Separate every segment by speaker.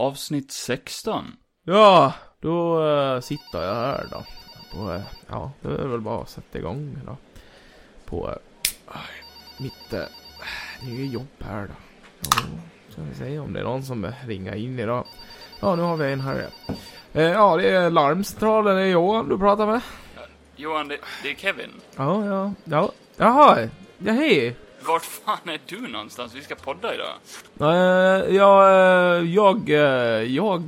Speaker 1: Avsnitt 16.
Speaker 2: Ja, då eh, sitter jag här då. På, eh, ja, det är väl bara att sätta igång då. På eh, mitt eh, nya jobb här då. Ja, ska vi se om det är någon som ringer in idag. Ja, nu har vi en här. Eh, ja, det är larmcentralen. Det är Johan du pratar med.
Speaker 1: Johan, det, det är Kevin.
Speaker 2: Ja, ja, ja. Jaha, ja hej.
Speaker 1: Vart fan är du någonstans? Vi ska podda idag.
Speaker 2: Eh, ja, eh, jag, eh, jag,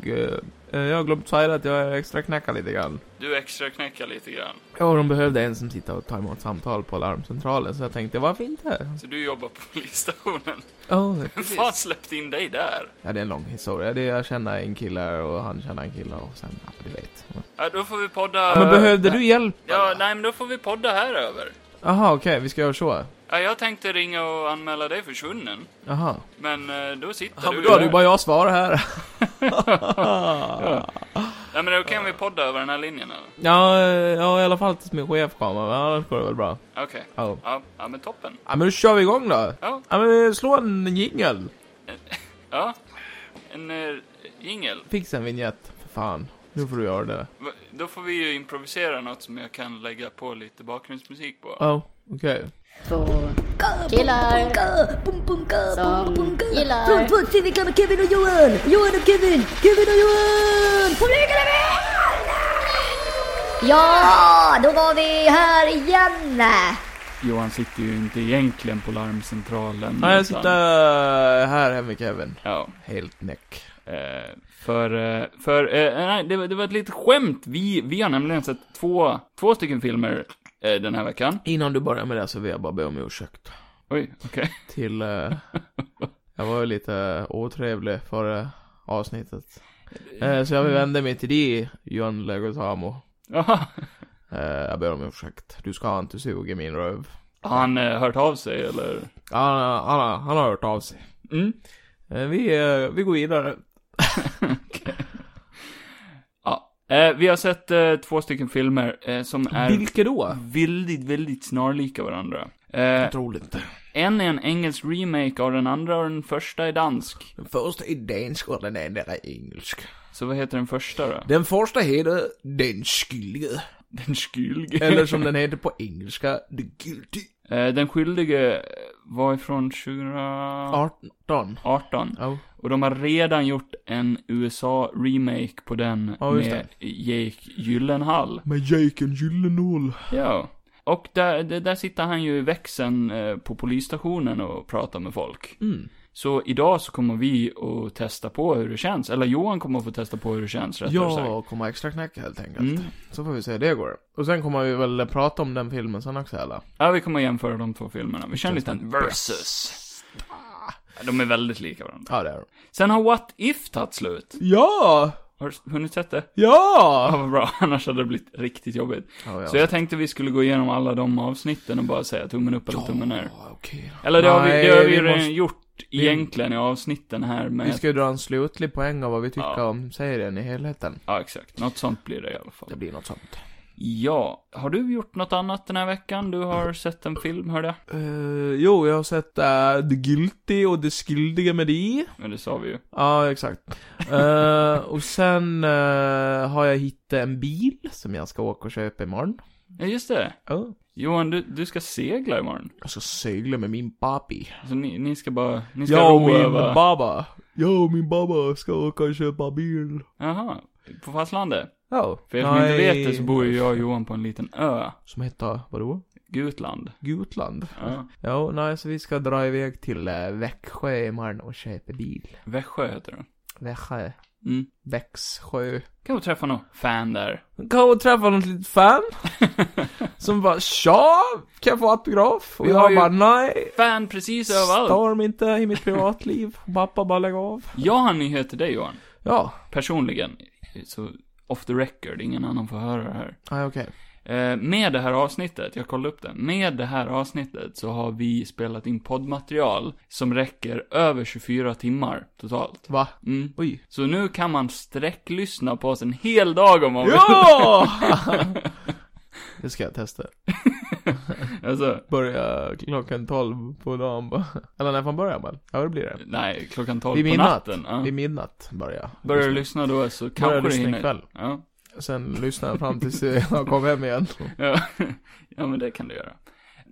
Speaker 2: eh, jag har glömt säga att jag är extra knäckad lite grann.
Speaker 1: Du extra knäcka lite grann.
Speaker 2: Ja, och de behövde en som sitter och tar emot samtal på larmcentralen, så jag tänkte varför inte?
Speaker 1: Så du jobbar på polisstationen.
Speaker 2: Ja,
Speaker 1: Vem fan släppte in dig där?
Speaker 2: ja, det är en lång historia. Det är, jag känner en kille och han känner en kille och sen, ja, du vet.
Speaker 1: Ja, då får vi podda...
Speaker 2: men behövde du hjälp?
Speaker 1: Ja, nej, men då får vi podda här över.
Speaker 2: Jaha, okej, vi ska göra så.
Speaker 1: Ja, jag tänkte ringa och anmäla dig försvunnen.
Speaker 2: Jaha.
Speaker 1: Men eh, då sitter
Speaker 2: Ja,
Speaker 1: du
Speaker 2: det är bara jag svarar här.
Speaker 1: Ja, men då kan vi podda över den här linjen, eller?
Speaker 2: ja, eh, ja, i alla fall tills min chef kommer, men annars går det väl bra.
Speaker 1: Okej.
Speaker 2: Ja.
Speaker 1: Ja, ja, men toppen.
Speaker 2: ja, men då kör vi igång då.
Speaker 1: Ja.
Speaker 2: Ja, men eh, slå en jingel.
Speaker 1: Ja. En eh, jingel.
Speaker 2: Fixa en vignett, för fan. Nu får du göra det.
Speaker 1: Va- Då får vi ju improvisera något som jag kan lägga på lite bakgrundsmusik på.
Speaker 2: Ja, okej.
Speaker 3: två killar som
Speaker 4: Från
Speaker 3: gillar
Speaker 4: två tv med Kevin och Johan! Johan och Kevin! Kevin och Johan! Kom igen Kevin!
Speaker 3: Ja,
Speaker 4: Ja, då var vi här igen!
Speaker 1: Johan sitter ju inte egentligen på larmcentralen.
Speaker 2: Nej, jag
Speaker 1: utan-
Speaker 2: sitter här hemma med Kevin.
Speaker 1: Ja,
Speaker 2: Helt näck.
Speaker 1: eh, för, eh, för, eh, nej, det, var- det var ett litet skämt. Vi, vi har nämligen sett två, två stycken filmer eh, den här veckan.
Speaker 2: Innan du börjar med det så vill jag bara be om ursäkt.
Speaker 1: Oj, okej.
Speaker 2: Till... Eh, jag var ju lite otrevlig förra avsnittet. Eh, så jag
Speaker 1: mm.
Speaker 2: vände mig till dig, John Legotamo.
Speaker 1: Jaha.
Speaker 2: Eh, jag ber om ursäkt. Du ska inte suga min röv.
Speaker 1: Har han eh, hört av sig eller?
Speaker 2: Han, han, har- han har hört av sig.
Speaker 1: Mm.
Speaker 2: Eh, vi, eh, vi går vidare.
Speaker 1: Ja. Eh, vi har sett eh, två stycken filmer eh, som är
Speaker 2: Vilka då?
Speaker 1: väldigt, väldigt snarlika varandra. Eh,
Speaker 2: Otroligt.
Speaker 1: en är en engelsk remake av den andra och den första är dansk.
Speaker 2: Den första är dansk och den andra är engelsk.
Speaker 1: Så vad heter den första då?
Speaker 2: Den första heter Den skyldige.
Speaker 1: Den skyldige.
Speaker 2: Eller som den heter på engelska, The Guilty.
Speaker 1: Eh, Den skyldige var ifrån 2018.
Speaker 2: 18. Ja.
Speaker 1: Och de har redan gjort en USA-remake på den
Speaker 2: Ja, just
Speaker 1: med Jake Gyllenhaal.
Speaker 2: Med Jake Gyllenhaal.
Speaker 1: Ja. Och där, där där sitter han ju i växeln eh, på polisstationen och pratar med folk.
Speaker 2: Mm.
Speaker 1: Så idag så kommer vi att testa på hur det känns. Eller Johan kommer att få testa på hur det känns, rättare sagt.
Speaker 2: Jag kommer extra knäcka helt enkelt.
Speaker 1: Mm.
Speaker 2: Så får vi se hur det går. Och sen kommer vi väl prata om den filmen sen också eller?
Speaker 1: Ja, vi kommer att jämföra de två filmerna. Vi kör en liten versus. Ja, De är väldigt lika varandra.
Speaker 2: Ja det är
Speaker 1: Sen har What If tagit slut.
Speaker 2: Ja!
Speaker 1: Har du hunnit sett det? Ja,
Speaker 2: Ja!
Speaker 1: vad bra. Annars hade det blivit riktigt jobbigt.
Speaker 2: ja.
Speaker 1: Så jag tänkte vi skulle gå igenom alla de avsnitten och bara säga tummen upp eller tummen ner.
Speaker 2: Ja, okej då.
Speaker 1: Eller det har vi, det har vi,
Speaker 2: Nej,
Speaker 1: redan
Speaker 2: måste-
Speaker 1: gjort egentligen i avsnitten här med...
Speaker 2: Vi ska ju dra en slutlig poäng av vad vi tycker
Speaker 1: Ja.
Speaker 2: om serien i helheten.
Speaker 1: Ja, exakt. Något sånt blir det i alla fall.
Speaker 2: Det blir något sånt.
Speaker 1: Ja, har du gjort något annat den här veckan? Du har sett en film, hörde jag.
Speaker 2: Eh, jo, jag har sett eh, The Guilty och The Skyldige med dig.
Speaker 1: Men det sa vi ju.
Speaker 2: Ja, exakt. Eh, och sen eh, har jag hittat en bil som jag ska åka och köpa imorgon.
Speaker 1: Ja, just det.
Speaker 2: Ja.
Speaker 1: Johan, du, du ska segla imorgon.
Speaker 2: Jag ska Alltså, segla med min papi.
Speaker 1: Så ni, ni ska bara... Ni ska
Speaker 2: Jag och
Speaker 1: roa
Speaker 2: min
Speaker 1: över...
Speaker 2: baba. Jag och min baba ska åka och köpa bil.
Speaker 1: Jaha. På fastlandet?
Speaker 2: Ja.
Speaker 1: För er som inte vet det så bor ju jag och Johan på en liten ö.
Speaker 2: Som heter, vadå?
Speaker 1: Gutland.
Speaker 2: Gotland.
Speaker 1: Ja.
Speaker 2: Ja, nej, så vi ska dra iväg till eh, Växjö imorgon och köpa bil.
Speaker 1: Växjö heter den.
Speaker 2: Växjö.
Speaker 1: Mm.
Speaker 2: Växjö.
Speaker 1: Kan vi träffa någon fan där.
Speaker 2: Kanske träffa något litet fan. som bara, tja, kan jag få autograf? Och
Speaker 1: Vi
Speaker 2: jag
Speaker 1: har ju-
Speaker 2: bara, nej.
Speaker 1: Fan precis överallt.
Speaker 2: Stör mig inte i mitt privatliv. Pappa bara lägg av.
Speaker 1: Jag har en nyhet till dig Johan.
Speaker 2: Ja.
Speaker 1: Personligen. Så off the record, ingen annan får höra det här.
Speaker 2: Nej, okej.
Speaker 1: Eh, med det här avsnittet, jag kollade upp det. Med det här avsnittet så har vi spelat in poddmaterial som räcker över 24 timmar totalt.
Speaker 2: Va?
Speaker 1: Mm.
Speaker 2: Oj.
Speaker 1: Så nu kan man sträcklyssna på oss en hel dag om man vill.
Speaker 2: Ja! Det ska jag testa.
Speaker 1: Alltså,
Speaker 2: Börja klockan 12 på dagen bara. Eller när fan börjar man? Ja, det blir det.
Speaker 1: nej, klockan 12
Speaker 2: Vid
Speaker 1: på
Speaker 2: midnatt.
Speaker 1: natten. Ja.
Speaker 2: Vid midnatt börjar jag.
Speaker 1: Börjar du lyssna då så
Speaker 2: Börjar
Speaker 1: kanske du
Speaker 2: lyssna
Speaker 1: hinner.
Speaker 2: ikväll.
Speaker 1: Ja.
Speaker 2: Sen lyssnar jag fram tills jag kom hem igen.
Speaker 1: Ja. ja, men det kan du göra.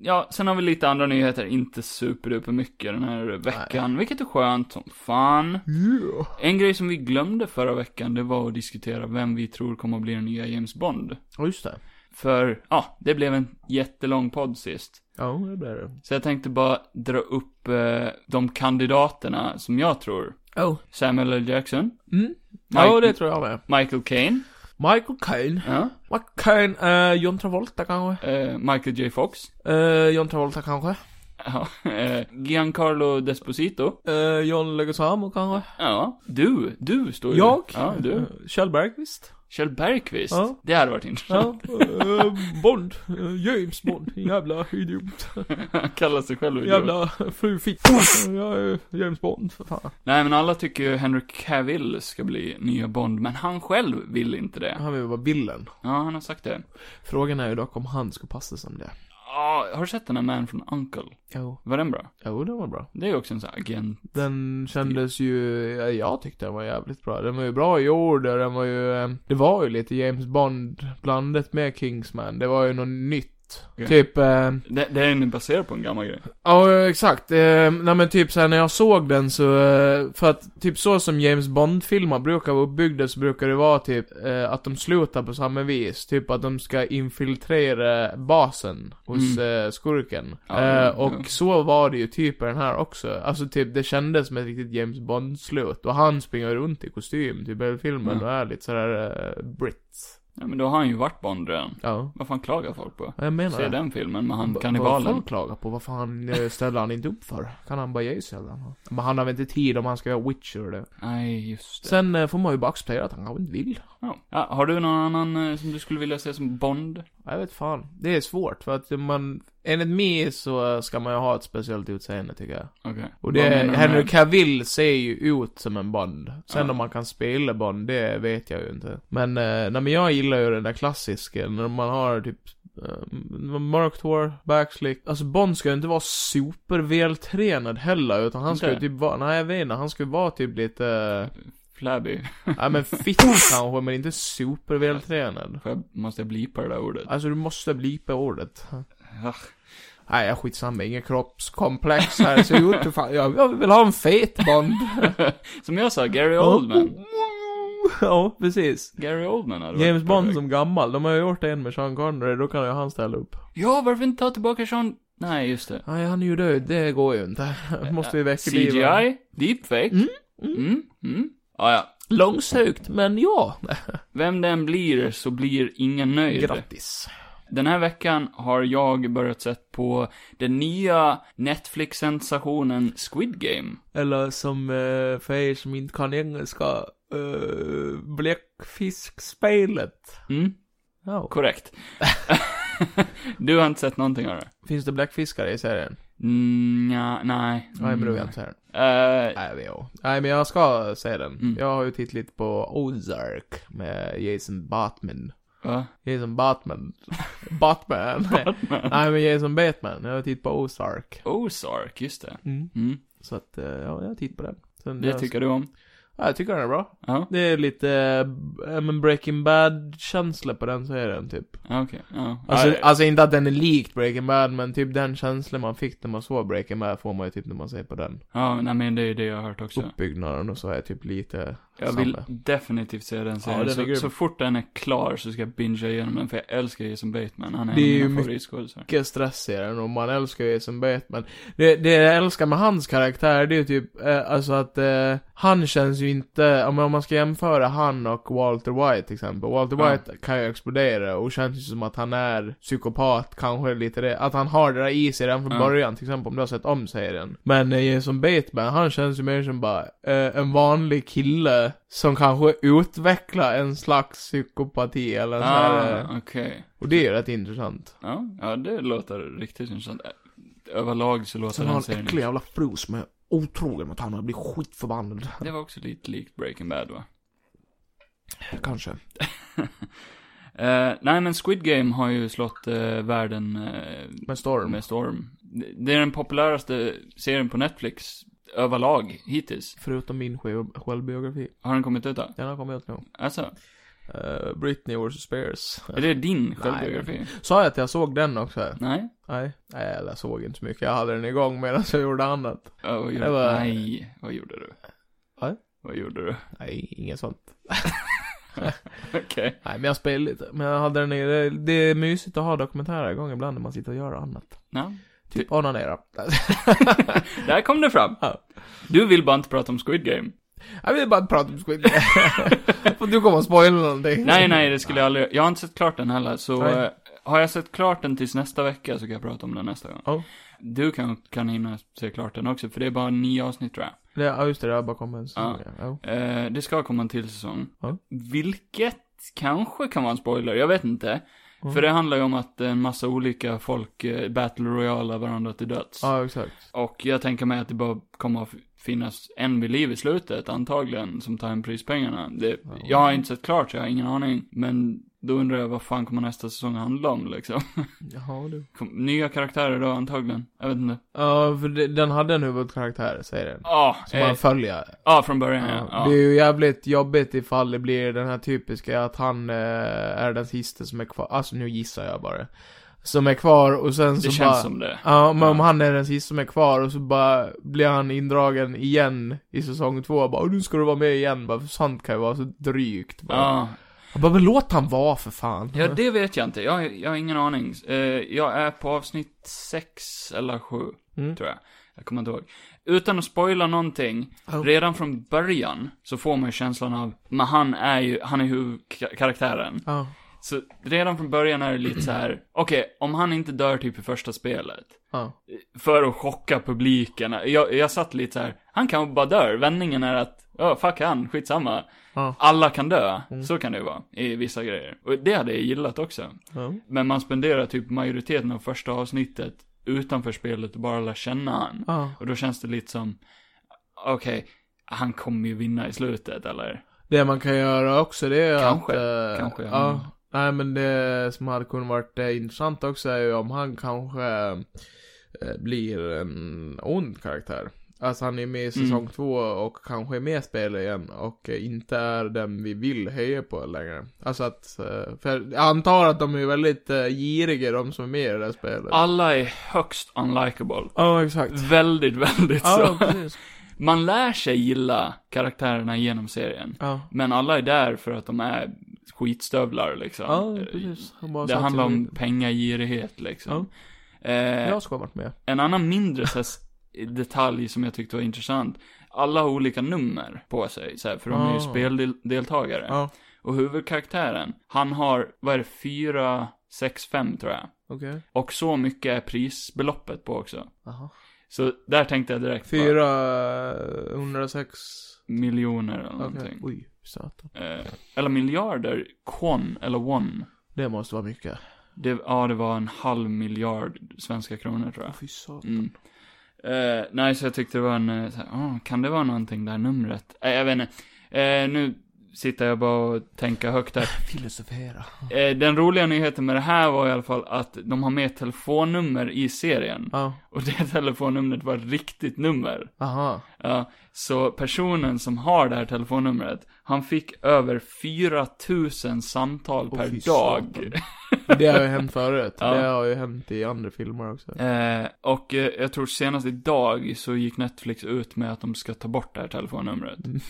Speaker 1: Ja, sen har vi lite andra nyheter, inte superduper mycket den här veckan, vilket är skönt som fan.
Speaker 2: Yeah.
Speaker 1: En grej som vi glömde förra veckan, det var att diskutera vem vi tror kommer att bli den nya James Bond.
Speaker 2: Ja, just det.
Speaker 1: För, ja, det blev en jättelång podd sist.
Speaker 2: Ja, det blir det.
Speaker 1: Så jag tänkte bara dra upp eh, de kandidaterna som jag tror.
Speaker 2: Oh.
Speaker 1: Samuel L. Jackson,
Speaker 2: Mm.
Speaker 1: Mike-
Speaker 2: Ja, det tror jag med.
Speaker 1: Michael Caine,
Speaker 2: Michael Caine.
Speaker 1: ja,
Speaker 2: Michael Caine, eh, John Travolta kanske?
Speaker 1: eh, Michael J. Fox,
Speaker 2: Eh, John Travolta kanske?
Speaker 1: ja, eh, Giancarlo Desposito,
Speaker 2: Eh, John Leguizamo kanske?
Speaker 1: ja, du, du står ju
Speaker 2: Jag?
Speaker 1: Ja, du.
Speaker 2: Eh, Kjell Bergqvist?
Speaker 1: Kjell Bergqvist,
Speaker 2: Ja.
Speaker 1: det hade varit intressant.
Speaker 2: Ja. eh, Bond. Eh, James Bond. Jävla idiot.
Speaker 1: Han kallar sig själv idiot.
Speaker 2: Jävla fru fitta. Jag är James Bond, för fan.
Speaker 1: Nej men alla tycker ju Henry Cavill ska bli nya Bond, men han själv vill inte det.
Speaker 2: Han vill vara bilden.
Speaker 1: Ja, han har sagt det.
Speaker 2: Frågan är ju dock om han ska passa som det.
Speaker 1: Ja, har du sett den här Man from Uncle?
Speaker 2: Jo.
Speaker 1: Var den bra?
Speaker 2: Jo, den var bra.
Speaker 1: Det är ju också en sån här agent.
Speaker 2: Den kändes ju, ja, jag tyckte den var jävligt bra. Den var ju bra gjord och den var ju, eh, det var ju lite James Bond blandat med Kingsman. Det var ju något nytt.
Speaker 1: Okej.
Speaker 2: Typ, eh,
Speaker 1: Det, det är ju baserat på en gammal grej.
Speaker 2: ja exakt. Eh, nej men typ såhär när jag såg den så, eh, för att typ så som James Bond-filmer brukar vara uppbyggda så brukar det vara typ eh, att de slutar på samma vis. Typ att de ska infiltrera basen hos eh, skurken.
Speaker 1: Mm. Ja,
Speaker 2: eh,
Speaker 1: ja.
Speaker 2: och så var det ju typ i den här också. Alltså typ, det kändes som ett riktigt James Bond-slut. Och han springer runt i kostym typ i filmen
Speaker 1: Ja.
Speaker 2: och är lite sådär eh, britt.
Speaker 1: Ja, men då har han ju varit Bond redan.
Speaker 2: Ja.
Speaker 1: Vad fan klagar folk på?
Speaker 2: Ja, Jag menar
Speaker 1: Se
Speaker 2: det.
Speaker 1: den filmen med han
Speaker 2: Vad- Vad
Speaker 1: kannibalen.
Speaker 2: folk klagar på? Vad fan eh, ställer han inte upp för? Kan han bara ge sig eller? något? Men han har väl inte tid om han ska göra Witcher och det.
Speaker 1: Nej, just det.
Speaker 2: Sen eh, får man ju bara acceptera att han kanske inte vill.
Speaker 1: Ja. Ja, har du någon annan eh, som du skulle vilja se som Bond?
Speaker 2: Ja, Jag vet fan. Det är svårt för att man, enligt mig så eh, ska man ju ha ett speciellt utseende tycker jag.
Speaker 1: Okej. Vad
Speaker 2: Och det,
Speaker 1: menar du med-
Speaker 2: Henry Cavill ser ju ut som en Bond. Sen
Speaker 1: Ja.
Speaker 2: om man kan spela Bond, det vet jag ju inte. Men, eh, nej men jag gillar ju den där klassiska, när man har typ eh, mörkt hår, backslick. Alltså Bond ska ju inte vara supervältränad heller, utan han ska ju
Speaker 1: Inte?
Speaker 2: typ vara, nej jag vet inte, han ska ju vara typ lite, eh,
Speaker 1: Flabby.
Speaker 2: nej men fitt kanske, men inte supervältränad.
Speaker 1: Får jag, måste jag blipa det där ordet?
Speaker 2: Alltså du måste blipa ordet.
Speaker 1: Ach.
Speaker 2: Nej, jag skitsamma, inget kroppskomplex här, ser ut fan, jag, jag vill ha en fet Bond.
Speaker 1: Som jag sa, Gary Oldman.
Speaker 2: Ja, precis.
Speaker 1: Gary Oldman hade varit
Speaker 2: James Bond
Speaker 1: perfekt.
Speaker 2: som gammal, de har ju gjort en med Sean Connery, då kan ju han ställa upp.
Speaker 1: Ja, varför inte ta tillbaka Sean? Nej, just det.
Speaker 2: Nej, han är ju död, det går ju inte. Måste vi väcka liv.
Speaker 1: CGI, deepfake. Mm, mm, Ja, ja.
Speaker 2: Långsökt, men ja.
Speaker 1: Vem den blir så blir ingen nöjd.
Speaker 2: Grattis.
Speaker 1: Den här veckan har jag börjat sett på den nya Netflix-sensationen Squid Game.
Speaker 2: Eller som, eh, för er som inte kan engelska, uh, Bläckfiskspelet.
Speaker 1: Mm,
Speaker 2: Ja.
Speaker 1: korrekt. du har inte sett någonting av det?
Speaker 2: Finns det bläckfiskare i serien?
Speaker 1: Mm, nja, nej. Mm.
Speaker 2: Nej, men du vet serien.
Speaker 1: Eh,
Speaker 2: Nej, men jag. Nej, men jag ska se den.
Speaker 1: Mm.
Speaker 2: Jag har ju tittat lite på Ozark med Jason Bateman.
Speaker 1: va?
Speaker 2: Jason Batman. Batman. Batman. Nej men Jason Batman. Jag har tittat på Ozark.
Speaker 1: Ozark, just det.
Speaker 2: Mm.
Speaker 1: Mm,
Speaker 2: Så att, eh, ja, jag har tittat på den. Sen
Speaker 1: det
Speaker 2: jag,
Speaker 1: tycker du om?
Speaker 2: Ja, jag tycker den är bra.
Speaker 1: Ja,
Speaker 2: Det är lite, eh, men Breaking Bad-känsla på den serien typ.
Speaker 1: ja, okej. Ja.
Speaker 2: Alltså,
Speaker 1: Ja,
Speaker 2: alltså inte att den är likt Breaking Bad, men typ den känslan man fick när man såg Breaking Bad får man ju typ när man ser på den.
Speaker 1: Ja, nej men det är det jag har hört
Speaker 2: Oh,
Speaker 1: också.
Speaker 2: Uppbyggnaden och så är typ lite
Speaker 1: Jag vill
Speaker 2: samma.
Speaker 1: definitivt se den
Speaker 2: Ja,
Speaker 1: serien.
Speaker 2: den är grym.
Speaker 1: så, så fort den är klar så ska jag bingea igenom den, för jag älskar Jason Bateman. Han är
Speaker 2: Det är
Speaker 1: en
Speaker 2: ju
Speaker 1: av mina
Speaker 2: mycket-
Speaker 1: favoritskådisar.
Speaker 2: mycket stress i den och man älskar ju Jason Bateman. Det, det jag älskar med hans karaktär det är ju typ, eh, alltså att eh, han känns ju inte, om, om man ska jämföra han och Walter White till exempel. Walter
Speaker 1: Ja.
Speaker 2: White kan ju explodera och känns ju som att han är psykopat, kanske lite det, att han har det där i sig redan från
Speaker 1: Ja.
Speaker 2: början till exempel om du har sett om serien. Men eh, Jason Bateman, han känns ju mer som bara eh, en vanlig kille som kanske utvecklar en slags psykopati eller en sån här, eh,
Speaker 1: Ah, okej.
Speaker 2: och det är ju rätt intressant.
Speaker 1: Ja, ja, det låter riktigt intressant. Överlag så låter
Speaker 2: Sen har
Speaker 1: den
Speaker 2: han en
Speaker 1: serien...
Speaker 2: äcklig jävla fru som är otrogen mot honom och blir skitförbannad.
Speaker 1: Det var också lite likt Breaking Bad va?
Speaker 2: Kanske.
Speaker 1: Eh, nej, men Squid Game har ju slått eh, världen eh,
Speaker 2: Med storm.
Speaker 1: med storm. Det- Det är den populäraste serien på Netflix överlag hittills.
Speaker 2: Förutom min själv- självbiografi.
Speaker 1: Har den kommit ut då?
Speaker 2: Den har kommit ut nu.
Speaker 1: Alltså,
Speaker 2: Eh, Britney vs. Spears.
Speaker 1: är det din självbiografi?
Speaker 2: Sa jag att jag såg den också?
Speaker 1: Nej?
Speaker 2: Nej. Nej, eller jag såg inte så mycket. Jag hade den igång medan jag gjorde annat.
Speaker 1: Ja, vad gjorde,
Speaker 2: Det var-
Speaker 1: Nej, vad gjorde du?
Speaker 2: Va?
Speaker 1: Vad gjorde du?
Speaker 2: Nej, inget sånt.
Speaker 1: Okej.
Speaker 2: Nej, men jag spelade lite. Men jag hade den i... det- Det är mysigt att ha dokumentärer igång ibland när man sitter och gör annat.
Speaker 1: Ja.
Speaker 2: Typ onanera.
Speaker 1: Där kom det fram.
Speaker 2: Ja.
Speaker 1: Du vill bara inte prata om Squid Game.
Speaker 2: jag vill bara prata om Squid Får du komma och spoila någonting?
Speaker 1: Nej, nej, det skulle jag aldrig Jag har inte sett klart den heller, så
Speaker 2: Mm. Nej.
Speaker 1: eh, har jag sett klart den tills nästa vecka så kan jag prata om den nästa gång.
Speaker 2: Ja.
Speaker 1: Du kan, kan hinna se klart den också, för det är bara nio avsnitt tror jag.
Speaker 2: Det, ja, just det. Det har bara kommit en säsong. Ja.
Speaker 1: Eh, det ska komma en till säsong.
Speaker 2: Ja.
Speaker 1: Vilket kanske kan vara en spoiler, jag vet inte.
Speaker 2: Mm.
Speaker 1: För det handlar ju om att en massa olika folk eh, battle royala varandra till döds.
Speaker 2: ja, exakt.
Speaker 1: Och jag tänker mig att det bara kommer att finnas en vid liv i slutet, antagligen, som tar hem prispengarna. Det, jag har inte sett klart, så jag har ingen aning. Men då undrar jag vad fan kommer nästa säsong handla om, liksom.
Speaker 2: Jaha, du.
Speaker 1: Kom- Nya karaktärer då, antagligen. Jag vet inte.
Speaker 2: Ja, för det- den hade en huvudkaraktär, säger den.
Speaker 1: Ja,
Speaker 2: Som
Speaker 1: eh,
Speaker 2: man följer.
Speaker 1: ja, från början, ja.
Speaker 2: Ja,
Speaker 1: ja.
Speaker 2: Eh, Det är ju jävligt jobbigt ifall det blir den här typiska att han eh, är den sista som är kvar. Alltså nu gissar jag bara. Som är kvar och sen så
Speaker 1: Det
Speaker 2: bara...
Speaker 1: känns som det.
Speaker 2: Ja, men om
Speaker 1: Ja.
Speaker 2: han är den sista som är kvar och så bara blir han indragen igen i säsong två. och Bara, "Åh, nu ska du vara med igen. Bara, för sånt kan ju vara så drygt. Bara.
Speaker 1: Ja,
Speaker 2: Jag bara, men låt han vara för fan.
Speaker 1: Ja, det vet jag inte. Jag, jag har ingen aning. Eh, jag är på avsnitt 6 eller 7,
Speaker 2: Mm.
Speaker 1: tror jag. Jag kommer inte ihåg. Utan att spoila någonting,
Speaker 2: Ja.
Speaker 1: redan från början så får man ju känslan av, men han är ju, han är huvudkaraktären.
Speaker 2: Ja.
Speaker 1: Så redan från början är det lite så här, okej, om han inte dör typ i första spelet,
Speaker 2: Ja.
Speaker 1: för att chocka publiken. Jag, jag satt lite så här. han kan bara dö. Vändningen är att, ja, fuck han, skitsamma.
Speaker 2: Ja. Mm.
Speaker 1: Alla kan dö, så kan det ju vara, i vissa grejer. Och det hade jag gillat också.
Speaker 2: Ja.
Speaker 1: Men man spenderar typ majoriteten av första avsnittet utanför spelet och bara lär känna han.
Speaker 2: Ja.
Speaker 1: Och då känns det lite som, okej, han kommer ju vinna i slutet, eller?
Speaker 2: Det man kan göra också det är
Speaker 1: Kanske,
Speaker 2: att... eh,
Speaker 1: kanske, ja.
Speaker 2: ja. Nej men det som hade kunnat varit eh, intressant också är ju om han kanske eh, blir en ond karaktär. Alltså han är med i säsong
Speaker 1: Mm.
Speaker 2: två och kanske är med i spelet igen och eh, inte är den vi vill heja på längre. Alltså att, eh, för jag antar att de är väldigt eh, giriga de som är med i det där spelet.
Speaker 1: Alla är högst unlikable.
Speaker 2: Ja, exakt.
Speaker 1: Väldigt, väldigt
Speaker 2: Ja,
Speaker 1: så.
Speaker 2: precis.
Speaker 1: Man lär sig gilla karaktärerna genom serien.
Speaker 2: Ja.
Speaker 1: Men alla är där för att de är skitstövlar liksom.
Speaker 2: Ja, precis. Han bara
Speaker 1: Det
Speaker 2: satt
Speaker 1: handlar
Speaker 2: sig
Speaker 1: om
Speaker 2: ner.
Speaker 1: pengagirighet liksom. Eh,
Speaker 2: Jag ska ha varit med.
Speaker 1: En annan mindre så här, s- detalj som jag tyckte var intressant. Alla har olika nummer på sig, så här, för de är ju
Speaker 2: Ah.
Speaker 1: speldeltagare.
Speaker 2: Ja.
Speaker 1: Och huvudkaraktären, han har, vad är det, fyra, sex, fem tror jag.
Speaker 2: Okej.
Speaker 1: Och så mycket är prisbeloppet på också.
Speaker 2: Jaha.
Speaker 1: Så där tänkte jag direkt på
Speaker 2: 406
Speaker 1: miljoner eller
Speaker 2: Okej.
Speaker 1: någonting.
Speaker 2: Oj, satan.
Speaker 1: Eh, eller miljarder, kon eller won.
Speaker 2: Det måste vara mycket.
Speaker 1: Det, ja, det var en halv miljard svenska kronor tror jag.
Speaker 2: Fy satan.
Speaker 1: Mm. Eh, nej, så jag tyckte det var en, eh, så här, "Ah, kan det vara någonting där numret? Eh, jag vet inte. Eh, nu sitter jag bara och tänker högt här.
Speaker 2: Filosofera.
Speaker 1: Eh, den roliga nyheten med det här var i alla fall att de har med ett telefonnummer i serien.
Speaker 2: Ja.
Speaker 1: Och det telefonnumret var ett riktigt nummer.
Speaker 2: Aha.
Speaker 1: Ja, så personen som har det här telefonnumret, han fick över 4000 samtal
Speaker 2: Åh,
Speaker 1: per
Speaker 2: fy
Speaker 1: dag.
Speaker 2: satan. Det har ju hänt förut.
Speaker 1: Ja.
Speaker 2: Det har ju hänt i andra filmer också.
Speaker 1: Eh, och eh, jag tror senast idag så gick Netflix ut med att de ska ta bort det här telefonnumret.
Speaker 2: Mm.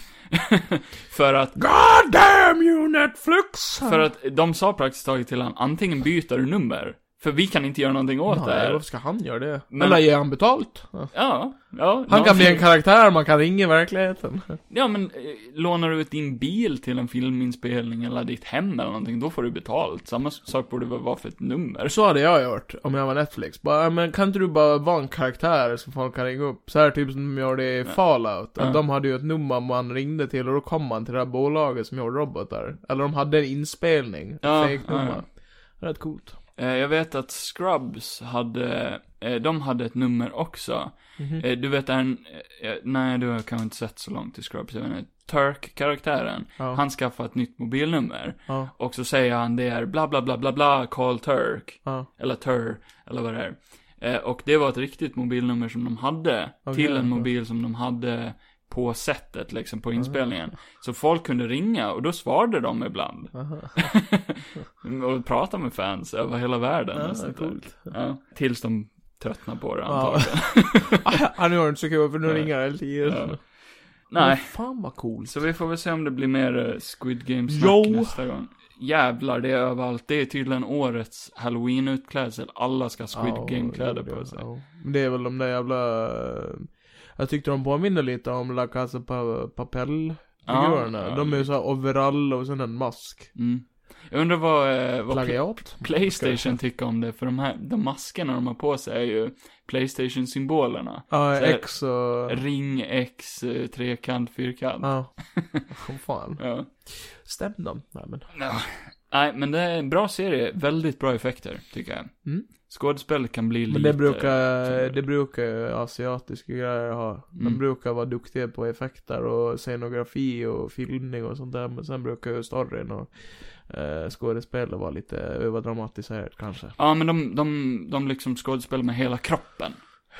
Speaker 1: för att,
Speaker 2: God damn you Netflix!
Speaker 1: för att de sa praktiskt taget till honom, antingen byter du nummer, för vi kan inte göra någonting åt det
Speaker 2: Nej,
Speaker 1: här.
Speaker 2: varför ska han göra det?
Speaker 1: Men-
Speaker 2: Eller ger han betalt? Ja.
Speaker 1: Ja, ja.
Speaker 2: Han
Speaker 1: någon-
Speaker 2: kan bli en karaktär man kan ringa i verkligheten.
Speaker 1: Ja, men eh, lånar du ut din bil till en filminspelning eller ditt hem eller någonting, då får du betalt. Samma sak borde väl vara för ett nummer.
Speaker 2: Så hade jag gjort om jag var Netflix. Bara, "Ja, men kan inte du bara vara en karaktär som folk kan ringa upp? Så här typ som de gjorde i Fallout.
Speaker 1: Ja.
Speaker 2: Att de hade ju ett nummer man ringde till och då kom man till det här bolaget som gjorde robotar. Eller de hade en inspelning. Ett
Speaker 1: Ja,
Speaker 2: fake
Speaker 1: ja,
Speaker 2: nummer. Rätt coolt.
Speaker 1: Eh, Jag vet att Scrubs hade, eh, de hade ett nummer också.
Speaker 2: Mhm.
Speaker 1: Eh, Du vet en, eh, nej du har kanske inte sett så långt i Scrubs, jag vet inte. Turk-karaktären,
Speaker 2: Ja.
Speaker 1: han skaffar ett nytt mobilnummer.
Speaker 2: Ja.
Speaker 1: Och så säger han det är bla bla bla bla bla, call Turk.
Speaker 2: Ja.
Speaker 1: Eller Tur, eller vad det är. Eh, Och det var ett riktigt mobilnummer som de hade.
Speaker 2: Okej,
Speaker 1: till en
Speaker 2: ja.
Speaker 1: mobil som de hade på sättet liksom, på inspelningen. Så folk kunde ringa och då svarade de ibland.
Speaker 2: Aha.
Speaker 1: och prata med fans över hela världen.
Speaker 2: Ja,
Speaker 1: och sånt där.
Speaker 2: coolt.
Speaker 1: Ja, tills de tröttnar på det
Speaker 2: Ja.
Speaker 1: antagligen.
Speaker 2: Ah, nu har du inte så kul för nu
Speaker 1: Nej.
Speaker 2: ringer det hela tiden.
Speaker 1: Ja.
Speaker 2: Men
Speaker 1: Nej,
Speaker 2: Fan vad coolt.
Speaker 1: så vi får väl se om det blir mer eh, Squid
Speaker 2: Jo.
Speaker 1: Game-snack nästa gång. Jävlar, det är överallt. Det är tydligen årets halloween-utklädsel. Alla ska ha Squid
Speaker 2: Ja,
Speaker 1: Game-kläder
Speaker 2: det-
Speaker 1: på sig.
Speaker 2: ja. Men det är väl de där jävla... eh, Jag tyckte de påminner lite om La Casa pa Papel. Figurerna.
Speaker 1: Ja, ja.
Speaker 2: De är ju såhär overall och sen en mask.
Speaker 1: Mm. Jag undrar vad, eh, vad Pl-
Speaker 2: Plagiat?
Speaker 1: Playstation tycker om det, för de här, de maskerna de har på sig är ju Playstation-symbolerna.
Speaker 2: Ja,
Speaker 1: Så-
Speaker 2: X och...
Speaker 1: Ring, X, eh, trekant, fyrkant.
Speaker 2: Ja. Åh, fan.
Speaker 1: Ja.
Speaker 2: Stäm dem. Nej men.
Speaker 1: Ja. Nej, men det är en bra serie. Väldigt bra effekter, tycker jag.
Speaker 2: Mm.
Speaker 1: Skådespel kan bli lite...
Speaker 2: Men det brukar,
Speaker 1: finare.
Speaker 2: det brukar ju asiatiska grejer ha. De
Speaker 1: Mm.
Speaker 2: brukar vara duktiga på effekter och scenografi och filmning och sånt där. Men sen brukar ju storyn och eh, skådespelet vara lite överdramatiserat kanske.
Speaker 1: Ja, men de, de, de liksom skådespelar med hela kroppen.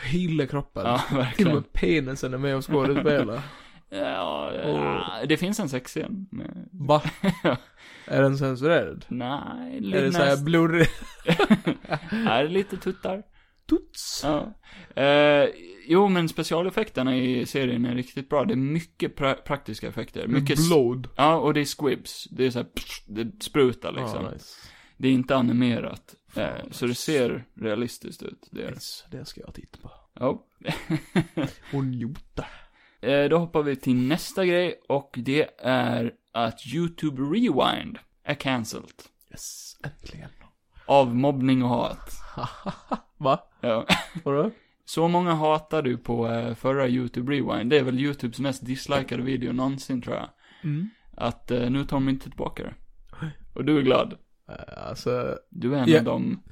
Speaker 2: Hela kroppen.
Speaker 1: Ja,
Speaker 2: Till och
Speaker 1: verkligen.
Speaker 2: med penisen är med och skådespelar.
Speaker 1: Ja, eh, det finns en sexscen. Men-
Speaker 2: Va? Är den censurerad?
Speaker 1: Nej,
Speaker 2: Är det
Speaker 1: Linnas...
Speaker 2: såhär blurrig?
Speaker 1: Är det lite tuttar?
Speaker 2: Tuts?
Speaker 1: Ja. Eh, jo, men specialeffekterna i serien är riktigt bra. Det är mycket pra praktiska effekter. Mycket...
Speaker 2: Blod?
Speaker 1: Ja, och det är squibs. Det är så här, pff, det sprutar liksom.
Speaker 2: Ah, nice.
Speaker 1: Det är inte animerat.
Speaker 2: Fan,
Speaker 1: eh,
Speaker 2: vad
Speaker 1: så det ser realistiskt ut. Det gör det.
Speaker 2: nice. Det ska jag titta på.
Speaker 1: Ja.
Speaker 2: Och njuta.
Speaker 1: Eh, då hoppar vi till nästa grej och det är att YouTube Rewind är cancelled.
Speaker 2: Yes, äntligen.
Speaker 1: Av mobbning och hat.
Speaker 2: Va?
Speaker 1: Ja.
Speaker 2: Vadå?
Speaker 1: Så många hatar du på eh, förra YouTube Rewind. Det är väl YouTubes mest dislikade video någonsin tror jag.
Speaker 2: Mm.
Speaker 1: Att eh, nu tar de inte tillbaka det. Och du är glad.
Speaker 2: Eh, Alltså,
Speaker 1: Du är en
Speaker 2: Ja.
Speaker 1: av dem.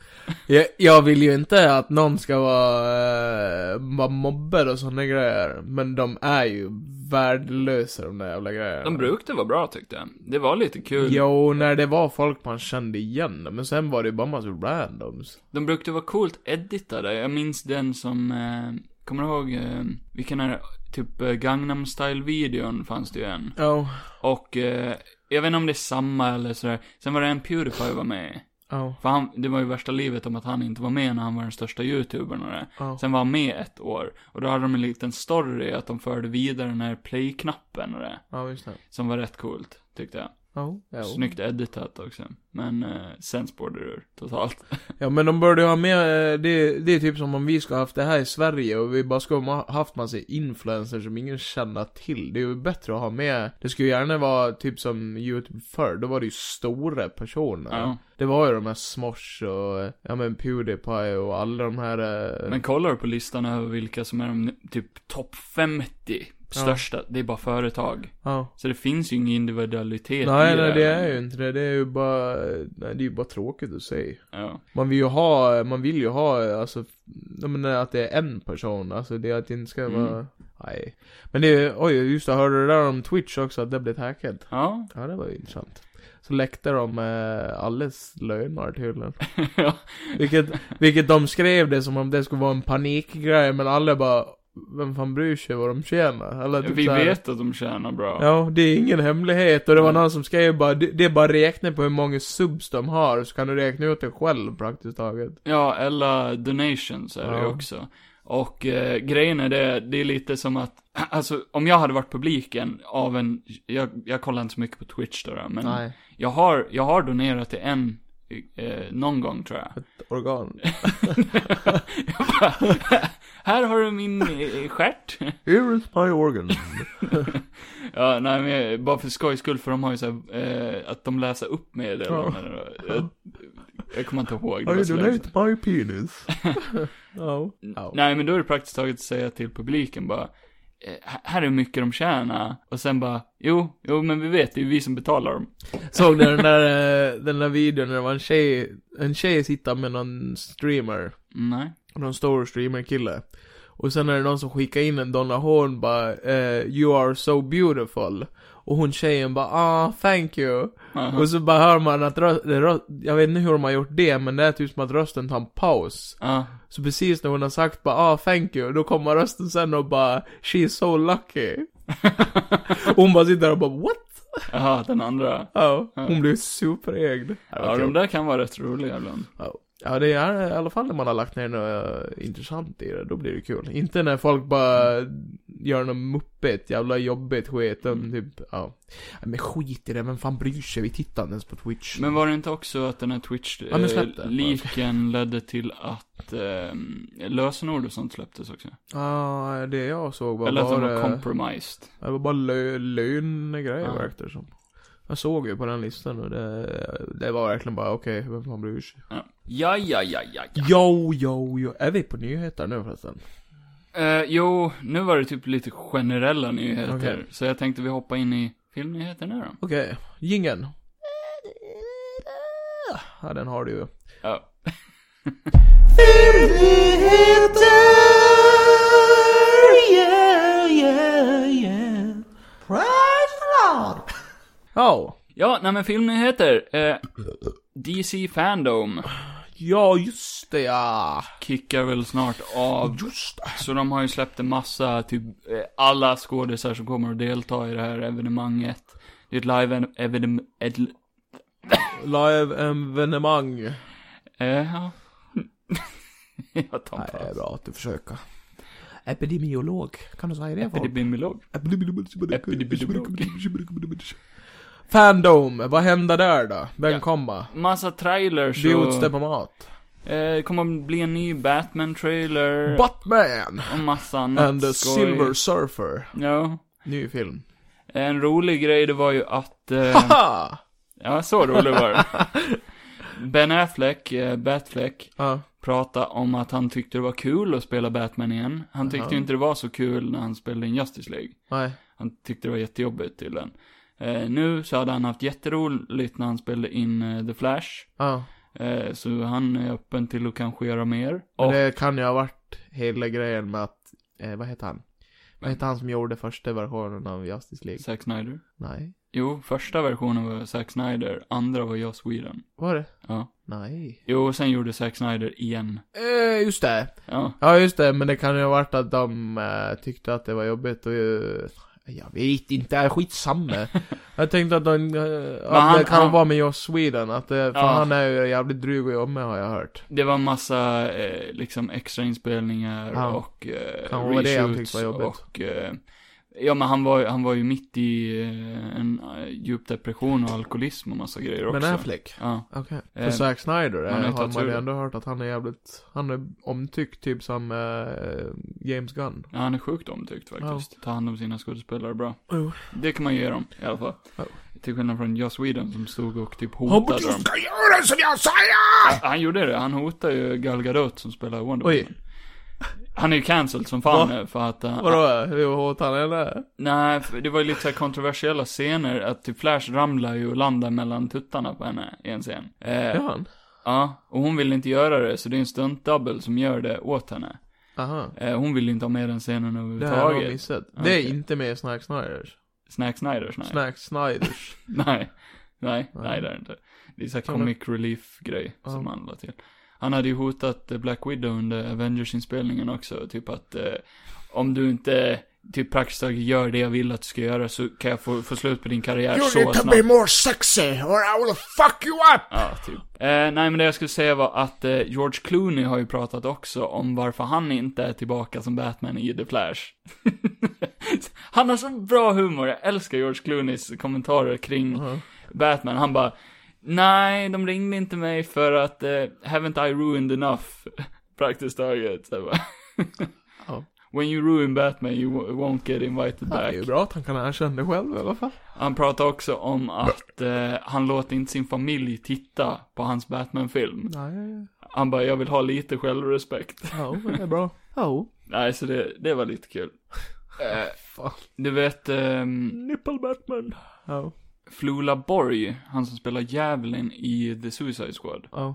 Speaker 2: jag, jag vill ju inte att någon ska vara, uh, vara mobbad och sådana grejer. Men de är ju värdelösa de där jävla grejerna.
Speaker 1: De brukade vara bra tyckte jag. Det var lite kul.
Speaker 2: Jo, när det var folk man kände igen. Men sen var det ju bara massa randoms.
Speaker 1: De brukade vara coolt editade. Jag minns den som, eh, kommer du ihåg, eh, vilken är det? Typ eh, Gangnam style-videon fanns det ju en.
Speaker 2: Ja.
Speaker 1: Och, eh, jag vet inte om det är samma eller sådär. Sen var det en Pewdiepie var med i.
Speaker 2: Ja.
Speaker 1: För han, det var ju värsta livet om att han inte var med när han var den största youtubern och det.
Speaker 2: Ja.
Speaker 1: Sen var han med ett år. Och då hade de en liten story att de förde vidare den här play-knappen och det.
Speaker 2: Ja, just det.
Speaker 1: Som var rätt coolt, tyckte jag.
Speaker 2: Ja. Ja.
Speaker 1: Snyggt editat också. Men eh, sen spårade det ur totalt.
Speaker 2: ja, men de borde ju ha med, eh, det, det är typ som om vi ska ha haft det här i Sverige och vi bara ska ha haft massa influencers som ingen känner till. Det är ju bättre att ha med, det skulle gärna vara typ som YouTube förr, då var det ju stora personer.
Speaker 1: Ja.
Speaker 2: Det var ju de här Smosh och, eh, ja men Pewdiepie och alla de här... eh,
Speaker 1: Men kollar du på listan över vilka som är de typ topp 50 största, det är bara företag.
Speaker 2: ja.
Speaker 1: Så det finns ju ingen individualitet i
Speaker 2: Nej,
Speaker 1: det.
Speaker 2: nej det är ju inte det. Det är ju bara, nej det är ju bara tråkigt att säga.
Speaker 1: Ja.
Speaker 2: Man vill ju ha, man vill ju ha, alltså, jag menar att det är en person, alltså det är att det inte ska
Speaker 1: Mm.
Speaker 2: vara, nej. Men det, är ju- oj, just det, hörde du där om Twitch också, att det blev hackat?
Speaker 1: Ja.
Speaker 2: Ja, det var ju intressant. Så läckte de eh, alles löner tydligen.
Speaker 1: ja.
Speaker 2: Vilket, vilket de skrev det som om det skulle vara en panikgrej, men alla bara, vem fan bryr sig vad de tjänar? Eller typ
Speaker 1: Vi
Speaker 2: så här-
Speaker 1: vet att de tjänar bra.
Speaker 2: Ja, det är ingen hemlighet och det var
Speaker 1: Nej.
Speaker 2: någon som skrev bara, det det är bara räkna på hur många subs de har så kan du räkna ut det själv praktiskt taget.
Speaker 1: Ja, eller donations är det
Speaker 2: Ja.
Speaker 1: ju också. Och eh, grejen är det, det är lite som att, alltså om jag hade varit publiken av en, jag, jag kollar inte så mycket på Twitch då, då men
Speaker 2: Nej,
Speaker 1: jag har, jag har donerat till en, eh, någon gång tror jag.
Speaker 2: ett organ.
Speaker 1: Jag bara, Här har du min eh, stjärt.
Speaker 2: Here is my organ.
Speaker 1: Ja, nej men jag- bara för skojs skull, för de har ju så här, eh, att de läser upp meddelanden. och- Jag, jag kommer inte ihåg. det var så länge sedan.
Speaker 2: my penis? Ja.
Speaker 1: Nej, men då är det praktiskt taget att säga till publiken bara, eh, här- här är hur mycket de tjänar. Och sen bara, jo, jo men vi vet, det är ju vi som betalar dem.
Speaker 2: Såg ni den där, eh, den där videon när det var en tjej, en tjej sitta med någon streamer,
Speaker 1: Nej.
Speaker 2: någon stor streamerkille. Och sen är det någon som skickar in en Donna Horn bara eh, 'You are so beautiful' Och hon tjejen bara 'Ah, thank you'
Speaker 1: Aha.
Speaker 2: Och så bara hör man att rö- det rö- jag vet inte hur de har gjort det, men det är typ som att rösten tar en paus.
Speaker 1: Ja.
Speaker 2: Så precis när hon har sagt bara 'Ah, thank you' då kommer rösten sen och bara 'She's so lucky' Och hon bara sitter där och bara 'What?'
Speaker 1: Jaha, den andra.
Speaker 2: Ja, hon blev superägd.
Speaker 1: Ja, de där kan vara rätt roliga ibland.
Speaker 2: Ja. Ja, det är i alla fall när man har lagt ner något eh, intressant i det, då blir det kul. Inte när folk bara gör något muppigt, jävla jobbigt skit, mm. typ, ja. Ja, Men skit i det, vem fan bryr sig? Vi tittar inte ens på Twitch.
Speaker 1: Men var det inte också att den här
Speaker 2: Ja, men släpp det.
Speaker 1: Twitch-liken ledde till att eh, lösenord och sånt släpptes också?
Speaker 2: Ja, det jag såg var
Speaker 1: Eller att de
Speaker 2: bara,
Speaker 1: var compromised.
Speaker 2: det var bara lö, lönegrejer
Speaker 1: Ja.
Speaker 2: verkade det som. Jag såg ju på den listan och det, det var verkligen bara okej, vem fan bryr sig?
Speaker 1: Ja, ja, ja, ja, ja. ja.
Speaker 2: Jo, jo, jo. Är vi på nyheter nu förresten?
Speaker 1: Eh, jo, nu var det typ lite generella nyheter.
Speaker 2: Okej.
Speaker 1: Så jag tänkte vi hoppar in i filmnyheterna då.
Speaker 2: Okej, jingeln. Ja, den har du ju.
Speaker 1: Ja.
Speaker 2: Ja.
Speaker 1: Ja, nej men filmnyheter. Eh, DC Fandom
Speaker 2: Ja, just det ja.
Speaker 1: kickar väl snart av.
Speaker 2: Just det.
Speaker 1: Så de har ju släppt en massa, typ eh, alla skådisar som kommer att delta i det här evenemanget. Det är ett live-evenemang.
Speaker 2: Live-evenemang. Nej,
Speaker 1: Eh, ja. jag tar
Speaker 2: det är
Speaker 1: paus.
Speaker 2: bra att du försöker. Epidemiolog. Kan du säga det för folk?
Speaker 1: Epidemiolog.
Speaker 2: Fandom, vad hände där då? Vem kommer?
Speaker 1: Massa trailers
Speaker 2: Bjuds det
Speaker 1: och...
Speaker 2: på mat?
Speaker 1: Eh, det kommer att bli en ny Batman-trailer.
Speaker 2: Batman!
Speaker 1: och massa annat
Speaker 2: And the
Speaker 1: skoj.
Speaker 2: Silver Surfer.
Speaker 1: Ja.
Speaker 2: Ny film.
Speaker 1: En rolig grej det var ju att... Eh,
Speaker 2: Haha!
Speaker 1: ja, så rolig var det. Ben Affleck, eh, Batfleck,
Speaker 2: Ja.
Speaker 1: pratade om att han tyckte det var kul att spela Batman igen. Han tyckte ju inte det var så kul när han spelade in Justice League.
Speaker 2: Nej.
Speaker 1: Han tyckte det var jättejobbigt tydligen. Eh, nu så hade han haft jätteroligt när han spelade in eh, The Flash.
Speaker 2: Ja.
Speaker 1: Eh, så han är öppen till att kanske göra mer.
Speaker 2: Men
Speaker 1: Och,
Speaker 2: det kan ju ha varit hela grejen med att, eh, vad heter han? Vad heter han som gjorde första versionen av Justice League?
Speaker 1: Zack Snyder.
Speaker 2: Nej.
Speaker 1: Jo, första versionen var Zack Snyder, andra var Joss Whedon.
Speaker 2: Var det?
Speaker 1: Ja.
Speaker 2: Nej.
Speaker 1: Jo, och sen gjorde Zack Snyder igen.
Speaker 2: Eh, just det.
Speaker 1: Ja.
Speaker 2: Ja, just det, men det kan ju ha varit att de eh, tyckte att det var jobbigt och eh, jag vet inte, skitsamma. jag tänkte att, de, eh, att
Speaker 1: han-
Speaker 2: det kan
Speaker 1: han-
Speaker 2: vara med Joss Sweden, att eh, för
Speaker 1: Ja.
Speaker 2: han är ju jävligt dryg att jobba med har jag hört.
Speaker 1: Det var massa eh, liksom extra inspelningar
Speaker 2: Ja.
Speaker 1: och eh,
Speaker 2: Kan vara det han
Speaker 1: reshoots
Speaker 2: tyckte var jobbigt.
Speaker 1: och... Eh, ja, men han var, han var ju mitt i eh, en eh, djup depression och alkoholism och massa grejer också.
Speaker 2: Men Affleck?
Speaker 1: Ja.
Speaker 2: Okej.
Speaker 1: Eh,
Speaker 2: För Zack Snyder
Speaker 1: han har
Speaker 2: eh,
Speaker 1: ju
Speaker 2: har
Speaker 1: tagit
Speaker 2: man ju
Speaker 1: tur.
Speaker 2: ändå hört att han är jävligt, han är omtyckt typ som eh, James Gunn.
Speaker 1: ja, han är sjukt omtyckt faktiskt. Ta hand om sina skådespelare bra. Det kan man ge dem i alla fall.
Speaker 2: Ja.
Speaker 1: Till skillnad från Joss Whedon som stod och typ
Speaker 2: Hoppas
Speaker 1: hotade
Speaker 2: du
Speaker 1: dem.
Speaker 2: ska göra som jag säger!
Speaker 1: Han gjorde det, han hotade ju Gal Gadot som spelar Wonder
Speaker 2: Oj.
Speaker 1: Woman. Han är ju cancelled som fan
Speaker 2: Va?
Speaker 1: nu för att... eh,
Speaker 2: Vadå? Hur hårt han är där?
Speaker 1: Nej, för det var ju lite så här kontroversiella scener, att typ Flash ramlar ju och landar mellan tuttarna på henne i en scen. Eh,
Speaker 2: Är
Speaker 1: ja.
Speaker 2: han?
Speaker 1: och hon vill inte göra det, så det är en stuntdouble som gör det åt henne.
Speaker 2: Aha.
Speaker 1: Eh, hon vill inte ha med den scenen
Speaker 2: Det här har jag
Speaker 1: överhuvudtaget.
Speaker 2: missat. Det är
Speaker 1: Okej.
Speaker 2: inte med i Snack Snyders.
Speaker 1: Snack Sniders, nej.
Speaker 2: Snack Snyders.
Speaker 1: Nej, nej, nej det är det inte. Det är så här
Speaker 2: men-
Speaker 1: comic relief-grej som han la till. Han hade ju hotat eh, Black Widow under Avengers-inspelningen också, typ att eh, om du inte typ praktiskt taget gör det jag vill att du ska göra så kan jag få, få slut på din karriär så snabbt.
Speaker 2: more sexy or I will fuck you up!
Speaker 1: Ja, typ. Eh, nej, men det jag skulle säga var att eh, George Clooney har ju pratat också om varför han inte är tillbaka som Batman i The Flash. han har så bra humor, jag älskar George Clooneys kommentarer kring
Speaker 2: Uh-huh.
Speaker 1: Batman. Han bara, nej, de ringde inte mig för att eh, haven't I ruined enough, praktiskt taget. Så jag bara,
Speaker 2: Ja.
Speaker 1: When you ruin Batman you wo- won't get invited
Speaker 2: Det är
Speaker 1: back.
Speaker 2: ju bra att han kan erkänna det själv i alla fall.
Speaker 1: Han pratar också om att eh, han låter inte sin familj titta på hans Batman-film.
Speaker 2: Nej,
Speaker 1: Han bara, jag vill ha lite självrespekt.
Speaker 2: ja, men det är bra. Ja.
Speaker 1: Nej, så det, det var lite kul. Eh,
Speaker 2: Fan.
Speaker 1: du vet, eh,
Speaker 2: Nipple Batman. Ja.
Speaker 1: Flula Borg, han som spelar djävulen i The Suicide Squad.
Speaker 2: Ja.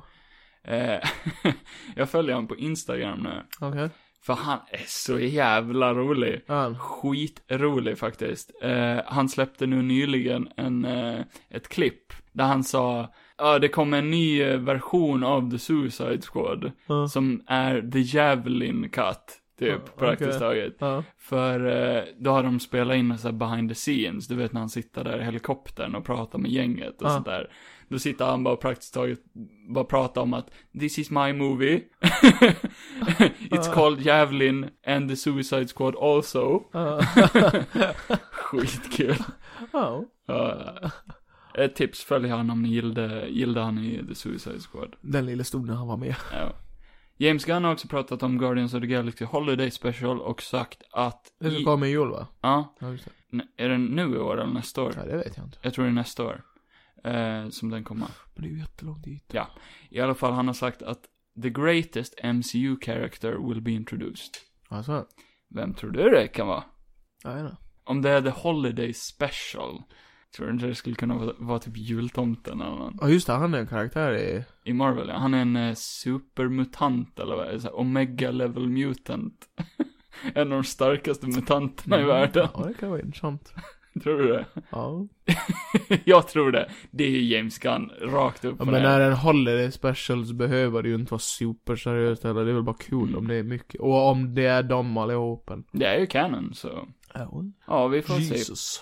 Speaker 1: Eh, jag följer honom på Instagram nu.
Speaker 2: Okej.
Speaker 1: För han är så jävla rolig.
Speaker 2: Han.
Speaker 1: Skitrolig faktiskt. Eh, han släppte nu nyligen en, eh, ett klipp där han sa Ja, det kommer en ny eh, version av The Suicide Squad
Speaker 2: Ja.
Speaker 1: som är The Javelin Cut, typ,
Speaker 2: Ja,
Speaker 1: praktiskt
Speaker 2: okej.
Speaker 1: taget.
Speaker 2: Ja.
Speaker 1: För eh, då har de spelat in så här behind the scenes, du vet när han sitter där i helikoptern och pratar med gänget och
Speaker 2: Ja.
Speaker 1: sånt där. Då sitter han bara praktiskt taget, bara pratar om att this is my movie. It's called Javelin and the Suicide Squad also.
Speaker 2: Ja.
Speaker 1: Skitkul.
Speaker 2: Ja.
Speaker 1: Ja. Ett tips, följ han om ni gillade, gillade han i The Suicide Squad.
Speaker 2: Den lille stod när han var med.
Speaker 1: Ja. James Gunn har också pratat om Guardians of the Galaxy Holiday Special och sagt att...
Speaker 2: Det som
Speaker 1: i-
Speaker 2: kom i jul va?
Speaker 1: Ja,
Speaker 2: Ja, just det.
Speaker 1: n- är den nu i år eller nästa år?
Speaker 2: Nej, det vet jag inte.
Speaker 1: Jag tror det är nästa år. Eh, som den kommer.
Speaker 2: Men det är ju jättelångt dit.
Speaker 1: Ja. I alla fall, han har sagt att the greatest MCU character will be introduced.
Speaker 2: Alltså,
Speaker 1: Vem tror du det kan vara?
Speaker 2: jag vet inte.
Speaker 1: Om det är the holiday special. Tror du inte det skulle kunna vara, vara typ jultomten eller något?
Speaker 2: Ja, just det. Han är en karaktär i...
Speaker 1: I Marvel, ja. Han är en eh, supermutant eller vad är det? Så här, Omega level mutant. en av de starkaste mutanterna i världen.
Speaker 2: Mm. Ja, det kan vara intressant.
Speaker 1: Tror du det?
Speaker 2: Ja.
Speaker 1: Jag tror det. Det är ju James Gunn, rakt upp
Speaker 2: Ja,
Speaker 1: på
Speaker 2: men
Speaker 1: det. här.
Speaker 2: när den håller i specials behöver det ju inte vara superseriöst eller det är väl bara kul om det är mycket. Och om det är dem allihopa.
Speaker 1: Det är ju canon, så.
Speaker 2: Ja.
Speaker 1: Ja, vi får se.
Speaker 2: Jesus.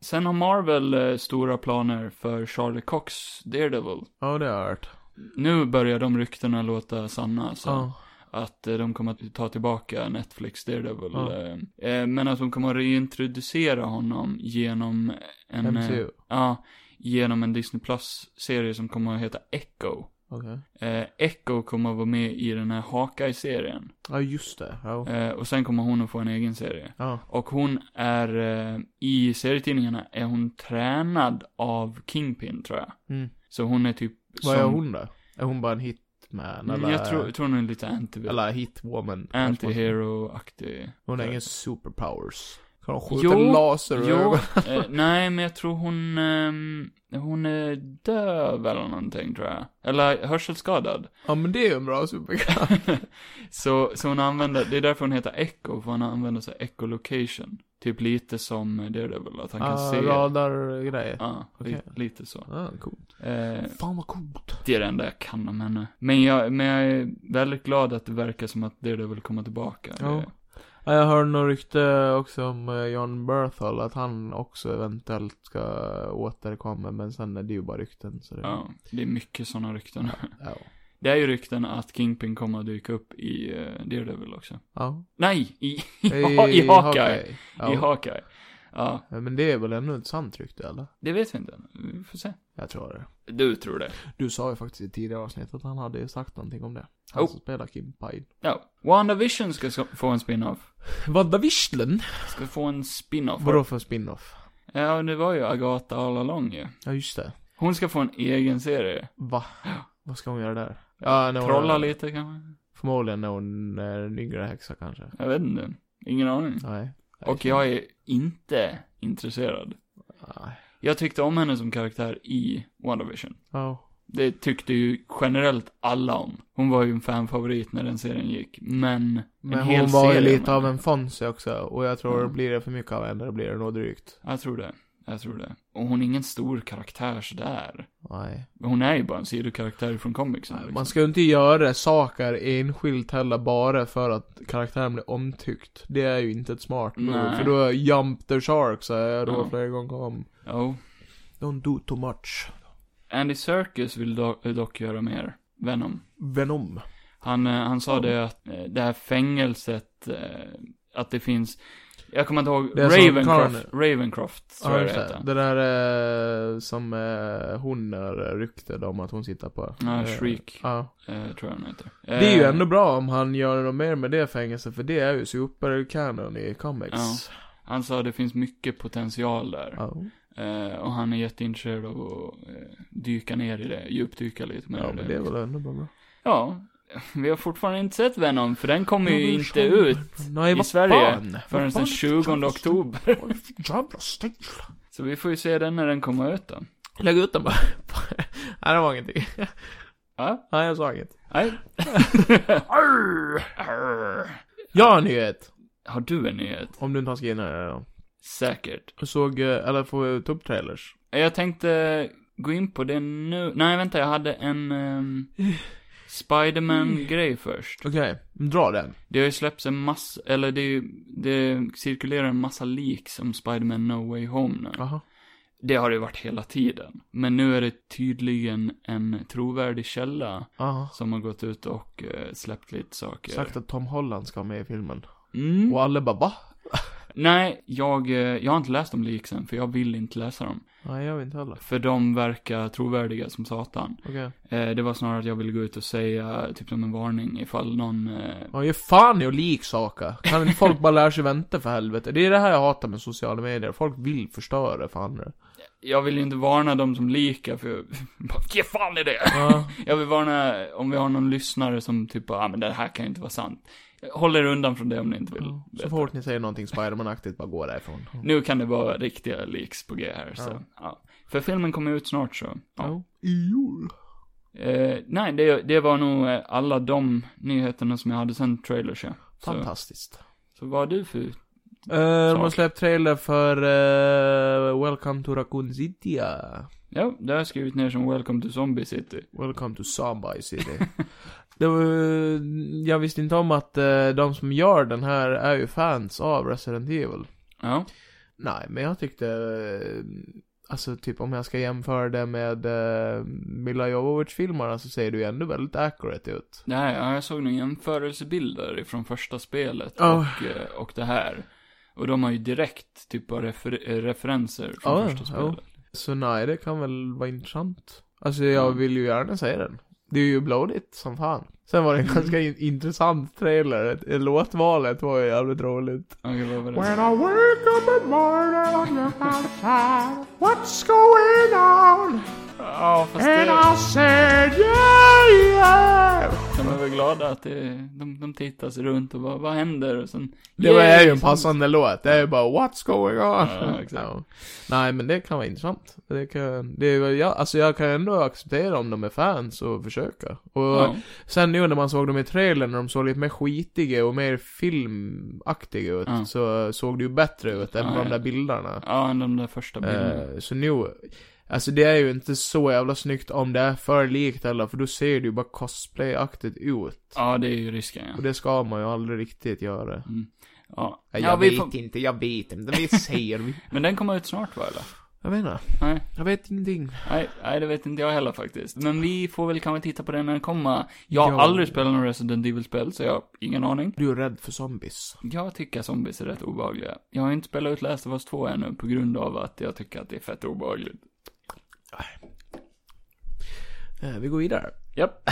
Speaker 1: Sen har Marvel eh, stora planer för Charlie Cox Daredevil.
Speaker 2: Ja, det har jag hört.
Speaker 1: Nu börjar de ryktena låta sanna, så
Speaker 2: Ja.
Speaker 1: att eh, de kommer att ta tillbaka Netflix Daredevil.
Speaker 2: Ja.
Speaker 1: eh, eh, Men att de kommer att reintroducera honom genom en... eh,
Speaker 2: MCU.
Speaker 1: Ja, genom en Disney Plus-serie som kommer att heta Echo.
Speaker 2: Okej.
Speaker 1: Eh, Echo kommer att vara med i den här Hawkeye-serien.
Speaker 2: Ja, just det. Ja.
Speaker 1: Eh, och sen kommer hon att få en egen serie.
Speaker 2: Ja.
Speaker 1: Och hon är, eh, i serietidningarna är hon tränad av Kingpin tror jag.
Speaker 2: Mm.
Speaker 1: Så hon är typ
Speaker 2: Vad är hon då? Är hon bara en hitman? Eller,
Speaker 1: Mm, Jag tror, tror hon är lite anti,
Speaker 2: eller hitwoman?
Speaker 1: anti-hero-aktig.
Speaker 2: Hon har ingen superpowers. Kan hon skjuta
Speaker 1: Jo,
Speaker 2: laser ur
Speaker 1: Jo,
Speaker 2: ögonen?
Speaker 1: eh, nej men jag tror hon, ehm, hon är döv eller någonting tror jag. Eller hörselskadad.
Speaker 2: Ja men det är ju en bra superkraft.
Speaker 1: Så, så hon använder, det är därför hon heter Echo, för hon använder sig av echolocation. Typ lite som Daredevil, att han kan
Speaker 2: Ah,
Speaker 1: se.
Speaker 2: Radargrejer.
Speaker 1: Ja, li-
Speaker 2: Okej.
Speaker 1: lite så.
Speaker 2: Ah, coolt.
Speaker 1: Eh,
Speaker 2: Fan vad coolt.
Speaker 1: Det är det enda jag kan om henne. Men jag, men jag är väldigt glad att det verkar som att det vill komma tillbaka.
Speaker 2: Ja.
Speaker 1: Det-
Speaker 2: Ja, Jag hörde något rykte också om eh, John Berthal, att han också eventuellt ska återkomma, men sen är det ju bara rykten så det...
Speaker 1: ja, det är mycket sådana rykten.
Speaker 2: Ja.
Speaker 1: Det är ju rykten att Kingpin kommer att dyka upp i uh, Daredevil också.
Speaker 2: ja.
Speaker 1: Nej, i, i, ha, i Hawkeye. I
Speaker 2: Ja.
Speaker 1: Hawkeye. Ja,
Speaker 2: Men det är väl ännu ett sant rykte eller?
Speaker 1: det vet vi inte än. Vi får se.
Speaker 2: Jag tror det.
Speaker 1: Du tror det.
Speaker 2: Du sa ju faktiskt i tidigare avsnitt att han hade ju sagt någonting om det. Han
Speaker 1: Oh.
Speaker 2: som spelar Kim Pine.
Speaker 1: Ja. WandaVision ska s- få en spin-off.
Speaker 2: Vadda Visslen?
Speaker 1: Ska få en spin-off.
Speaker 2: Vadå för spin-off?
Speaker 1: Ja, det var ju Agatha all along ju.
Speaker 2: Ja just det.
Speaker 1: Hon ska få en egen serie.
Speaker 2: Va? Vad ska hon göra där? Ja, när hon-
Speaker 1: Trolla lite kanske?
Speaker 2: Förmodligen när hon är en yngre häxa kanske.
Speaker 1: Jag vet inte. Ingen aning.
Speaker 2: Nej.
Speaker 1: Och jag är inte intresserad.
Speaker 2: Nej.
Speaker 1: Jag tyckte om henne som karaktär i WandaVision.
Speaker 2: Ja.
Speaker 1: Det tyckte ju generellt alla om. Hon var ju en fanfavorit när den serien gick. Men,
Speaker 2: Men
Speaker 1: en
Speaker 2: hon var ju
Speaker 1: serie
Speaker 2: lite
Speaker 1: med
Speaker 2: av
Speaker 1: henne.
Speaker 2: en Fonzie också. Och jag tror
Speaker 1: Mm.
Speaker 2: blir det för mycket av henne, då blir det nog drygt.
Speaker 1: Jag tror det. Jag tror det. Och hon är ingen stor karaktär sådär.
Speaker 2: Nej.
Speaker 1: Hon är ju bara en sidokaraktär från comicsen. Liksom.
Speaker 2: Man ska ju inte göra saker enskilt heller bara för att karaktären blir omtyckt. Det är ju inte ett smart move.
Speaker 1: Nej.
Speaker 2: För då är jump the shark så jag då
Speaker 1: Ja.
Speaker 2: flera gånger om.
Speaker 1: Jo.
Speaker 2: Don't do too much.
Speaker 1: Andy Serkis vill do- dock göra mer. Venom.
Speaker 2: Venom.
Speaker 1: Han, eh, han sa det att eh, det här fängelset, eh, att det finns, jag kommer inte ihåg,
Speaker 2: Det är som
Speaker 1: Ravencroft,
Speaker 2: Karn-
Speaker 1: Ravencroft tror
Speaker 2: Ja,
Speaker 1: jag det
Speaker 2: just det.
Speaker 1: heter.
Speaker 2: Det där eh, som eh, hon är ryktad om att hon sitter på.
Speaker 1: Ja,
Speaker 2: Eh,
Speaker 1: Shriek.
Speaker 2: Ja.
Speaker 1: Eh, tror jag den heter.
Speaker 2: Det är ju
Speaker 1: Eh,
Speaker 2: ändå bra om han gör något mer med det fängelset, för det är ju superkanon i comics.
Speaker 1: Han sa att det finns mycket potential där.
Speaker 2: Ja.
Speaker 1: Eh, och han är jätteintresserad av att eh, dyka ner i det, djupdyka lite mer
Speaker 2: Ja,
Speaker 1: i
Speaker 2: men det är väl ändå bara bra.
Speaker 1: Ja, vi har fortfarande inte sett Venom, för den kommer ju
Speaker 2: Men
Speaker 1: inte
Speaker 2: vad fan?
Speaker 1: ut
Speaker 2: Nej,
Speaker 1: i
Speaker 2: vad
Speaker 1: Sverige
Speaker 2: fan?
Speaker 1: förrän
Speaker 2: Vad fan?
Speaker 1: den 20 oktober.
Speaker 2: Vad för Jävla stängsel.
Speaker 1: Så vi får ju se den när den kommer ut då.
Speaker 2: Lägg ut den bara. Nej, det var ingenting.
Speaker 1: Ja,
Speaker 2: Nej, jag sa inget.
Speaker 1: nej.
Speaker 2: Jag har en nyhet.
Speaker 1: Har du en nyhet?
Speaker 2: Om du inte har skrivit ner
Speaker 1: Säkert.
Speaker 2: Jag såg, eh, eller får vi ta upp trailers?
Speaker 1: Jag tänkte gå in på det nu. Nej, vänta, jag hade en ehm, Spiderman-grej först.
Speaker 2: Okej, dra den.
Speaker 1: Det har ju släppts en massa, eller det, är ju- det cirkulerar en massa leaks om Spiderman No Way Home nu.
Speaker 2: Jaha.
Speaker 1: Det har det varit hela tiden. Men nu är det tydligen en trovärdig källa
Speaker 2: Jaha.
Speaker 1: som har gått ut och eh, släppt lite saker.
Speaker 2: Sagt att Tom Holland ska med i filmen.
Speaker 1: Mm.
Speaker 2: Och alla bara va?
Speaker 1: Nej, jag, eh, jag har inte läst om leaksen, för jag vill inte läsa dem.
Speaker 2: Nej, jag vet inte heller.
Speaker 1: För de verkar trovärdiga som satan.
Speaker 2: Okej.
Speaker 1: Eh, det var snarare att jag ville gå ut och säga, typ som en varning, ifall någon... Eh,
Speaker 2: Ja, ge fan i att leksaker. Kan inte folk bara lära sig vänta för helvete? Det är det här jag hatar med sociala medier. Folk vill förstöra för andra.
Speaker 1: jag vill ju inte varna dem som likar, för jag... bara, Ge fan i det!
Speaker 2: Ja.
Speaker 1: Jag vill varna om vi har någon lyssnare som typ bara, ah, men det här kan ju inte vara sant. Håll er undan från det om ni inte vill.
Speaker 2: Så
Speaker 1: veta.
Speaker 2: fort ni säger någonting Spiderman-aktigt, bara gå därifrån.
Speaker 1: Nu kan det vara riktiga leaks på G här, så.
Speaker 2: Ja.
Speaker 1: Ja. För filmen kommer ut snart så. Ja.
Speaker 2: I jul.
Speaker 1: Eh, nej, det, det var nog eh, alla de nyheterna som jag hade sen trailers ja. Så,
Speaker 2: Fantastiskt.
Speaker 1: så vad har du för...
Speaker 2: Eh, de har
Speaker 1: Sak.
Speaker 2: släppt trailer för eh, Welcome to Raccoon City.
Speaker 1: Ja, det har jag skrivit ner som Welcome to Zombie City.
Speaker 2: Welcome to Zombie City. det var, jag visste inte om att eh, de som gör den här är ju fans av Resident Evil.
Speaker 1: Ja.
Speaker 2: Nej, men jag tyckte... eh, Alltså typ om jag ska jämföra det med uh, Mila Jovovich-filmerna så ser det ju ändå väldigt accurate ut.
Speaker 1: Det här, ja, jag såg några jämförelsebilder från första spelet
Speaker 2: Ja.
Speaker 1: och, eh, och det här. Och de har ju direkt typ av refer- eh, referenser från
Speaker 2: Ja,
Speaker 1: första
Speaker 2: ja.
Speaker 1: spelet.
Speaker 2: Så nej, det kan väl vara intressant. Alltså jag
Speaker 1: Mm.
Speaker 2: vill ju gärna säga den. Det är ju blodigt som fan. Sen var det
Speaker 1: Mm.
Speaker 2: en ganska in- intressant trailer. Låtvalet var ju jävligt roligt.
Speaker 1: Okej, vad var
Speaker 2: When
Speaker 1: det?
Speaker 2: I wake up in the morning I look outside What's going on?
Speaker 1: Ja, fast
Speaker 2: And
Speaker 1: det,
Speaker 2: I said yeah yeah
Speaker 1: de är väl glada att det, de, de tittar sig runt och bara, vad händer? Och sen,
Speaker 2: Det var
Speaker 1: Yay!
Speaker 2: ju en passande låt, det är ju bara what's going on?
Speaker 1: Ja, exakt.
Speaker 2: Ja. Nej men det kan vara intressant. Det kan, det är, väl- jag, alltså jag kan ändå acceptera om de är fans och försöka. Och
Speaker 1: Ja.
Speaker 2: sen nu när man såg dem i trailern, när de såg lite mer skitiga och mer filmaktiga ut,
Speaker 1: Ja.
Speaker 2: så såg det ju bättre ut än
Speaker 1: Ja,
Speaker 2: på de
Speaker 1: ja.
Speaker 2: där bilderna.
Speaker 1: Ja, än de där första bilderna.
Speaker 2: Eh, så nu, alltså det är ju inte så jävla snyggt om det är för likt eller för då ser det ju bara cosplayaktigt ut.
Speaker 1: Ja, det är ju risken
Speaker 2: Och
Speaker 1: ja.
Speaker 2: det ska man ju aldrig riktigt göra.
Speaker 1: Ja,
Speaker 2: Nej,
Speaker 1: ja vi får,
Speaker 2: inte, jag vet inte. Vi säger vi.
Speaker 1: men den kommer ut snart va eller?
Speaker 2: Jag menar,
Speaker 1: Nej,
Speaker 2: jag vet ingenting.
Speaker 1: nej, nej, det vet inte jag heller faktiskt. Men vi får väl kanske titta på den när den kommer. Jag har
Speaker 2: Ja.
Speaker 1: aldrig spelat någon Resident Evil-spel, så jag har ingen aning.
Speaker 2: Du är rädd för zombies.
Speaker 1: Jag tycker zombies är rätt obehagliga. Jag har inte spelat ut Last of Us 2 ännu på grund av att jag tycker att det är fett obehagligt.
Speaker 2: Eh, vi går vidare.
Speaker 1: Japp.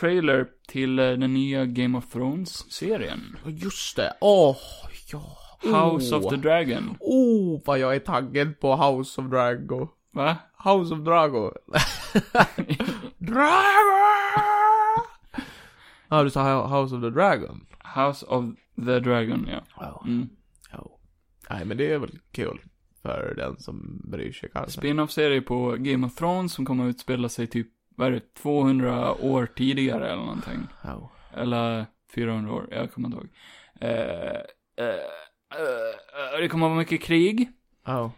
Speaker 1: Trailer till eh, den nya Game of Thrones-serien.
Speaker 2: Ja, just det. Åh, ja.
Speaker 1: House of the Dragon.
Speaker 2: Oh, vad jag är taggad på House of Drago.
Speaker 1: Va?
Speaker 2: House of Drago. Drago! Ja, ah, du sa Ho- House of the Dragon.
Speaker 1: House of the Dragon, ja.
Speaker 2: Ja.
Speaker 1: Mm.
Speaker 2: Ja. Nej, men det är väl kul. För den som bryr sig kanske.
Speaker 1: Spin-off-serie på Game of Thrones som kommer att utspela sig typ, vad är det, 200 år tidigare eller någonting.
Speaker 2: Ja.
Speaker 1: Eller 400 år, jag kommer inte ihåg. Eh, eh, eh, det kommer att vara mycket krig.
Speaker 2: Ja.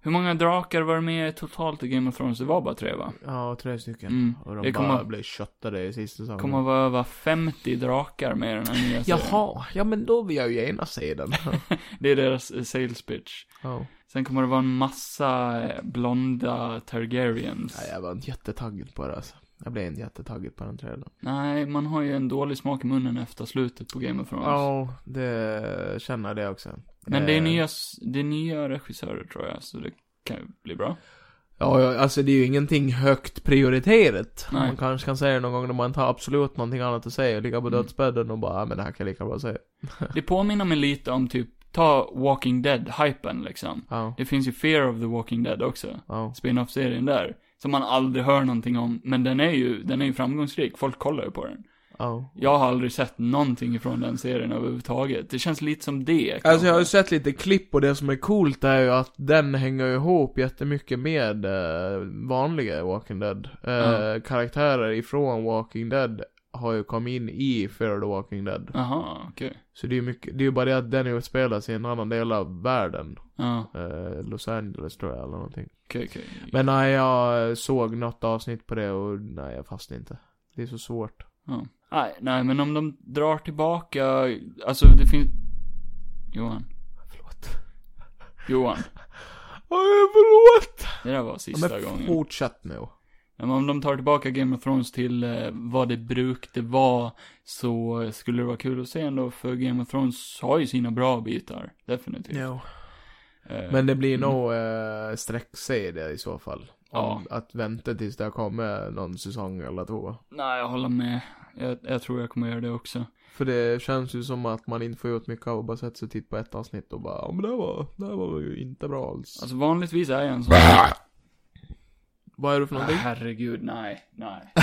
Speaker 1: Hur många drakar var det med totalt i Game of Thrones? Det var bara tre va?
Speaker 2: Ja, tre stycken.
Speaker 1: Mm.
Speaker 2: Och de
Speaker 1: Det kommer-
Speaker 2: bara blir köttade i sista
Speaker 1: Det
Speaker 2: säsongen.
Speaker 1: kommer att vara över 50 drakar med i den här nya serien.
Speaker 2: Jaha, ja men då vill jag ju gärna se den.
Speaker 1: Det är deras eh, sales pitch.
Speaker 2: oh.
Speaker 1: Sen kommer det vara en massa eh, blonda Targaryens.
Speaker 2: Nej, jag var inte jättetaggad på det alltså. Jag blev inte jättetaggad på den trailern.
Speaker 1: Nej, man har ju en dålig smak i munnen efter slutet på Game of Thrones.
Speaker 2: Ja, det känner jag det också.
Speaker 1: Men det är,
Speaker 2: Eh,
Speaker 1: nya, s- det är nya regissörer tror jag, så det kan ju bli bra.
Speaker 2: Ja, ja, alltså det är ju ingenting högt prioriterat.
Speaker 1: Nej.
Speaker 2: Man kanske kan säga det någon gång när man inte har absolut någonting annat att säga. Ligga på
Speaker 1: Mm.
Speaker 2: dödsbädden och bara, "Ja, men det här kan jag lika bra säga.
Speaker 1: Det påminner mig lite om typ, ta Walking Dead-hypen liksom.
Speaker 2: Ja,
Speaker 1: Det finns ju Fear of the Walking Dead också,
Speaker 2: ja.
Speaker 1: spin-off-serien där. Som man aldrig hör någonting om, men den är ju, den är ju framgångsrik, folk kollar ju på den.
Speaker 2: Ja.
Speaker 1: Jag har aldrig sett någonting ifrån den serien överhuvudtaget. Det känns lite som det. kanske.
Speaker 2: Alltså jag har ju sett lite klipp och det som är coolt är ju att den hänger ju ihop jättemycket med eh, vanliga Walking Dead. Eh,
Speaker 1: Ja.
Speaker 2: Karaktärer ifrån Walking Dead har ju kommit in i Fear the Walking Dead.
Speaker 1: Jaha, okej.
Speaker 2: Så det är ju mycket, det är ju bara det att den utspelar sig i en annan del av världen.
Speaker 1: Ja,
Speaker 2: Eh, Los Angeles tror jag eller någonting.
Speaker 1: okej, okej.
Speaker 2: Men nej, jag såg något avsnitt på det och nej, jag fastnade inte. Det är så svårt.
Speaker 1: Nej, nej, men om de drar tillbaka, alltså det finns... Johan,
Speaker 2: Förlåt.
Speaker 1: Johan.
Speaker 2: Oj, förlåt!
Speaker 1: Det där var
Speaker 2: Ja,
Speaker 1: sista
Speaker 2: Men
Speaker 1: gången.
Speaker 2: fortsätt nu.
Speaker 1: Ja, Men om de tar tillbaka Game of Thrones till eh, vad det brukte vara så skulle det vara kul att se ändå för Game of Thrones har ju sina bra bitar. Definitivt. Eh,
Speaker 2: Men det blir
Speaker 1: Mm.
Speaker 2: nog eh, sträckserie i så fall.
Speaker 1: Ja.
Speaker 2: Om, att vänta tills det har kommit någon säsong eller två.
Speaker 1: Nej, jag håller med. Jag, jag tror jag kommer göra det också.
Speaker 2: För det känns ju som att man inte får ut mycket av att bara sätta sig och titta på ett avsnitt och bara, ja men det här var, det här var ju inte bra alls.
Speaker 1: Alltså vanligtvis är jag en sån...
Speaker 2: vad är du för
Speaker 1: Ah,
Speaker 2: någonting?
Speaker 1: herregud, nej, nej.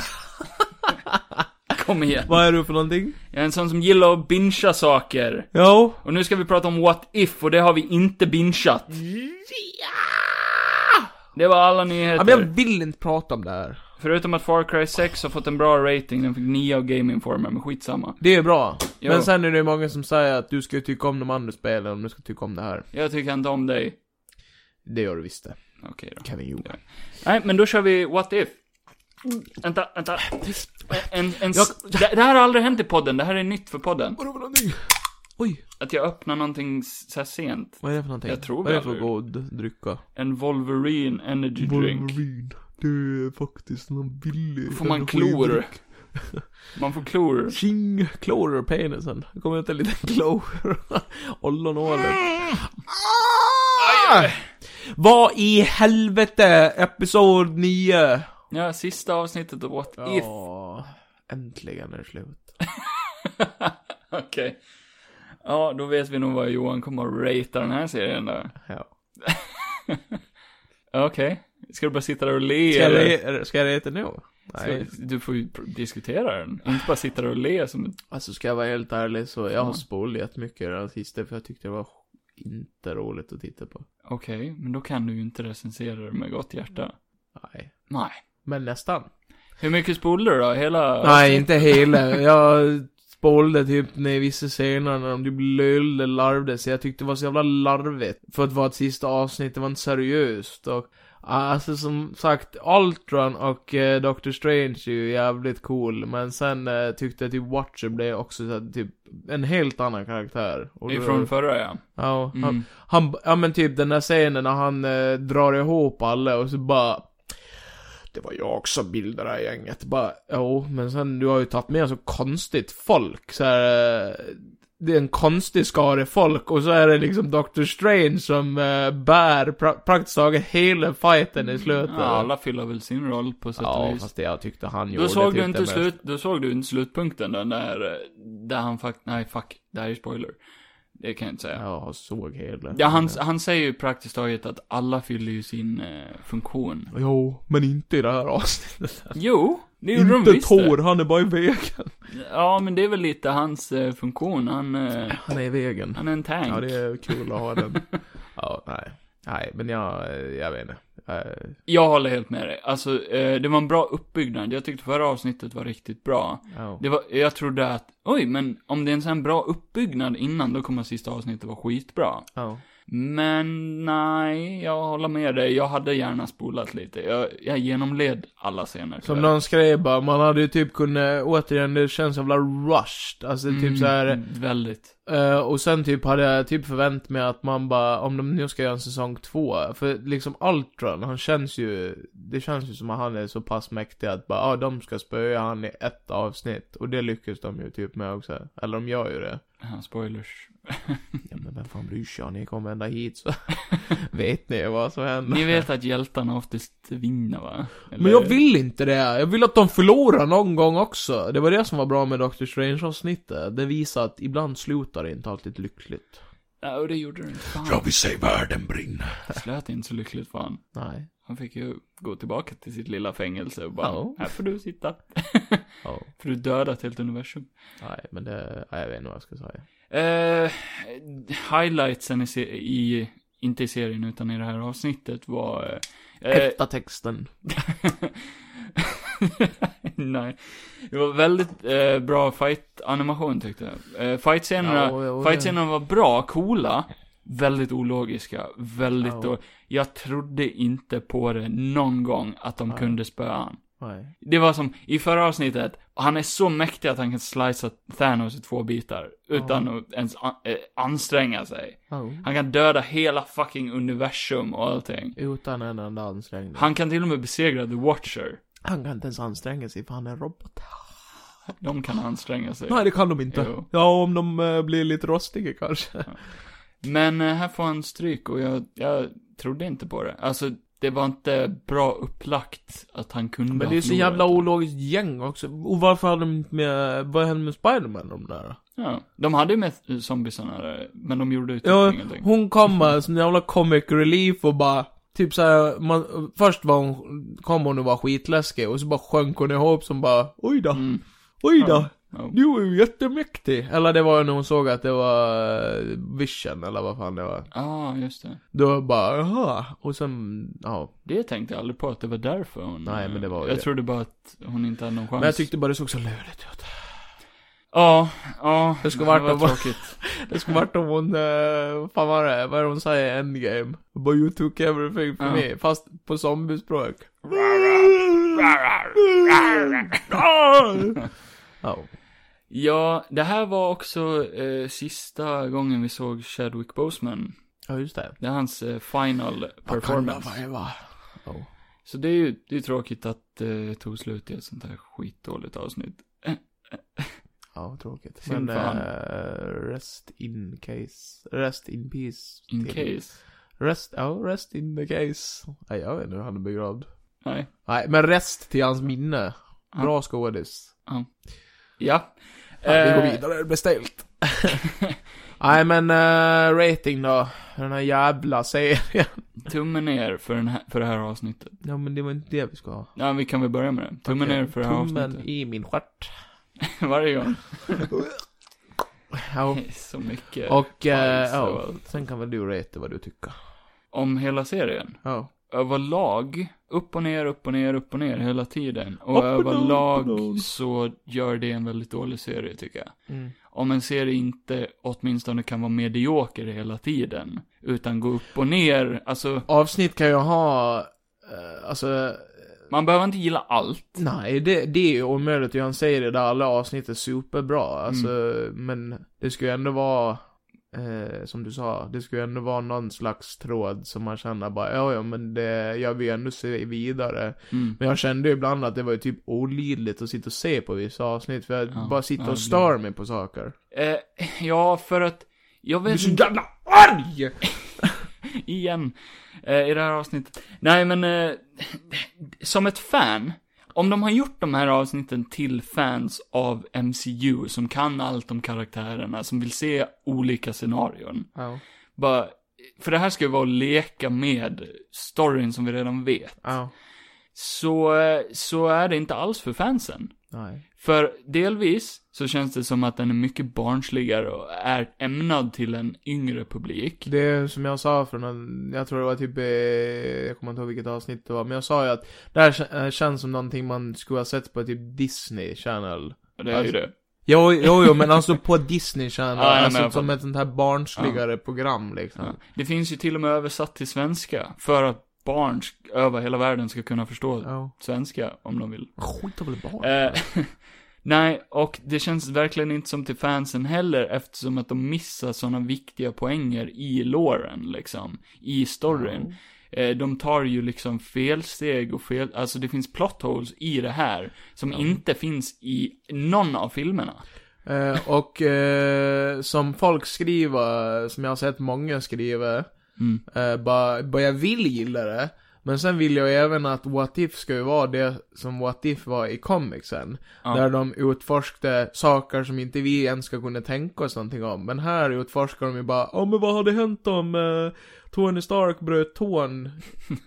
Speaker 1: Kom igen.
Speaker 2: Vad är du för någonting?
Speaker 1: Jag är en sån som gillar att bincha saker.
Speaker 2: Jo.
Speaker 1: Och nu ska vi prata om What If, och det har vi inte binchat. Det var alla
Speaker 2: Ja,
Speaker 1: nyheter.
Speaker 2: men jag vill inte prata om det här.
Speaker 1: Förutom att Far Cry 6 har fått en bra rating, den fick 9 av Game Informer, men skitsamma.
Speaker 2: Det är bra.
Speaker 1: Jo.
Speaker 2: Men sen är det ju många som säger att du ska ju tycka om de andra spelen om du ska tycka om det här.
Speaker 1: Jag tycker inte om dig.
Speaker 2: Det gör du visst det.
Speaker 1: Okej då.
Speaker 2: Kevin Johan.
Speaker 1: Nej, men då kör vi What If. Vänta, vänta. En, en,
Speaker 2: Jag-
Speaker 1: Det, det här har aldrig hänt i podden, det här är nytt för podden.
Speaker 2: Vad är det för någonting? Oj,
Speaker 1: Att jag öppnar någonting s- så här sent.
Speaker 2: vad är det för någonting?
Speaker 1: Jag tror
Speaker 2: Vad är det
Speaker 1: väl
Speaker 2: för god drycka?
Speaker 1: En Wolverine Energy Drink.
Speaker 2: Wolverine. Det är faktiskt någon billig
Speaker 1: Får man klor? Man får klor.
Speaker 2: Tjing! Klor ur penisen. Det kommer ut en liten klor. Ollonålen. Ah! Vad i helvete! Episod 9!
Speaker 1: Ja, sista avsnittet av What If.
Speaker 2: Ja, äntligen är det slut.
Speaker 1: Okej. Ja, då vet vi nog vad Johan kommer att ratea den här serien där.
Speaker 2: Ja.
Speaker 1: Okej. Ska du bara sitta där och le
Speaker 2: Ska jag
Speaker 1: eller?
Speaker 2: re- eller ska jag reta nu? Nej.
Speaker 1: Ska- Du får ju pr- diskutera den. Inte bara sitta där och le som ett...
Speaker 2: Alltså ska jag vara helt ärlig så jag har spolat jättemycket den sista för jag tyckte det var inte roligt att titta på.
Speaker 1: Okej, men då kan du ju inte recensera det med gott hjärta.
Speaker 2: Nej.
Speaker 1: Nej.
Speaker 2: Men nästan.
Speaker 1: Hur mycket spolar du då? Hela...
Speaker 2: Nej, inte hela. Jag spolade typ ner vissa scener när de typ löjde, larvde sig. Jag tyckte det var så jävla larvigt. För att vara ett sista avsnitt, det var inte seriöst. Och, alltså som sagt, Ultron och eh, Doctor Strange är ju jävligt cool. Men sen eh, tyckte jag typ Watcher blev också så här, typ en helt annan karaktär. Och då-
Speaker 1: Ifrån förra ja.
Speaker 2: Ja, han,
Speaker 1: Mm.
Speaker 2: han, ja men typ den där scenen när han eh, drar ihop alla och så bara Det var jag som bildade det här gänget. Bara, jo, men sen du har ju tagit med så konstigt folk så här, eh, Det är en konstig skare folk och så är det liksom Dr. Strange som eh, bär pra- praktiskt taget hela fighten i slutet.
Speaker 1: ja. Alla fyller väl sin roll på sätt och
Speaker 2: Ja,
Speaker 1: vis.
Speaker 2: fast det jag tyckte han gjorde.
Speaker 1: Då såg,
Speaker 2: tyckte
Speaker 1: du
Speaker 2: jag
Speaker 1: inte
Speaker 2: mest.
Speaker 1: slut, då såg du inte slutpunkten där, där, eh, där han faktiskt, nej fuck, det här är spoiler. Det kan jag inte säga.
Speaker 2: Ja, jag såg hela.
Speaker 1: Ja, han, han säger ju praktiskt taget att alla fyller ju sin eh, funktion.
Speaker 2: Jo, men inte i det här avsnittet.
Speaker 1: Jo, det gjorde de
Speaker 2: Inte
Speaker 1: visst det.
Speaker 2: Tor, han är bara i vägen.
Speaker 1: Ja, men det är väl lite hans eh, funktion. Han, eh,
Speaker 2: Han är i vägen.
Speaker 1: han är en tank.
Speaker 2: Ja, det är kul att ha den. ja, nej. Nej, men jag, jag vet inte. Eh,
Speaker 1: Jag håller helt med dig. Alltså, eh, det var en bra uppbyggnad. Jag tyckte förra avsnittet var riktigt bra.
Speaker 2: ja.
Speaker 1: Det var, jag trodde att, oj, men om det är en sån här bra uppbyggnad innan, då kommer sista avsnittet vara skitbra.
Speaker 2: Ja.
Speaker 1: Men nej, jag håller med dig. Jag hade gärna spolat lite. Jag, jag genomled alla scener.
Speaker 2: Som
Speaker 1: tyvärr.
Speaker 2: någon skrev bara, man hade ju typ kunnat, återigen, det känns jävla rushed. Alltså typ så här.
Speaker 1: Mm, väldigt.
Speaker 2: eh, och sen typ hade jag typ förväntat mig att man bara, om de nu ska göra en säsong två, för liksom Ultron, han känns ju, det känns ju som att han är så pass mäktig att bara, ja ah, de ska spöa han i ett avsnitt. Och det lyckas de ju typ med också. Eller de gör ju det.
Speaker 1: Ja, spoilers.
Speaker 2: Ja men vem fan bryr sig? Ni kommer ända hit så vet ni vad som händer.
Speaker 1: Ni vet att hjältarna oftast vinner, va? Eller-
Speaker 2: Men jag vill inte det. Jag vill att de förlorar någon gång också. Det var det som var bra med Doctor Strange-avsnittet. Det visar att ibland slutar det inte alltid lyckligt.
Speaker 1: Ja, och det gjorde du inte. Fan,
Speaker 2: vill se världen brinna.
Speaker 1: det slöt inte så lyckligt fan.
Speaker 2: Nej.
Speaker 1: Han fick ju gå tillbaka till sitt lilla fängelse och bara,
Speaker 2: Ja.
Speaker 1: här får du sitta.
Speaker 2: Ja.
Speaker 1: För du dödat ett helt universum.
Speaker 2: Nej, men det... Nej, jag vet inte vad jag ska säga.
Speaker 1: Eh, highlightsen i, se- i, inte i serien utan i det här avsnittet var... eh, eh,
Speaker 2: Häfta texten.
Speaker 1: Nej. Det var väldigt eh, bra fight-animation tyckte jag. Eh, fight-scenerna,
Speaker 2: Ja, och- och-
Speaker 1: fight-scenerna var bra, coola, väldigt ologiska, väldigt
Speaker 2: Ja.
Speaker 1: då, Jag trodde inte på det någon gång att de
Speaker 2: Nej.
Speaker 1: kunde spöa han.
Speaker 2: Nej.
Speaker 1: Det var som i förra avsnittet, han är så mäktig att han kan slicea Thanos i två bitar utan att ens an- eh, anstränga sig.
Speaker 2: Ja.
Speaker 1: Han kan döda hela fucking universum och allting.
Speaker 2: Utan en enda ansträngning. Han...
Speaker 1: Han kan till och med besegra The Watcher.
Speaker 2: kan inte ens anstränga sig för han är en robot.
Speaker 1: De kan anstränga sig.
Speaker 2: Nej, det kan de inte.
Speaker 1: Jo.
Speaker 2: Ja, om de eh, blir lite rostiga kanske.
Speaker 1: Men eh, här får han stryk och jag, jag trodde inte på det. Alltså, det var inte bra upplagt att han kunde
Speaker 2: Men
Speaker 1: ha
Speaker 2: det är så
Speaker 1: förlorat
Speaker 2: jävla ologiskt gäng också. Och varför hade de inte med... Vad hände med Spiderman de där?
Speaker 1: Ja, de hade ju med eh, zombiesarna där, men de gjorde ju typ
Speaker 2: Ja,
Speaker 1: ingenting.
Speaker 2: hon kommer som jävla comic relief och bara... Typ såhär, man, först var hon, kom hon och var skitläskig och så bara sjönk hon ihop som bara Oj då,
Speaker 1: Mm,
Speaker 2: oj då,
Speaker 1: ja.
Speaker 2: du är ju jättemäktig. Eller det var ju när hon såg att det var eh, Vision eller vad fan det var.
Speaker 1: ah, just det.
Speaker 2: Då bara jaha, och sen, ja.
Speaker 1: Det tänkte jag aldrig på att det var därför hon...
Speaker 2: Nej, men det var ju
Speaker 1: Jag
Speaker 2: det.
Speaker 1: trodde bara att hon inte hade någon chans.
Speaker 2: Men jag tyckte bara det såg så löjligt ut.
Speaker 1: Ja, ja.
Speaker 2: Det ska
Speaker 1: men
Speaker 2: varit
Speaker 1: det
Speaker 2: om-
Speaker 1: var tråkigt.
Speaker 2: Det skulle varit om hon, eh, vad fan var det, vad är det hon säger i Endgame? But you took everything from
Speaker 1: Ja.
Speaker 2: me, fast på zombiespråk. Ja.
Speaker 1: Ja, det här var också eh, sista gången vi såg Chadwick Boseman.
Speaker 2: Ja, just det.
Speaker 1: Det är hans eh, final performance.
Speaker 2: Oh.
Speaker 1: Så det är ju det är tråkigt att eh, det tog slut i ett sånt här skitdåligt avsnitt.
Speaker 2: Ja, tråkigt.
Speaker 1: Synd
Speaker 2: Men
Speaker 1: för han.
Speaker 2: eh, rest in case. Rest in peace.
Speaker 1: In
Speaker 2: till-
Speaker 1: case.
Speaker 2: Rest, ja, rest in the case. Nej, jag vet inte hur han är begravd.
Speaker 1: Nej.
Speaker 2: Nej, men rest till hans minne.
Speaker 1: Ja.
Speaker 2: Bra skådis.
Speaker 1: Ja.
Speaker 2: Ja, vi går
Speaker 1: Eh,
Speaker 2: vidare, det blir stelt. Nej, men eh, rating då. Den här jävla serien.
Speaker 1: Tummen ner för, den här, för det här avsnittet.
Speaker 2: Ja, men det var inte det vi ska ha.
Speaker 1: Ja, vi kan väl börja med det. Tummen
Speaker 2: Okej,
Speaker 1: ner för det här
Speaker 2: Tummen
Speaker 1: avsnittet.
Speaker 2: i min stjärt.
Speaker 1: Varje gång.
Speaker 2: Ja.
Speaker 1: Så mycket.
Speaker 2: Och, eh,
Speaker 1: Files
Speaker 2: ja.
Speaker 1: och allt.
Speaker 2: Sen kan väl du rate vad du tycker.
Speaker 1: Om hela serien.
Speaker 2: Ja.
Speaker 1: Överlag, upp och ner, upp och ner, upp och ner hela tiden. Och
Speaker 2: Up and down,
Speaker 1: överlag
Speaker 2: up and down.
Speaker 1: så gör det en väldigt dålig serie tycker jag.
Speaker 2: Mm.
Speaker 1: om en serie inte åtminstone kan vara medioker hela tiden, utan gå upp och ner, alltså,
Speaker 2: Avsnitt kan jag ha, eh, alltså, eh,
Speaker 1: man behöver inte gilla allt.
Speaker 2: nej, det, det är ju omöjligt att göra en serie där alla avsnitt är superbra, alltså,
Speaker 1: Mm.
Speaker 2: men det ska ju ändå vara, eh, som du sa, det ska ju ändå vara någon slags tråd som man känner bara, ja, ja, men det, jag vill ju ändå se vidare.
Speaker 1: Mm.
Speaker 2: Men jag kände ju ibland att det var ju typ olidligt att sitta och se på vissa avsnitt, för jag
Speaker 1: Ja,
Speaker 2: bara
Speaker 1: ja,
Speaker 2: sitter
Speaker 1: det blir-
Speaker 2: och stör mig på saker.
Speaker 1: Eh, ja, för att, jag
Speaker 2: Jag blir
Speaker 1: vet
Speaker 2: så
Speaker 1: inte,
Speaker 2: jävla arg!
Speaker 1: igen, eh, i det här avsnittet. Nej, men, eh, som ett fan, om de har gjort de här avsnitten till fans av MCU, som kan allt om karaktärerna, som vill se olika scenarion,
Speaker 2: Ja,
Speaker 1: bara, för det här ska ju vara att leka med storyn som vi redan vet.
Speaker 2: ja,
Speaker 1: så, eh, så är det inte alls för fansen.
Speaker 2: nej,
Speaker 1: För delvis så känns det som att den är mycket barnsligare och är ämnad till en yngre publik.
Speaker 2: Det är som jag sa från en, jag tror det var typ, eh, jag kommer inte ihåg vilket avsnitt det var, men jag sa ju att det här kä- eh, känns som någonting man skulle ha sett på typ Disney Channel.
Speaker 1: Och Det är ju
Speaker 2: alltså,
Speaker 1: det.
Speaker 2: Jo, jo, jo men alltså på Disney Channel,
Speaker 1: Ja, jag menar
Speaker 2: alltså som
Speaker 1: på-
Speaker 2: ett sånt här barnsligare program liksom.
Speaker 1: Ja. Det finns ju till och med översatt till svenska för att barn sk- över hela världen ska kunna förstå
Speaker 2: Ja.
Speaker 1: svenska om de vill.
Speaker 2: Skit av väl barn.
Speaker 1: Eh, nej, och det känns verkligen inte som till fansen heller eftersom att de missar sådana viktiga poänger i låren liksom. I storyn. Eh, de tar ju liksom felsteg och fel, alltså det finns plot holes i det här som inte finns i någon av filmerna.
Speaker 2: Eh, och eh, som folk skriver, som jag har sett många skriva,
Speaker 1: Mm.
Speaker 2: eh, bara, bara jag vill gilla det. Men sen vill jag även att What If ska ju vara det som What If var i comicsen.
Speaker 1: Ja.
Speaker 2: Där de utforskade saker som inte vi ens ska kunna tänka oss någonting om. Men här utforskar de ju bara, ja men vad hade hänt om eh, Tony Stark bröt tån,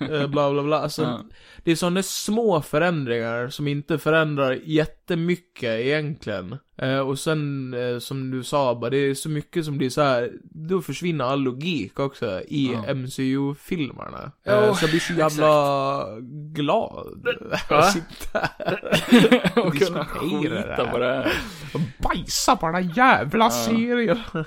Speaker 2: eh, bla bla bla. Alltså,
Speaker 1: Ja.
Speaker 2: Det är sådana små förändringar som inte förändrar jättemycket egentligen. Eh, och sen, eh, som du sa, bara, det är så mycket som blir så här. då försvinner all logik också i
Speaker 1: Ja.
Speaker 2: MCU-filmerna.
Speaker 1: Ja,
Speaker 2: Eh, så jag blir så jävla glad.
Speaker 1: Ja.
Speaker 2: att sitta här
Speaker 1: och kunna
Speaker 2: Diskutera det
Speaker 1: skita
Speaker 2: här.
Speaker 1: på det här.
Speaker 2: och bajsa på den här jävla serien.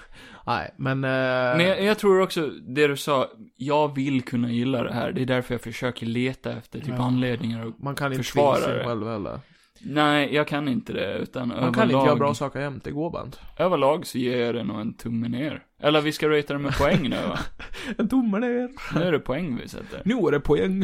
Speaker 2: Nej, men... Eh,
Speaker 1: Men jag, jag tror också, det du sa, jag vill kunna gilla det här. Det är därför jag försöker leta efter typ anledningar och...
Speaker 2: man kan inte
Speaker 1: försvara
Speaker 2: tvinga sig
Speaker 1: det.
Speaker 2: själv heller.
Speaker 1: Nej, jag kan inte det, utan
Speaker 2: Man
Speaker 1: överlag...
Speaker 2: kan inte göra bra saker jämt, det går bara inte.
Speaker 1: Överlag så ger jag det nog en tumme ner. Eller vi ska ratea det med poäng nu va?
Speaker 2: En tumme ner.
Speaker 1: Nu är det poäng vi sätter.
Speaker 2: Nu är det poäng.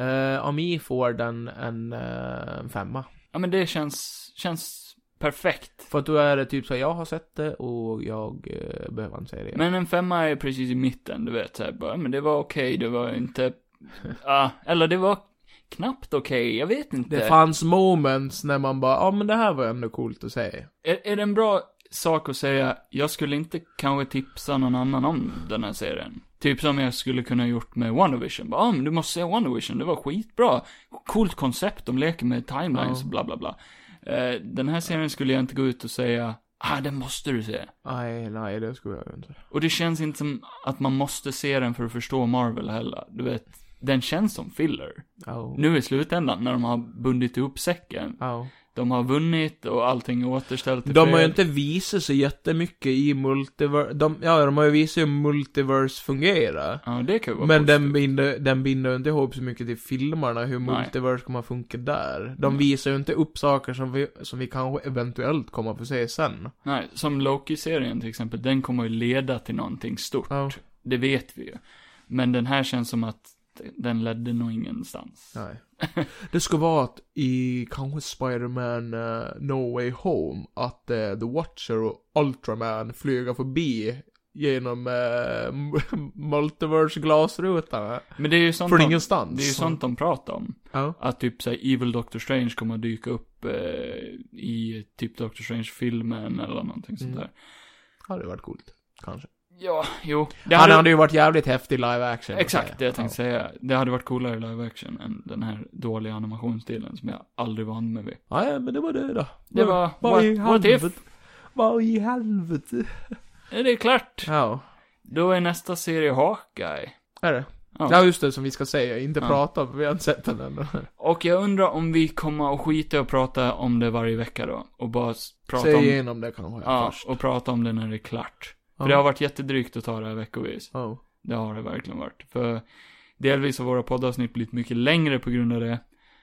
Speaker 2: Uh, Ami får den en eh, femma.
Speaker 1: Ja men det känns, känns perfekt.
Speaker 2: För att då är det typ så här, jag har sett det och jag eh, behöver inte säga det.
Speaker 1: Men en femma är precis i mitten, du vet såhär bara, men det var okej, det var inte, ah, eller det var knappt okej, jag vet inte.
Speaker 2: det fanns moments när man bara, ja ah, men det här var ändå coolt att säga.
Speaker 1: Är, är det en bra sak att säga, jag skulle inte kanske tipsa någon annan om den här serien? Typ som jag skulle kunna gjort med WandaVision. Bara, ah, men du måste se WandaVision, det var skitbra. Coolt koncept, de leker med timelines,
Speaker 2: Ja.
Speaker 1: bla bla bla. Eh, den här serien skulle jag inte gå ut och säga, ah, den måste du se.
Speaker 2: Nej, nej det skulle jag ju inte.
Speaker 1: Och det känns inte som att man måste se den för att förstå Marvel heller. Du vet, den känns som filler.
Speaker 2: Oh.
Speaker 1: Nu i slutändan, när de har bundit ihop säcken.
Speaker 2: Oh.
Speaker 1: De har vunnit och allting är återställt i
Speaker 2: De har ju
Speaker 1: fred.
Speaker 2: inte visat så jättemycket i multiverse, de, ja de har ju visat hur multiverse fungerar.
Speaker 1: Ja, det kan ju vara
Speaker 2: Men den
Speaker 1: positivt.
Speaker 2: binder, den binder ju inte ihop så mycket till filmerna, hur
Speaker 1: Nej.
Speaker 2: multiverse kommer att funka där. De
Speaker 1: Mm.
Speaker 2: visar ju inte upp saker som vi, som vi kanske eventuellt kommer att få se sen.
Speaker 1: Nej, som Loki-serien till exempel, den kommer ju leda till någonting stort.
Speaker 2: Ja.
Speaker 1: Det vet vi ju. Men den här känns som att den ledde nog ingenstans.
Speaker 2: Nej. Det ska vara att i kanske Spider-Man eh, No Way Home, att eh, The Watcher och Ultraman flyger förbi genom uh, multiverse-glasrutan.
Speaker 1: Men det är ju sånt,
Speaker 2: Från
Speaker 1: de,
Speaker 2: ingenstans.
Speaker 1: det är ju sånt de pratar om.
Speaker 2: Ja.
Speaker 1: Att typ såhär, Evil Doctor Strange kommer att dyka upp eh, i typ Doctor Strange-filmen eller någonting sånt
Speaker 2: Mm.
Speaker 1: där.
Speaker 2: Hade varit coolt. Kanske.
Speaker 1: Ja, jo. Det
Speaker 2: Han
Speaker 1: hade,
Speaker 2: hade ju varit jävligt häftig live action.
Speaker 1: exakt det jag tänkte säga. Det hade varit coolare live action än den här dåliga animationsstilen som jag aldrig vann mig vid.
Speaker 2: Ja, Ja, men det var det då.
Speaker 1: Det var,
Speaker 2: Vad i
Speaker 1: what, what if?
Speaker 2: helvete? Vad i helvete?
Speaker 1: Är det klart?
Speaker 2: Ja.
Speaker 1: Då är nästa serie Hawkeye.
Speaker 2: Är det?
Speaker 1: Ja.
Speaker 2: Ja, just det, som vi ska säga. Inte
Speaker 1: Ja.
Speaker 2: prata om, vi har inte sett den ännu.
Speaker 1: Och jag undrar om vi kommer att skita och prata om det varje vecka då. Och bara s- prata
Speaker 2: Säg
Speaker 1: om...
Speaker 2: igenom det kanske
Speaker 1: Ja,
Speaker 2: först.
Speaker 1: och prata om det när det är klart.
Speaker 2: Ja.
Speaker 1: För det har varit jättedrygt att ta det här veckovis.
Speaker 2: Ja.
Speaker 1: Det har det verkligen varit. För delvis har våra poddavsnitt blivit mycket längre på grund av det.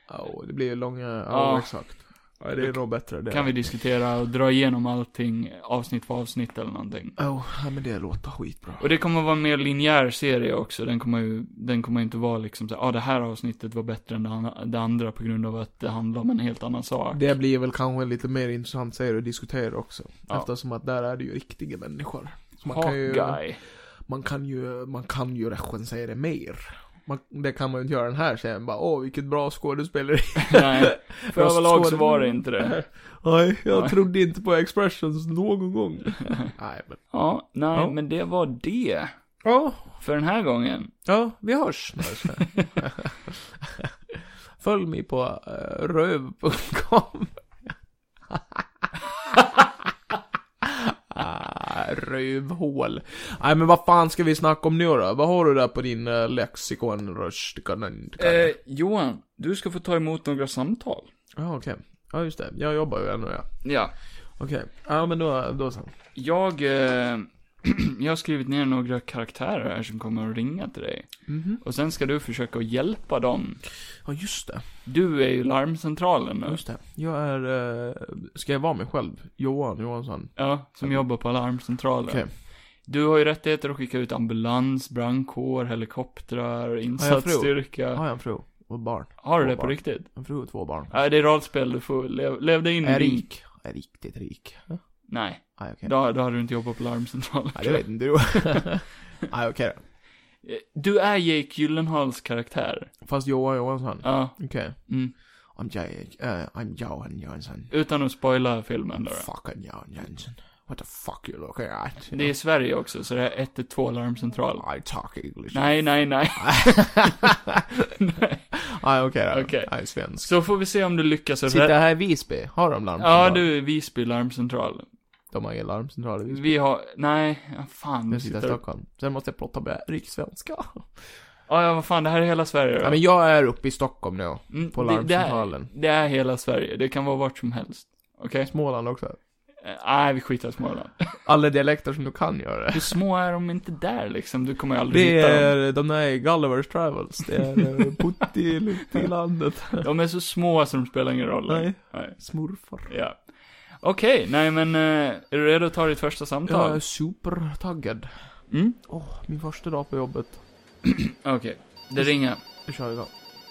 Speaker 2: Ja, Oh, det blir ju långa... Ja,
Speaker 1: Ja.
Speaker 2: exakt. Ja, det är nog bättre det.
Speaker 1: Kan vi diskutera och dra igenom allting avsnitt för avsnitt eller någonting.
Speaker 2: Ja, ja, Oh, men det låter skitbra.
Speaker 1: Och det kommer att vara en mer linjär serie också. Den kommer ju, den kommer inte vara liksom såhär, ah, det här avsnittet var bättre än det an- det andra på grund av att det handlar om en helt annan sak.
Speaker 2: Det blir väl kanske en lite mer intressant serie att diskutera också.
Speaker 1: Ja.
Speaker 2: Eftersom att där är det ju riktiga människor. Så man, kan ju,
Speaker 1: Hawkeye.
Speaker 2: man kan ju, man kan ju regissera mer. Man, det kan man ju inte göra den här sen bara, åh vilket bra skådespeleri.
Speaker 1: Nej, för
Speaker 2: Jag
Speaker 1: överlag så
Speaker 2: förstår
Speaker 1: var
Speaker 2: det.
Speaker 1: det inte det.
Speaker 2: Nej, jag
Speaker 1: Nej.
Speaker 2: trodde inte på expressions någon gång. Nej men.
Speaker 1: Ja, nej,
Speaker 2: Ja.
Speaker 1: men det var det
Speaker 2: Ja,
Speaker 1: för den här gången.
Speaker 2: ja, vi hörs. Nej, jag skojar. Följ mig på uh, röv.com. Ah, rövhål. Nej men vad fan ska vi snacka om nu då? Vad har du där på din uh, lexikon? Rush?
Speaker 1: Eh.
Speaker 2: Ja
Speaker 1: Johan, du ska få ta emot några samtal.
Speaker 2: okej. Ja just det, jag jobbar ju ännu ja.
Speaker 1: Ja,
Speaker 2: Okej, ja men då, då så.
Speaker 1: jag, eh, jag har skrivit ner några karaktärer här som kommer att ringa till dig.
Speaker 2: Mhm.
Speaker 1: Och sen ska du försöka att hjälpa dem.
Speaker 2: Ja just det.
Speaker 1: Du är ju larmcentralen nu.
Speaker 2: Just det. Jag är, eh, ska jag vara mig själv? Johan Johansson.
Speaker 1: Ja, som jobbar på larmcentralen.
Speaker 2: Okej.
Speaker 1: Du har ju rättigheter att skicka ut ambulans, brandkår, helikoptrar,
Speaker 2: Har
Speaker 1: insatsstyrka.
Speaker 2: jag en fru? Och barn?
Speaker 1: Har du det
Speaker 2: två
Speaker 1: på
Speaker 2: barn.
Speaker 1: riktigt?
Speaker 2: En fru och två barn.
Speaker 1: Nej, det är rollspel, du får lev, lev dig in i
Speaker 2: Är
Speaker 1: din-
Speaker 2: rik. Är riktigt rik. Ja,
Speaker 1: Nej,
Speaker 2: Nej, okej.
Speaker 1: då, då hade du inte jobbat på larmcentralen.
Speaker 2: Nej, det vet inte du. Nej, okej då.
Speaker 1: Eh, Du är Jake Gyllenhaals karaktär.
Speaker 2: Fast Johan Johansson.
Speaker 1: Ja.
Speaker 2: Okej.
Speaker 1: Mm.
Speaker 2: I'm Jake, eh, I'm Johan Johansson.
Speaker 1: Utan att spoila filmen då. då.
Speaker 2: Fucking Johan Johansson. What the fuck you looking at?
Speaker 1: Det är Sverige också, så det är 112 larmcentral.
Speaker 2: I talk English.
Speaker 1: Nej, nej, nej. nej.
Speaker 2: Nej, Ah, okej då.
Speaker 1: Okej.
Speaker 2: Jag är svensk.
Speaker 1: Så får vi se om du lyckas.
Speaker 2: Sitter här i Visby. Har de larmcentral?
Speaker 1: Ja, du, Visby larmcentral.
Speaker 2: De har ingen larmcentral i Visby.
Speaker 1: Vi har, nej, ja, fan.
Speaker 2: Nu sitter jag i
Speaker 1: Mm, sitter-
Speaker 2: Stockholm. Sen måste jag prata med rikssvenska.
Speaker 1: Ja, ja, vad fan, det här är hela Sverige då.
Speaker 2: Ja, men jag är uppe i Stockholm nu.
Speaker 1: Mm,
Speaker 2: på
Speaker 1: det-
Speaker 2: larmcentralen.
Speaker 1: Det, är- det är hela Sverige, det kan vara vart som helst. Okej?
Speaker 2: Småland också.
Speaker 1: Eh, Nej, vi skitar i Småland.
Speaker 2: Alla dialekter som du kan göra.
Speaker 1: Hur små är de inte där liksom? Du kommer ju aldrig
Speaker 2: Det
Speaker 1: hitta dem.
Speaker 2: är, de där är Gullivers Travels. Det är eh, putti lite i landet.
Speaker 1: De är så små så de spelar ingen roll.
Speaker 2: Nej.
Speaker 1: Nej.
Speaker 2: Smurfar.
Speaker 1: Ja. Okej, nej men, eh, är du redo att ta ditt första
Speaker 2: Jag är
Speaker 1: samtal?
Speaker 2: supertaggad.
Speaker 1: Mm?
Speaker 2: Åh, min första dag på jobbet.
Speaker 1: Okej, det ringer.
Speaker 2: Vi kör igång.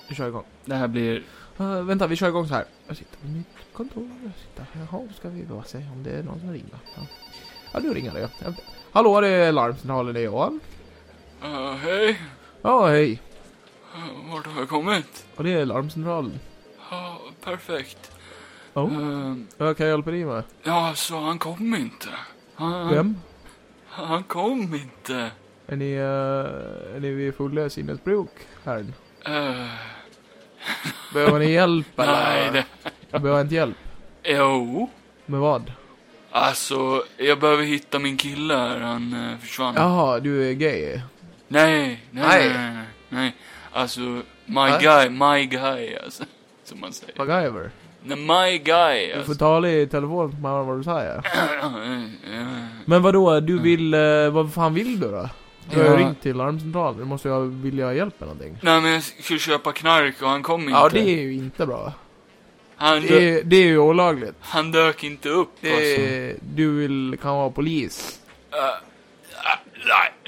Speaker 2: Vi kör igång.
Speaker 1: Det här blir...
Speaker 2: Eh, vänta, vi kör igång så här. Jag sitter på mitt kontor. Jag sitter här. Jaha, ska vi bara se om det är någon som ringer. Ja, ja nu ringer det. Ja. Hallå, det är larmsignalen. Det är Johan.
Speaker 1: hej,
Speaker 2: Ja, hej.
Speaker 1: vart har jag kommit?
Speaker 2: Och det är larmcentralen.
Speaker 1: Ja, perfekt. Eh,
Speaker 2: Ja. Vad kan jag hjälpa dig med?
Speaker 1: ja, så han kom inte. Han,
Speaker 2: Vem?
Speaker 1: han kom inte.
Speaker 2: Är ni, eh, är ni vid fulla sinnesbruk, herrn? Behöver ni hjälp eller?
Speaker 1: Eh, nej, det...
Speaker 2: Behöver inte hjälp?
Speaker 1: Jo.
Speaker 2: Med vad?
Speaker 1: Alltså, jag behöver hitta min kille här, han eh, försvann.
Speaker 2: Jaha, du är gay?
Speaker 1: Nej, nej,
Speaker 2: Nej.
Speaker 1: nej, nej, nej, nej. Alltså, my
Speaker 2: Nej.
Speaker 1: guy, my guy, alltså. Som man säger.
Speaker 2: MacGyver?
Speaker 1: Nej, my guy,
Speaker 2: Du
Speaker 1: alltså.
Speaker 2: får tala i telefon med honom vad du säger.
Speaker 1: Ja.
Speaker 2: Men vadå, du vill, eh, vad fan vill du då? Du har ju
Speaker 1: Mm. Ja.
Speaker 2: ringt till larmcentralen, du måste ju ha- vilja ha hjälp med någonting.
Speaker 1: Nej, men jag skulle köpa knark och han kom inte.
Speaker 2: Ja, det är ju inte bra.
Speaker 1: han, dö-
Speaker 2: Det är, det är ju olagligt.
Speaker 1: han dök inte upp,
Speaker 2: Det
Speaker 1: alltså.
Speaker 2: är, du vill, kan vara polis.
Speaker 1: Nej, Ah,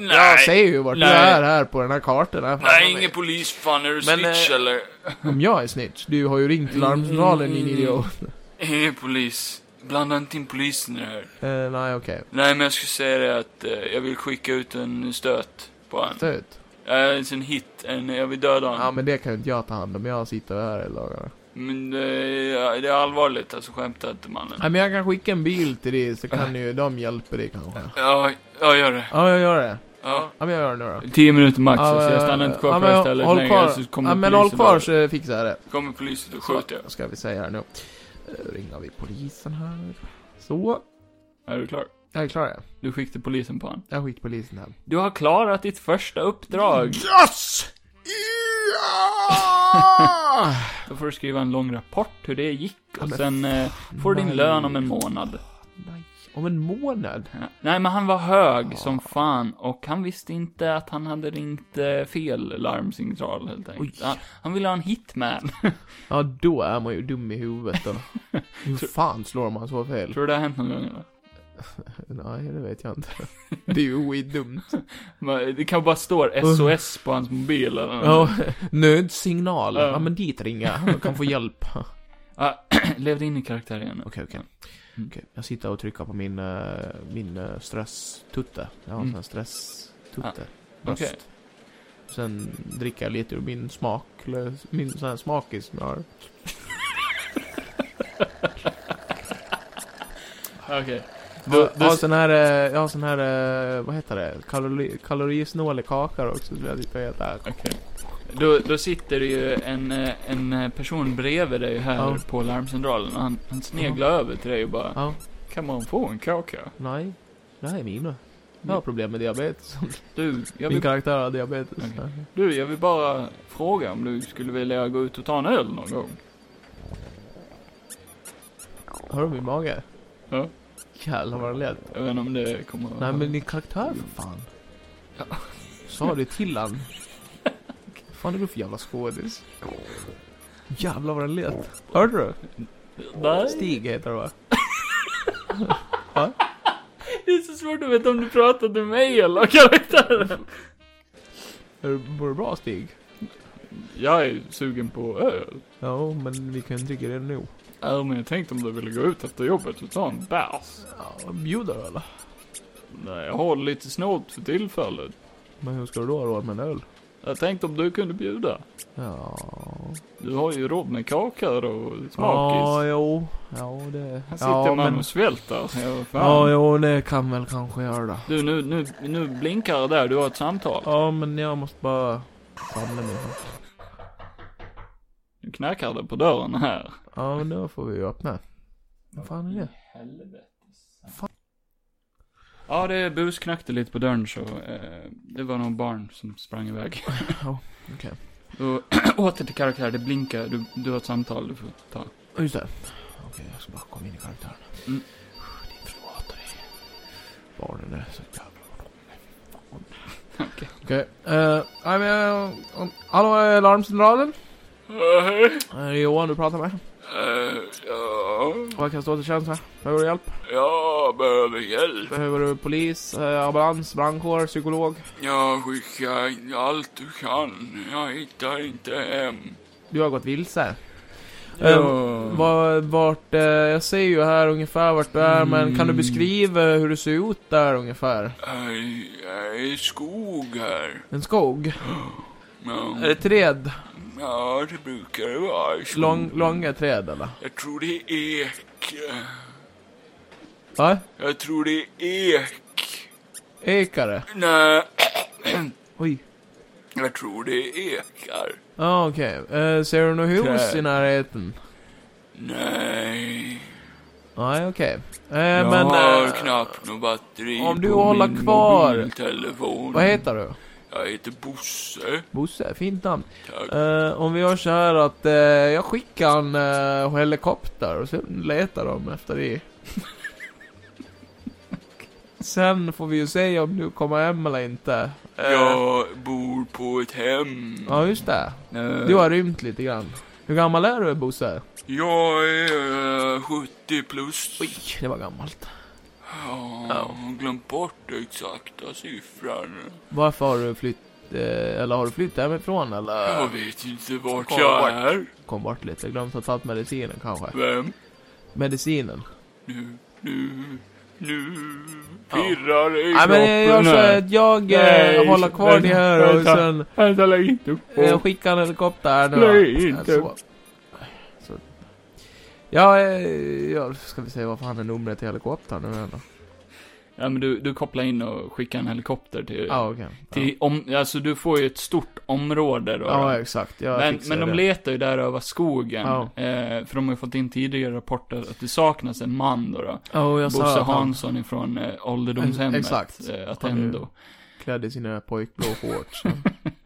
Speaker 1: nej.
Speaker 2: Jag säger ju vart du
Speaker 1: Nej.
Speaker 2: är här på den här kartan. Här framme.
Speaker 1: Nej, ingen polis, fan, är du
Speaker 2: Men,
Speaker 1: snitch
Speaker 2: eh,
Speaker 1: eller?
Speaker 2: Om jag är snitch? Du har ju ringt larmcentralen din
Speaker 1: Mm.
Speaker 2: idiot.
Speaker 1: Ingen polis. Blanda inte in polisen i det här.
Speaker 2: Eh, nej okej.
Speaker 1: Nej, men jag skulle säga det att eh, jag vill skicka ut en stöt på honom.
Speaker 2: Ta ut.
Speaker 1: Eh, en hit, en, jag vill döda honom.
Speaker 2: Ja men det kan ju inte jag ta hand om, jag sitter här hela dagarna.
Speaker 1: Men det är, det är allvarligt, alltså skämta inte mannen.
Speaker 2: Nej men jag kan skicka en bil till dig så kan ju de hjälpa dig kanske.
Speaker 1: Ja, jag gör det.
Speaker 2: Ja jag gör det.
Speaker 1: Ja.
Speaker 2: Ja men jag gör det nu då.
Speaker 1: Tio minuter max,
Speaker 2: Ja,
Speaker 1: alltså, jag
Speaker 2: men-
Speaker 1: stannar inte kvar
Speaker 2: ja,
Speaker 1: på
Speaker 2: men
Speaker 1: det här stället
Speaker 2: håll
Speaker 1: längre,
Speaker 2: kvar.
Speaker 1: alltså, kommer
Speaker 2: Ja men
Speaker 1: polisen
Speaker 2: håll kvar
Speaker 1: bara-
Speaker 2: så fixar jag det.
Speaker 1: Kommer polisen, då skjuter jag.
Speaker 2: Så, ska vi säga här nu. Eh, Ringar vi polisen här. Så.
Speaker 1: Är du klar?
Speaker 2: Jag är klar jag.
Speaker 1: Du skickade polisen på honom.
Speaker 2: Jag skiter polisen här.
Speaker 1: Du har klarat ditt första uppdrag.
Speaker 2: Yes! Ja!
Speaker 1: Då får du skriva en lång rapport hur det gick och
Speaker 2: men
Speaker 1: sen eh, får du din
Speaker 2: nej.
Speaker 1: lön om en månad.
Speaker 2: Nej, om en månad?
Speaker 1: Ja. Nej, men han var hög som fan och han visste inte att han hade ringt eh, fel larmsignal helt enkelt.
Speaker 2: Oj.
Speaker 1: Han, han ville ha en hitman.
Speaker 2: Ja, då är man ju dum i huvudet då. Hur fan slår man så fel?
Speaker 1: Tror du det har hänt någon gång eller?
Speaker 2: Nej, det vet jag inte. Det är ju skitdumt.
Speaker 1: Men Det kan bara stå SOS på hans mobil eller något.
Speaker 2: Ja, nödsignal.
Speaker 1: Ja.
Speaker 2: Ja, men dit ringa. Man kan få hjälp.
Speaker 1: Ah, levde in i karaktär igen.
Speaker 2: Okej, okej.
Speaker 1: Mm.
Speaker 2: Okej, Jag sitter och trycker på min, eh, min eh, stresstutte. Jag har en
Speaker 1: Mm. Ah,
Speaker 2: sån här stresstutte. Bröst.
Speaker 1: Okej.
Speaker 2: Sen dricker jag lite ur min smak, min sån här smakis som jag har.
Speaker 1: Okej.
Speaker 2: Du,
Speaker 1: Du-
Speaker 2: jag har
Speaker 1: du-
Speaker 2: sån här, eh, jag har sån här, eh, vad heter det? Kalori, kalorisnåla kakor också som jag sitter och äter.
Speaker 1: Okej. Då, då sitter det ju en, eh, en eh, person bredvid dig här
Speaker 2: Ja.
Speaker 1: på larmcentralen och han, han sneglar över till dig och bara
Speaker 2: Ja,
Speaker 1: Kan man få en kaka?
Speaker 2: nej. Det här är mina. Jag har problem med diabetes.
Speaker 1: Du, jag
Speaker 2: Min
Speaker 1: vill,
Speaker 2: karaktär har diabetes.
Speaker 1: Okej. du, jag vill bara fråga om du skulle vilja gå ut och ta en öl någon gång?
Speaker 2: Har du min mage?
Speaker 1: Ja.
Speaker 2: Jävlar vad den lät.
Speaker 1: Jag vet inte om det kommer
Speaker 2: Nej men din karaktär för fan.
Speaker 1: Ja.
Speaker 2: Sa det till han. fan är du för jävla skådis? Jävlar vad den lät. Hörde du?
Speaker 1: Nej,
Speaker 2: Stig heter det va?
Speaker 1: det är så svårt att veta om du pratar till mig eller karaktären.
Speaker 2: Är du- Mår du bra Stig?
Speaker 1: Jag är sugen på öl.
Speaker 2: Ja, men vi kan dricka det nu.
Speaker 1: Äh, men jag tänkte om du ville gå ut efter jobbet och ta en bärs.
Speaker 2: Ja, bjuder du eller?
Speaker 1: Nej, jag har lite snålt för tillfället.
Speaker 2: Men hur ska du då ha råd med en öl?
Speaker 1: Jag tänkte om du kunde bjuda.
Speaker 2: Ja.
Speaker 1: Du har ju råd med kakor och
Speaker 2: Ja,
Speaker 1: smakis.
Speaker 2: jo. Ja, det...
Speaker 1: Här sitter
Speaker 2: Ja,
Speaker 1: man
Speaker 2: men...
Speaker 1: och svälter. alltså. Jag, fan.
Speaker 2: Ja, jo, det kan väl kanske göra det.
Speaker 1: Du, nu, nu, nu blinkar det där. Du har ett samtal.
Speaker 2: Ja, men jag måste bara samla mig.
Speaker 1: Nu knackar det på dörren här.
Speaker 2: Ja, men då får vi ju öppna. Vad fan är det?
Speaker 1: Ja, det busknackte lite på dörren så eh, det var nog barn som sprang iväg.
Speaker 2: Ja, okej.
Speaker 1: Då, åter till karaktär, det blinkar. Du, du har ett samtal du får ta.
Speaker 2: Ja, Just det. Okej, jag ska bara komma in i karaktären.
Speaker 1: Mm.
Speaker 2: Din fru hatar dig. Barnen är så jävla
Speaker 1: Okej.
Speaker 2: Okej. eh, nej, men jag... om- Hallå, eh, larmcentralen? Eh, det är Johan du pratar med.
Speaker 1: ja,
Speaker 2: Vad kan jag stå till tjänst med? Behöver du hjälp?
Speaker 1: jag behöver hjälp.
Speaker 2: Behöver du polis, eh, ambulans, brandkår, psykolog?
Speaker 1: Jag skickar in allt du kan. Jag hittar inte hem.
Speaker 2: Du har gått vilse.
Speaker 1: Ja.
Speaker 2: Eh, va- vart, eh, jag ser ju här ungefär vart du är, men kan du
Speaker 1: Mm.
Speaker 2: beskriva hur det ser ut där ungefär?
Speaker 5: Jag är- jag är i skog här.
Speaker 2: En skog?
Speaker 5: Ja,
Speaker 2: Är det träd?
Speaker 5: ja det brukar det vara. i skog.
Speaker 2: Lång, långa träd eller?
Speaker 5: Jag tror det är ek.
Speaker 2: Va?
Speaker 5: Jag tror det är ek.
Speaker 2: Ekare?
Speaker 5: Nej,
Speaker 2: Oj.
Speaker 5: jag tror det är ekar.
Speaker 2: Ja, okej. Eh, ser du något hus
Speaker 5: Träd.
Speaker 2: i närheten?
Speaker 5: Nej,
Speaker 2: Nej, okej. Eh,
Speaker 5: jag
Speaker 2: men...
Speaker 5: har
Speaker 2: eh,
Speaker 5: knappt något batteri
Speaker 2: om du
Speaker 5: på
Speaker 2: håller
Speaker 5: min
Speaker 2: kvar-
Speaker 5: mobiltelefon.
Speaker 2: vad heter du?
Speaker 5: Jag heter Bosse.
Speaker 2: Bosse? Fint namn.
Speaker 5: Tack.
Speaker 2: Eh, om vi gör så här att eh, jag skickar en eh, helikopter och sen letar de efter dig. sen får vi ju se om du kommer hem eller inte. Eh,
Speaker 5: Jag bor på ett hem.
Speaker 2: Ja, just det.
Speaker 5: Eh,
Speaker 2: Du har rymt lite grann. Hur gammal är du, Bosse?
Speaker 5: Jag är eh, 70 plus.
Speaker 2: Oj, det var gammalt.
Speaker 5: Ja, jag har glömt bort den exakta siffran.
Speaker 2: Varför har du flytt... Eh, eller har du flytt hemifrån eller?
Speaker 5: Jag vet inte vart
Speaker 2: Kom
Speaker 5: jag
Speaker 2: bort.
Speaker 5: är.
Speaker 2: Kom bort lite, glömt att ta medicinen kanske.
Speaker 5: Vem?
Speaker 2: Medicinen.
Speaker 5: Nu, nu, nu pirrar det i
Speaker 2: Nej men eh, jag gör
Speaker 5: kroppen
Speaker 2: så
Speaker 5: här.
Speaker 2: att jag eh,
Speaker 1: Nej,
Speaker 2: håller kvar det här och
Speaker 1: vänta.
Speaker 2: sen...
Speaker 1: Vänta, lägg inte upp på.
Speaker 2: Jag skickar en helikopter här nu då.
Speaker 1: Nej, inte.
Speaker 2: Så. Så. Ja, eh, ja, ska vi se vad fan är numret till helikoptern nu igen då?
Speaker 1: Ja, men du, du kopplar in och skickar en helikopter till...
Speaker 2: Ja, okej.
Speaker 1: till om, alltså du får ju ett stort område då.
Speaker 2: Ja. ja, exakt. Jag
Speaker 1: men,
Speaker 2: fixar
Speaker 1: men de
Speaker 2: det.
Speaker 1: letar ju där över skogen.
Speaker 2: Ja.
Speaker 1: Eh, för de har ju fått in tidigare rapporter att det saknas en man då. då.
Speaker 2: Ja, och jag sa
Speaker 1: Bosse
Speaker 2: att han
Speaker 1: Hansson ifrån eh, ålderdomshemmet.
Speaker 2: Exakt.
Speaker 1: Eh, Attendo.
Speaker 2: klädde sina pojkblå shorts.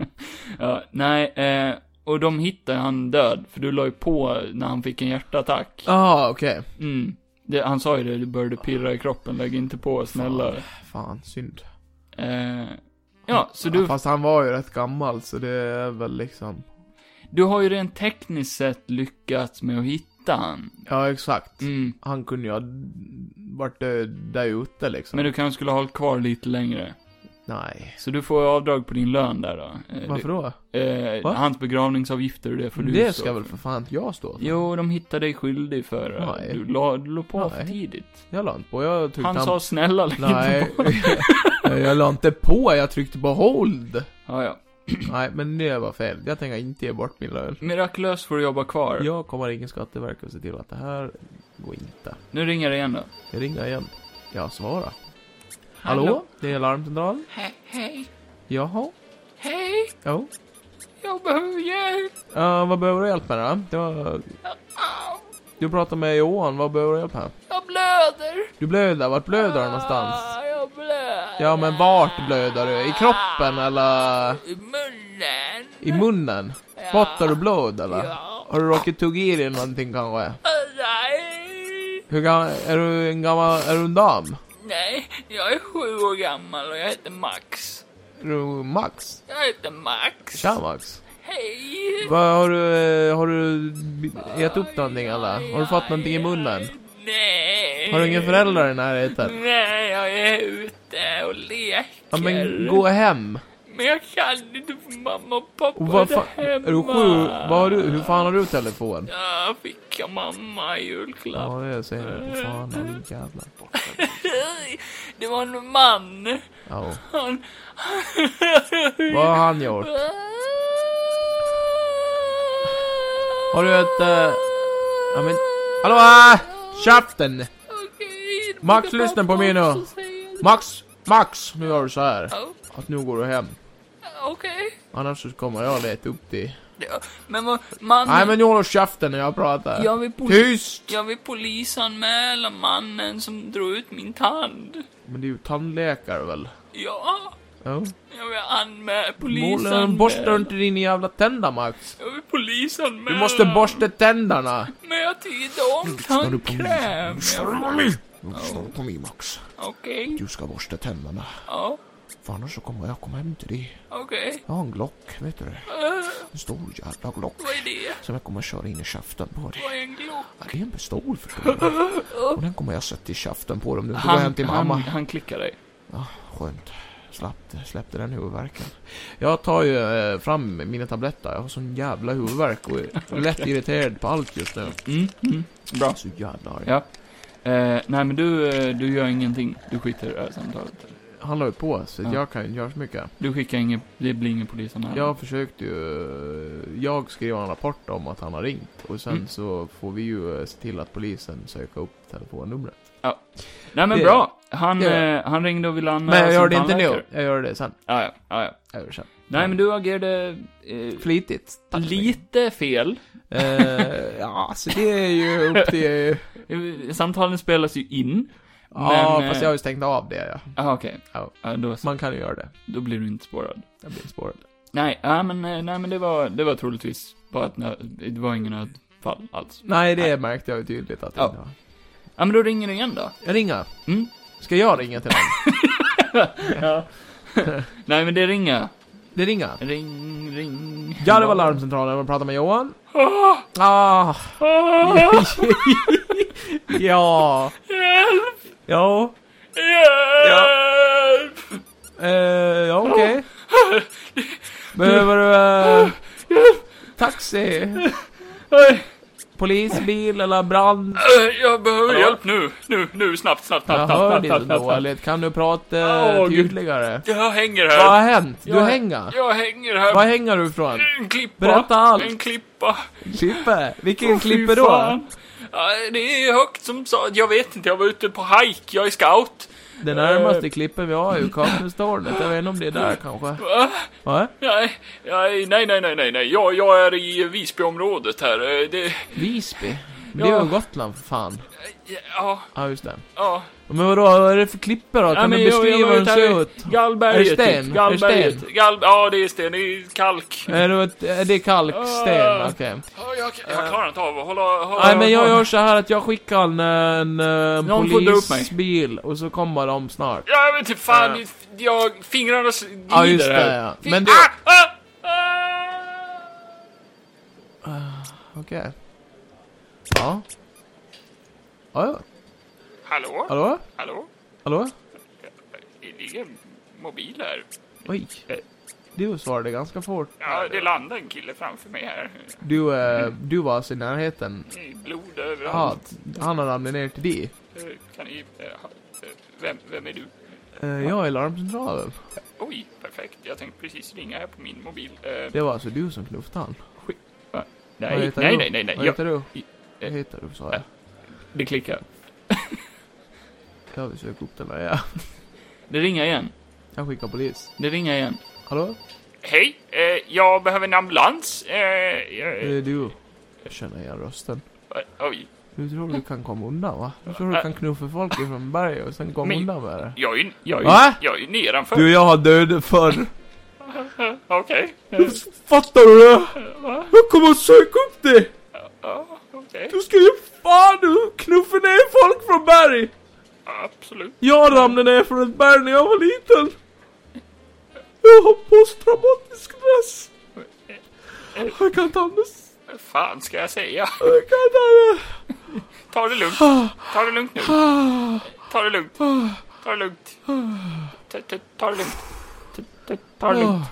Speaker 1: Ja, nej, eh, och de hittade han död, för du la ju på när han fick en hjärtattack.
Speaker 2: Ja, okej.
Speaker 1: Mm. Det, han sa ju det, du började pirra i kroppen, lägg inte på, snälla.
Speaker 2: Fan, synd.
Speaker 1: Eh, ja, så du,
Speaker 2: Fast han var ju rätt gammal, så det är väl liksom...
Speaker 1: du har ju rent tekniskt sett lyckats med att hitta han.
Speaker 2: Ja, exakt.
Speaker 1: Mm.
Speaker 2: Han kunde ju ha varit död där ute liksom.
Speaker 1: Men du kanske skulle ha hållit kvar lite längre.
Speaker 2: Nej.
Speaker 1: Så du får avdrag på din lön där då. Eh,
Speaker 2: Varför då?
Speaker 1: du- Eh,
Speaker 2: Va?
Speaker 1: hans begravningsavgifter och det får du
Speaker 2: Det
Speaker 1: stå
Speaker 2: ska väl
Speaker 1: för.
Speaker 2: för fan inte jag stå för?
Speaker 1: Jo, de hittade dig skyldig för eh,
Speaker 2: Nej.
Speaker 1: du la, du la på för
Speaker 2: Nej.
Speaker 1: tidigt.
Speaker 2: Jag la inte på. Jag tyckte
Speaker 1: Han sa snälla lägg inte
Speaker 2: Nej.
Speaker 1: på.
Speaker 2: jag la inte på, jag tryckte på hold.
Speaker 1: Ja, ja.
Speaker 2: Nej, men det var fel. Jag tänker inte ge bort min lön.
Speaker 1: Mirakulöst får du jobba kvar.
Speaker 2: Jag kommer ringa Skatteverket och se till att det här går inte.
Speaker 1: Nu ringer det igen då.
Speaker 2: Jag ringer igen. Jag svarar. Hallå? Det är larmcentralen.
Speaker 5: He- Hej,
Speaker 2: Jaha?
Speaker 5: hej,
Speaker 2: Jo?
Speaker 5: jag behöver hjälp.
Speaker 2: Eh, vad behöver du hjälp med då? Det var...
Speaker 5: Au,
Speaker 2: Du pratar med Johan, vad behöver du hjälp med?
Speaker 5: jag blöder.
Speaker 2: Du blöder, vart blöder du någonstans?
Speaker 5: Ah, jag blöder.
Speaker 2: Ja, men vart blöder du? I kroppen eller
Speaker 5: I munnen.
Speaker 2: i munnen? Spottar du blod eller?
Speaker 5: Ja.
Speaker 2: Har du råkat tugga i dig någonting kanske?
Speaker 5: Ah, Nej,
Speaker 2: Hur gammal, är du en gammal, är du en dam?
Speaker 5: nej, jag är sju år gammal och jag heter Max.
Speaker 2: Är du Max?
Speaker 5: Jag heter Max.
Speaker 2: Tja Max.
Speaker 5: Hej.
Speaker 2: Vad har du, eh, har du ätit upp någonting eller? Har du fått någonting i munnen?
Speaker 5: Nej.
Speaker 2: Har du ingen föräldrar i närheten?
Speaker 5: Nej, jag är ute och leker.
Speaker 2: Ja men gå hem.
Speaker 5: Men jag kan inte för mamma och pappa
Speaker 2: Och vad
Speaker 5: är
Speaker 2: fan,
Speaker 5: hemma.
Speaker 2: är du sju, vad har du, hur fan har du telefon?
Speaker 5: Ja, fick jag mamma i julklapp.
Speaker 2: Ja det ser jag. Vad Fan har du jävlar.
Speaker 5: Det var en man.
Speaker 2: Ja.
Speaker 5: Han...
Speaker 2: Vad har han gjort? Har du ett... eh, Ja men... Hallå! ah! Käften! Max, lyssna på mig nu. Max! Max! Nu gör du så här. Att nu går du hem.
Speaker 5: Okej.
Speaker 2: Annars så kommer jag leta upp dig.
Speaker 5: Ja, Men vad, man...
Speaker 2: Nej men nu håller du käften när jag pratar.
Speaker 5: Jag vill, poli-
Speaker 2: Tyst!
Speaker 5: jag vill polisanmäla mannen som drog ut min tand.
Speaker 2: Men det är ju tandläkare väl?
Speaker 5: Ja,
Speaker 2: Ja.
Speaker 5: jag vill anmäla,
Speaker 2: Målen, borstar du
Speaker 5: polisanmäla.
Speaker 2: inte dina jävla tänder Max?
Speaker 5: Jag vill polisanmäla.
Speaker 2: Du måste borsta tänderna!
Speaker 5: Men jag tyckte om tandkräm.
Speaker 2: Snart kom i Max.
Speaker 5: Okej,
Speaker 2: Du ska borsta tänderna.
Speaker 5: ja,
Speaker 2: För annars så kommer jag komma hem till dig.
Speaker 5: okej.
Speaker 2: Jag har en Glock, vet du det? En stor jävla Glock.
Speaker 5: Vad är det?
Speaker 2: Som jag kommer köra in i käften på dig.
Speaker 5: Vad är en glock?
Speaker 2: Ja, det är en pistol förstår du. Och den kommer jag sätta i käften på dig om du inte går hem
Speaker 1: Han,
Speaker 2: till
Speaker 1: han,
Speaker 2: mamma.
Speaker 1: han klickar dig.
Speaker 2: Ja, skönt. Slapp, släppte den huvudvärken. Jag tar ju eh, fram mina tabletter. Jag har sån jävla huvudvärk och är lätt irriterad på allt just nu.
Speaker 1: Mm, mm. Bra.
Speaker 2: Så jävla arg.
Speaker 1: Ja. Eh, nej men du, eh, du gör ingenting. Du skiter i det här samtalet.
Speaker 2: Han la ju på så
Speaker 1: Ja.
Speaker 2: jag kan ju inte göra så mycket.
Speaker 1: Du skickar ingen, det blir ingen polisanmälan.
Speaker 2: Jag försökte ju... Jag skrev en rapport om att han har ringt. Och sen
Speaker 1: Mm.
Speaker 2: så får vi ju eh, se till att polisen söker upp telefonnumret.
Speaker 1: Nej men
Speaker 2: det-
Speaker 1: bra. Han,
Speaker 2: det gör
Speaker 1: eh, han ringde och ville eh, anmäla
Speaker 2: Men jag
Speaker 1: sin
Speaker 2: gör det inte nu.
Speaker 1: tandläkare.
Speaker 2: Jag gör det sen.
Speaker 1: Ja, ja, ja, ja.
Speaker 2: Jag gör det sen.
Speaker 1: Nej men du agerade eh,
Speaker 2: Flitigt. Tack så mycket.
Speaker 1: lite fel.
Speaker 2: Eh, ja, alltså det är ju upp till...
Speaker 1: Eh, Samtalen spelas ju in.
Speaker 2: Ja,
Speaker 1: Men,
Speaker 2: fast
Speaker 1: eh,
Speaker 2: jag har ju stängt av det ja.
Speaker 1: Ah, okej.
Speaker 2: Ja.
Speaker 1: Ja, då,
Speaker 2: Man kan ju göra det.
Speaker 1: då blir du inte spårad.
Speaker 2: Jag blir spårad.
Speaker 1: Nej, ja, men, eh, nej men det var, det var troligtvis bara att nö- det var ingen nödfall alls.
Speaker 2: Nej, det märkte jag ju tydligt att det
Speaker 1: Ja.
Speaker 2: inte var.
Speaker 1: Ja men då ringer du igen då.
Speaker 2: Jag ringer.
Speaker 1: Mm.
Speaker 2: Ska jag ringa till någon?
Speaker 1: Nej men det ringer.
Speaker 2: Det ringer.
Speaker 1: Ring, ring.
Speaker 2: Ja, det var larmcentralen. Jag pratade med Johan. Ah. ja. Ja.
Speaker 5: Hjälp!
Speaker 2: Eh, ja, okej. Behöver du... eh, taxi?
Speaker 1: Oj,
Speaker 2: Polisbil eller brand?
Speaker 1: eh, Jag behöver hjälp nu. Nu, nu, snabbt, snabbt,
Speaker 2: Jag
Speaker 1: snabbt,
Speaker 2: hör
Speaker 1: snabbt,
Speaker 2: dig så
Speaker 1: snabbt, snabbt, snabbt.
Speaker 2: dåligt. Kan du prata eh,
Speaker 1: Åh, Gud.
Speaker 2: tydligare?
Speaker 5: Jag hänger
Speaker 2: Vad
Speaker 5: här.
Speaker 2: har hänt? Du
Speaker 1: Jag-
Speaker 2: hänger?
Speaker 5: Jag hänger här.
Speaker 2: Var hänger du ifrån?
Speaker 5: En klippa.
Speaker 2: Berätta allt.
Speaker 5: En klippa.
Speaker 2: Klippe? Vilken klippe
Speaker 1: Fy
Speaker 2: då?
Speaker 1: fan. Ja, det är högt som sa. Jag vet inte, jag var ute på hike, jag är scout.
Speaker 2: Det närmaste klippen vi har är ju Kaknästornet. Jag vet inte om det är där kanske.
Speaker 1: Va?
Speaker 2: Va?
Speaker 1: Nej, nej, nej, nej, nej, nej, nej. Jag, jag är i Visbyområdet här. Eh, Det,
Speaker 2: Visby? Men det är
Speaker 1: Ja.
Speaker 2: ju Gotland för fan.
Speaker 1: ja,
Speaker 2: Ja, just det.
Speaker 1: ja.
Speaker 2: Men vadå, vad är det för klippe då?
Speaker 1: Ja,
Speaker 2: Kan
Speaker 1: men
Speaker 2: du
Speaker 1: jag- jag
Speaker 2: beskriva
Speaker 1: var
Speaker 2: hur den
Speaker 1: ute här
Speaker 2: ser
Speaker 1: i-
Speaker 2: ut?
Speaker 1: Gallberget.
Speaker 2: Är det sten?
Speaker 1: typ.
Speaker 2: Är det sten?
Speaker 1: Gallberget. Gall, ja, det är sten. Det är kalk.
Speaker 2: Är det, ett- är det kalksten?
Speaker 1: Ah.
Speaker 2: Okej.
Speaker 1: Ja, jag, jag klarar inte av att hålla... hålla
Speaker 2: Eh, Nej men jag gör så här att jag skickar en, en, en
Speaker 1: Någon får dra upp mig.
Speaker 2: polisbil och så kommer de snart.
Speaker 1: Jag vet inte fan, jag, fingrarna s- glider
Speaker 2: Ja just det
Speaker 1: här.
Speaker 2: ja.
Speaker 1: Fy-
Speaker 2: Men du,
Speaker 1: Ah, ah, ah.
Speaker 2: okej. Ja. Ja, ja.
Speaker 5: Hallå?
Speaker 2: Hallå?
Speaker 5: Hallå?
Speaker 2: Hallå?
Speaker 5: Det ligger en mobil här.
Speaker 2: Oj.
Speaker 1: Eh.
Speaker 2: Du svarade ganska fort.
Speaker 5: Ja, det landade en kille framför mig här.
Speaker 2: Du, eh, du var alltså i närheten.
Speaker 5: Det är blod
Speaker 2: Ja,
Speaker 5: överallt.
Speaker 2: han har ramlat ner till dig.
Speaker 5: Eh, Kan ni... eh, ha- eh, Vem, vem är du?
Speaker 2: Eh, Jag är larmcentralen.
Speaker 5: Oj, perfekt. Jag tänkte precis ringa här på min mobil. Eh,
Speaker 2: Det var alltså du som knuffade han. Vad
Speaker 1: Nej,
Speaker 2: heter
Speaker 1: nej,
Speaker 2: du?
Speaker 1: nej, nej, nej.
Speaker 2: Vad
Speaker 1: Jag,
Speaker 2: heter du?
Speaker 1: I-
Speaker 2: Vad heter du sa jag.
Speaker 1: det klickar.
Speaker 2: Jag vill söka upp den där ja.
Speaker 1: Det ringer igen.
Speaker 2: Jag skickar polis.
Speaker 1: Det ringer igen.
Speaker 2: Hallå?
Speaker 5: Hej, eh, jag behöver en ambulans. Eh,
Speaker 2: Det
Speaker 5: jag,
Speaker 2: är du. Jag känner igen rösten.
Speaker 5: eh, oj,
Speaker 2: Du tror du kan komma undan va? Du tror du kan knuffa folk ifrån berget och sen komma
Speaker 5: Men-
Speaker 2: undan med det?
Speaker 5: jag är ju jag är,
Speaker 2: Va?
Speaker 5: jag är ju nedanför.
Speaker 2: Du, jag har dödat förr.
Speaker 5: Okej. Eh,
Speaker 2: Fattar du det? Jag kommer att söka upp dig!
Speaker 5: Ja, okej.
Speaker 2: Du ska ju fan du knuffa ner folk från berg!
Speaker 5: Absolut.
Speaker 2: Jag ramlade ner från ett berg när jag var liten. Jag har posttraumatisk stress. Jag kan inte andas.
Speaker 5: Vad fan ska jag säga?
Speaker 2: Jag kan inte andas.
Speaker 5: Ta det lugnt. Ta det lugnt nu. Ta det lugnt. Ta det lugnt. Ta, ta, ta det lugnt. Ta, ta, ta det lugnt.
Speaker 2: Åh,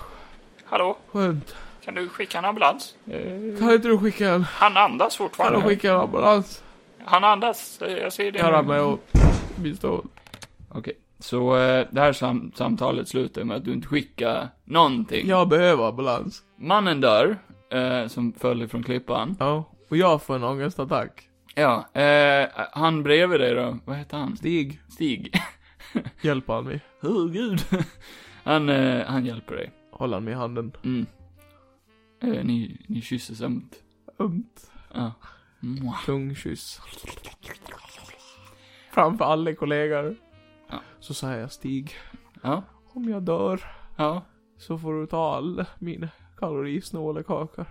Speaker 5: Hallå,
Speaker 2: Ah, Skönt.
Speaker 5: kan du skicka en ambulans?
Speaker 2: Kan inte du skicka en?
Speaker 5: Han andas
Speaker 2: Kan du
Speaker 5: fortfarande.
Speaker 2: skicka en ambulans?
Speaker 5: Han andas. Eh, Jag ser det.
Speaker 2: Jag ramlade ihop. Min stol.
Speaker 1: Okej, så eh, det här sam samtalet slutar med att du inte skickar någonting.
Speaker 2: Jag behöver ambulans.
Speaker 1: Mannen dör, eh, som föll ifrån klippan.
Speaker 2: Ja. Och jag får en ångestattack.
Speaker 1: Ja, eh, han bredvid dig då, vad heter han?
Speaker 2: Stig,
Speaker 1: Stig.
Speaker 2: hjälper han mig?
Speaker 1: Åh gud. Han, eh, han hjälper dig.
Speaker 2: Håller han mig i handen?
Speaker 1: Mm. Eh, ni, ni kysser ömt.
Speaker 2: Ömt.
Speaker 1: Ja. Mwah.
Speaker 2: Tungkyss. Framför alla kollegor.
Speaker 1: Ja.
Speaker 2: Så säger jag Stig,
Speaker 1: Ja,
Speaker 2: om jag dör
Speaker 1: ja.
Speaker 2: så får du ta all min kalorisnåla kakor.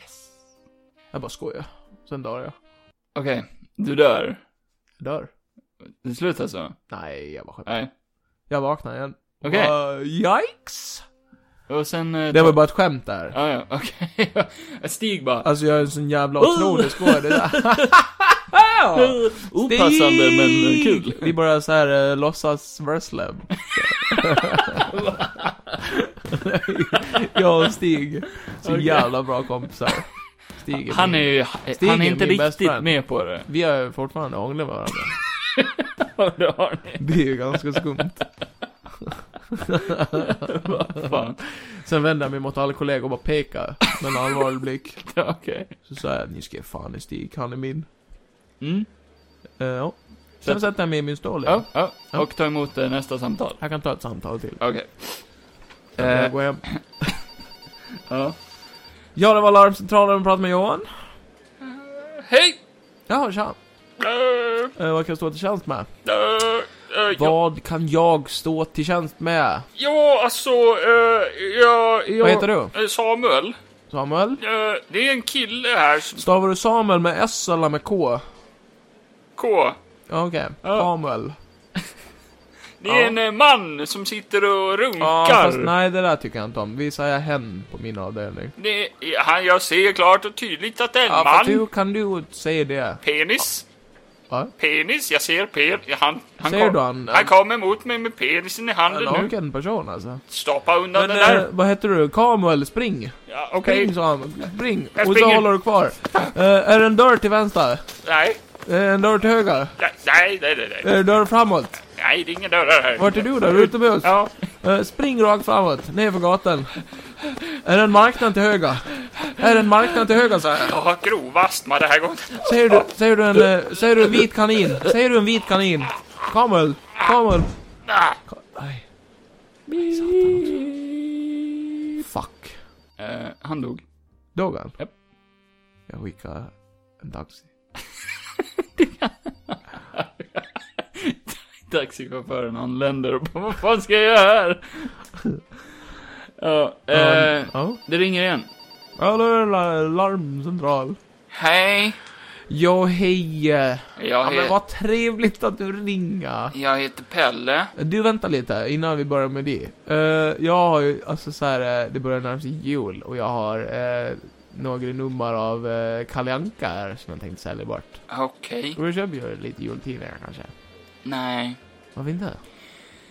Speaker 2: Yes. Jag bara skojar. Sen dör jag.
Speaker 1: Okej, du dör.
Speaker 2: Jag dör.
Speaker 1: Det slutar så?
Speaker 2: Nej, jag bara skämtar.
Speaker 1: Nej.
Speaker 2: Jag vaknar igen.
Speaker 1: Okej.
Speaker 2: Bara, yikes!
Speaker 1: Och sen... eh,
Speaker 2: Det
Speaker 1: tar-
Speaker 2: var bara ett skämt där.
Speaker 1: Ja, ja, okej. Stig bara...
Speaker 2: Alltså jag är en sån
Speaker 1: Uh!
Speaker 2: jävla otrolig skådis.
Speaker 1: Opassande men eh, kul.
Speaker 2: Vi bara så här äh, låtsas wrestla. jag och Stig, så
Speaker 1: Okej.
Speaker 2: jävla bra kompisar. Stig
Speaker 1: Han är
Speaker 2: min-
Speaker 1: ju,
Speaker 2: Stig
Speaker 1: han är
Speaker 2: är
Speaker 1: inte
Speaker 2: min best
Speaker 1: riktigt
Speaker 2: friend.
Speaker 1: med på det.
Speaker 2: Vi har ju fortfarande ånglat varandra.
Speaker 1: Ja, det har ni.
Speaker 2: Det är ju ganska skumt.
Speaker 1: Vad fan.
Speaker 2: Sen vänder jag mig mot alla kollegor och bara pekar med en allvarlig blick.
Speaker 1: Ja, okej.
Speaker 2: Så säger jag, ni ska ge fan i Stig, han är min.
Speaker 1: Mm.
Speaker 2: Eh, ja. Sen sätter jag mig i min stol igen.
Speaker 1: Ja, ja. Och ta emot eh, nästa samtal.
Speaker 2: Jag kan ta ett samtal till.
Speaker 1: Okej.
Speaker 2: Sen får
Speaker 1: Eh,
Speaker 2: jag gå hem.
Speaker 1: ja.
Speaker 2: Ja, det var larmcentralen och pratade med Johan.
Speaker 5: Hej!
Speaker 2: Ja, tja.
Speaker 5: Eh,
Speaker 2: Eh, vad kan jag stå till tjänst med?
Speaker 5: eh, eh, ja,
Speaker 2: Vad kan jag stå till tjänst med?
Speaker 5: ja, alltså, eh, jag... jag
Speaker 2: Vad heter du?
Speaker 5: Eh, Samuel.
Speaker 2: Samuel?
Speaker 5: Eh, det är en kille här som...
Speaker 2: Stavar du Samuel med S eller med K?
Speaker 5: K.
Speaker 2: Ja, okej. Samuel.
Speaker 5: Det är en eh, man som sitter och
Speaker 2: Ja,
Speaker 5: runkar.
Speaker 2: fast nej, det där tycker jag inte om. Vi säger hen på min avdelning.
Speaker 5: det är, han, jag ser klart och tydligt att det är en
Speaker 2: Ja,
Speaker 5: man.
Speaker 2: fast hur kan du säga det?
Speaker 5: Penis.
Speaker 2: Va?
Speaker 5: Penis, jag ser pen... Han, han,
Speaker 2: Ser
Speaker 5: kom,
Speaker 2: du han?
Speaker 5: han kommer mot mig med penisen i
Speaker 2: En
Speaker 5: handen nu.
Speaker 2: naken person alltså.
Speaker 5: Stoppa undan
Speaker 2: Men
Speaker 5: den där.
Speaker 2: eh, vad heter du? Samuel, spring!
Speaker 5: ja, Okej.
Speaker 2: Spring Samuel, spring!
Speaker 5: Jag
Speaker 2: Och så
Speaker 5: springer.
Speaker 2: håller du kvar. Eh, är det en dörr till vänster?
Speaker 5: Nej.
Speaker 2: Är det en dörr till höger?
Speaker 5: Nej, nej, nej, nej, nej.
Speaker 2: Är det en dörr framåt?
Speaker 5: Nej, det är inga dörrar här.
Speaker 2: Vart är du då? Utomhus?
Speaker 5: Ja.
Speaker 2: Eh, spring rakt framåt, ner för gatan. Är det en marknad till höger? Är det en marknad till höger, säger jag.
Speaker 5: Jag har grov astma det här gången.
Speaker 2: Säger du, säger du en, eh, säger du en vit kanin? Säger du en vit kanin? Kamel, kamel.
Speaker 5: Ah,
Speaker 2: Ka- Nej. Nej, satan också. Fuck.
Speaker 1: Eh, han dog.
Speaker 2: Dog han?
Speaker 1: Japp.
Speaker 2: Jag skickar en taxi.
Speaker 1: Taxichauffören anländer och bara, vad fan ska jag göra här? Ja, eh,
Speaker 2: Ja.
Speaker 1: det ringer igen.
Speaker 2: Ja, då är det la- larmcentral.
Speaker 5: Hej.
Speaker 2: Jo, hej. eh. Ja,
Speaker 5: Jag,
Speaker 2: men
Speaker 5: he-
Speaker 2: vad trevligt att du ringer.
Speaker 5: jag heter Pelle.
Speaker 2: Du, vänta lite innan vi börjar med det. Eh, jag har ju, alltså så här, eh, det börjar närma sig jul och jag har eh, några nummer av uh, Kalle Anka här som jag tänkte sälja bort.
Speaker 5: Okej.
Speaker 2: Och då köper jag lite jultidningar kanske.
Speaker 5: Nej.
Speaker 2: Varför inte?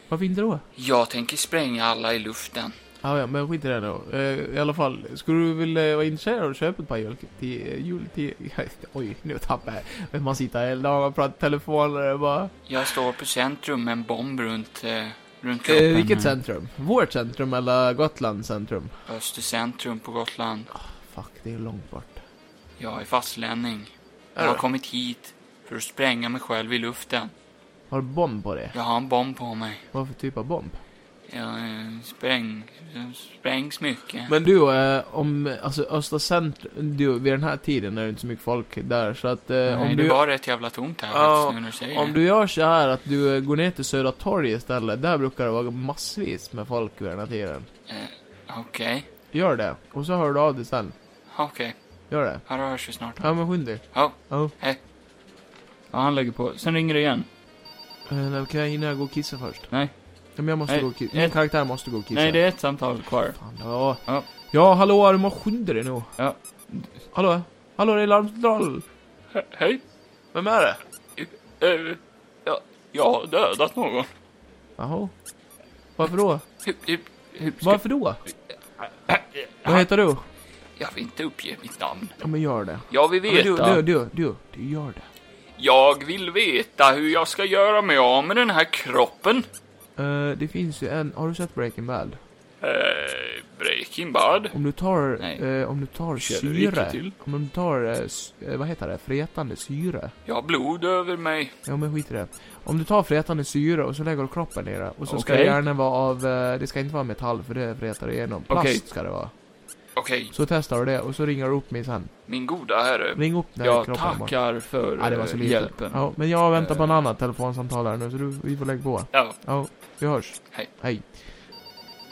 Speaker 2: Varför inte då?
Speaker 5: Jag tänker spränga alla i luften.
Speaker 2: Ah, ja, men skit i det då. Eh, I alla fall, skulle du vilja vara intresserad av att köpa ett par julti- jultidningar? Oj, nu tappade jag. Man sitter hela dagen och pratar i telefon och det bara... eh,
Speaker 5: Jag står på centrum med en bomb runt, eh, runt
Speaker 2: Eh,
Speaker 5: kroppen.
Speaker 2: vilket centrum? Vårt centrum eller Gotlands centrum?
Speaker 5: Östercentrum Mm. på Gotland.
Speaker 2: Fuck, det är ju långt bort.
Speaker 5: Jag är fastlänning. Jag
Speaker 2: Är
Speaker 5: har
Speaker 2: du?
Speaker 5: kommit hit för att spränga mig själv i luften.
Speaker 2: Har du bomb på det?
Speaker 5: Jag har en bomb på mig.
Speaker 2: Vad för typ av bomb?
Speaker 5: Jag eh, spräng, jag sprängs mycket.
Speaker 2: Men du, eh, om, alltså Östra centrum, du, vid den här tiden är det inte så mycket folk där, så att eh,
Speaker 5: Nej,
Speaker 2: om,
Speaker 5: det
Speaker 2: du,
Speaker 5: var rätt jävla tomt här
Speaker 2: Ja,
Speaker 5: faktiskt nu när du säger
Speaker 2: om
Speaker 5: det.
Speaker 2: du gör så här att du eh, går ner till Södra torget istället, där brukar det vara massvis med folk vid den här tiden.
Speaker 5: Eh, Okej,
Speaker 2: Gör det, och så hör du av dig sen.
Speaker 5: okej.
Speaker 2: Gör det.
Speaker 5: Här hörs vi snart.
Speaker 2: Ja men skynda dig.
Speaker 5: Ja.
Speaker 2: Ja.
Speaker 5: Hej.
Speaker 1: Ja, han lägger på. Sen ringer det igen.
Speaker 2: Eh, nej, Kan jag hinna gå och kissa först?
Speaker 1: Nej.
Speaker 2: Ja, men jag måste
Speaker 1: Nej.
Speaker 2: gå och kissa.
Speaker 1: Nej.
Speaker 2: Min karaktär måste gå och kissa.
Speaker 1: Nej, det är ett samtal kvar.
Speaker 2: Fan, ja.
Speaker 1: Ja.
Speaker 2: ja, hallå, du måste skynda dig nu.
Speaker 1: Ja.
Speaker 2: Hallå? Hallå, det är larmcentralen.
Speaker 5: He- Hej.
Speaker 2: Vem är det?
Speaker 5: Eh, jag, jag har dödat någon.
Speaker 2: Jaha. Varför då?
Speaker 5: Hur- hur- hur ska-
Speaker 2: Varför då? Vad heter du?
Speaker 5: Jag vill inte uppge mitt namn.
Speaker 2: Ja men gör det.
Speaker 5: Jag vill
Speaker 2: Men
Speaker 5: veta.
Speaker 2: du, du, du, du, du gör det.
Speaker 5: Jag vill veta hur jag ska göra mig av med den här kroppen.
Speaker 2: Eh, det finns ju en, har du sett Breaking Bad?
Speaker 5: Eh, Breaking Bad.
Speaker 2: Om du tar,
Speaker 1: Nej.
Speaker 2: eh, om du tar
Speaker 1: Känner du inte
Speaker 2: syre.
Speaker 1: till?
Speaker 2: Om du tar, eh, s- eh, vad heter det, frätande syre.
Speaker 5: Jag har blod över mig.
Speaker 2: Ja men skit i det. Om du tar frätande syre och så lägger du kroppen i det. Och så ska
Speaker 1: Okej.
Speaker 2: det gärna vara av, eh, det ska inte vara metall för det frätar igenom. Plast
Speaker 1: Okej.
Speaker 2: ska det vara.
Speaker 5: Okej,
Speaker 2: Så testar du det och så ringer du upp mig sen.
Speaker 5: min goda herre.
Speaker 2: Ring upp när
Speaker 1: Jag
Speaker 2: kroppen är borta.
Speaker 1: tackar för
Speaker 2: Ja, det var så
Speaker 1: eh,
Speaker 2: lite.
Speaker 1: hjälpen.
Speaker 2: Ja, men jag väntar på en
Speaker 1: Eh.
Speaker 2: annan telefonsamtal här nu så du, vi får lägga på.
Speaker 5: Ja,
Speaker 2: Ja, vi hörs.
Speaker 5: Hej.
Speaker 2: Hej.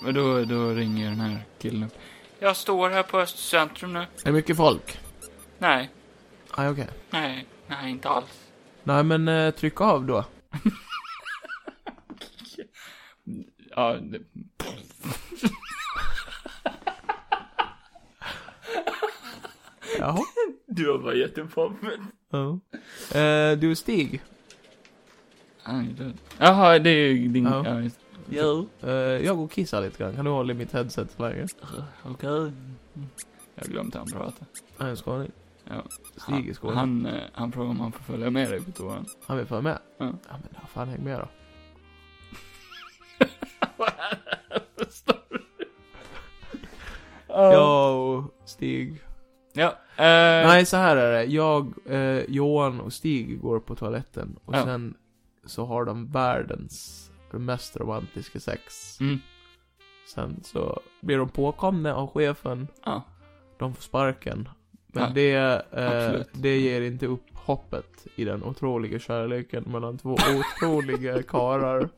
Speaker 1: Men då, då ringer den här killen upp.
Speaker 5: jag står här på Östcentrum nu.
Speaker 2: Är det mycket folk?
Speaker 5: Nej,
Speaker 2: Nej, okej.
Speaker 5: nej, nej, inte alls.
Speaker 2: Nej, men eh, tryck av då.
Speaker 1: Ja, det...
Speaker 2: Jaha.
Speaker 1: Du har bara gett en pommel.
Speaker 2: Ja. Eh, du, Stig.
Speaker 1: Jaha, det är ju din...
Speaker 2: Ja.
Speaker 1: Ja, just-
Speaker 2: Jo. Eh, jag går och kissar lite grann. Kan du hålla i mitt headset så länge?
Speaker 1: Okej. Mm. Jag har glömt hur han pratar.
Speaker 2: Nej, jag skojar inte.
Speaker 1: Ja.
Speaker 2: Stig är
Speaker 1: Han,
Speaker 2: skåning. Han,
Speaker 1: han, eh, han frågar om han får följa med dig på toan.
Speaker 2: vill föra med?
Speaker 1: Ja.
Speaker 2: ja men vad fan, häng med då. Jag och Stig.
Speaker 1: Ja. Eh,
Speaker 2: Nej, så här är det. Jag, eh, Johan och Stig går på toaletten och
Speaker 1: Ja.
Speaker 2: sen så har de världens mest romantiska sex.
Speaker 1: Mm.
Speaker 2: Sen så blir de påkomna av chefen.
Speaker 1: Ja.
Speaker 2: De får sparken. Men
Speaker 1: Ja,
Speaker 2: det, eh,
Speaker 1: absolut.
Speaker 2: det ger inte upp hoppet i den otroliga kärleken mellan två otroliga karar.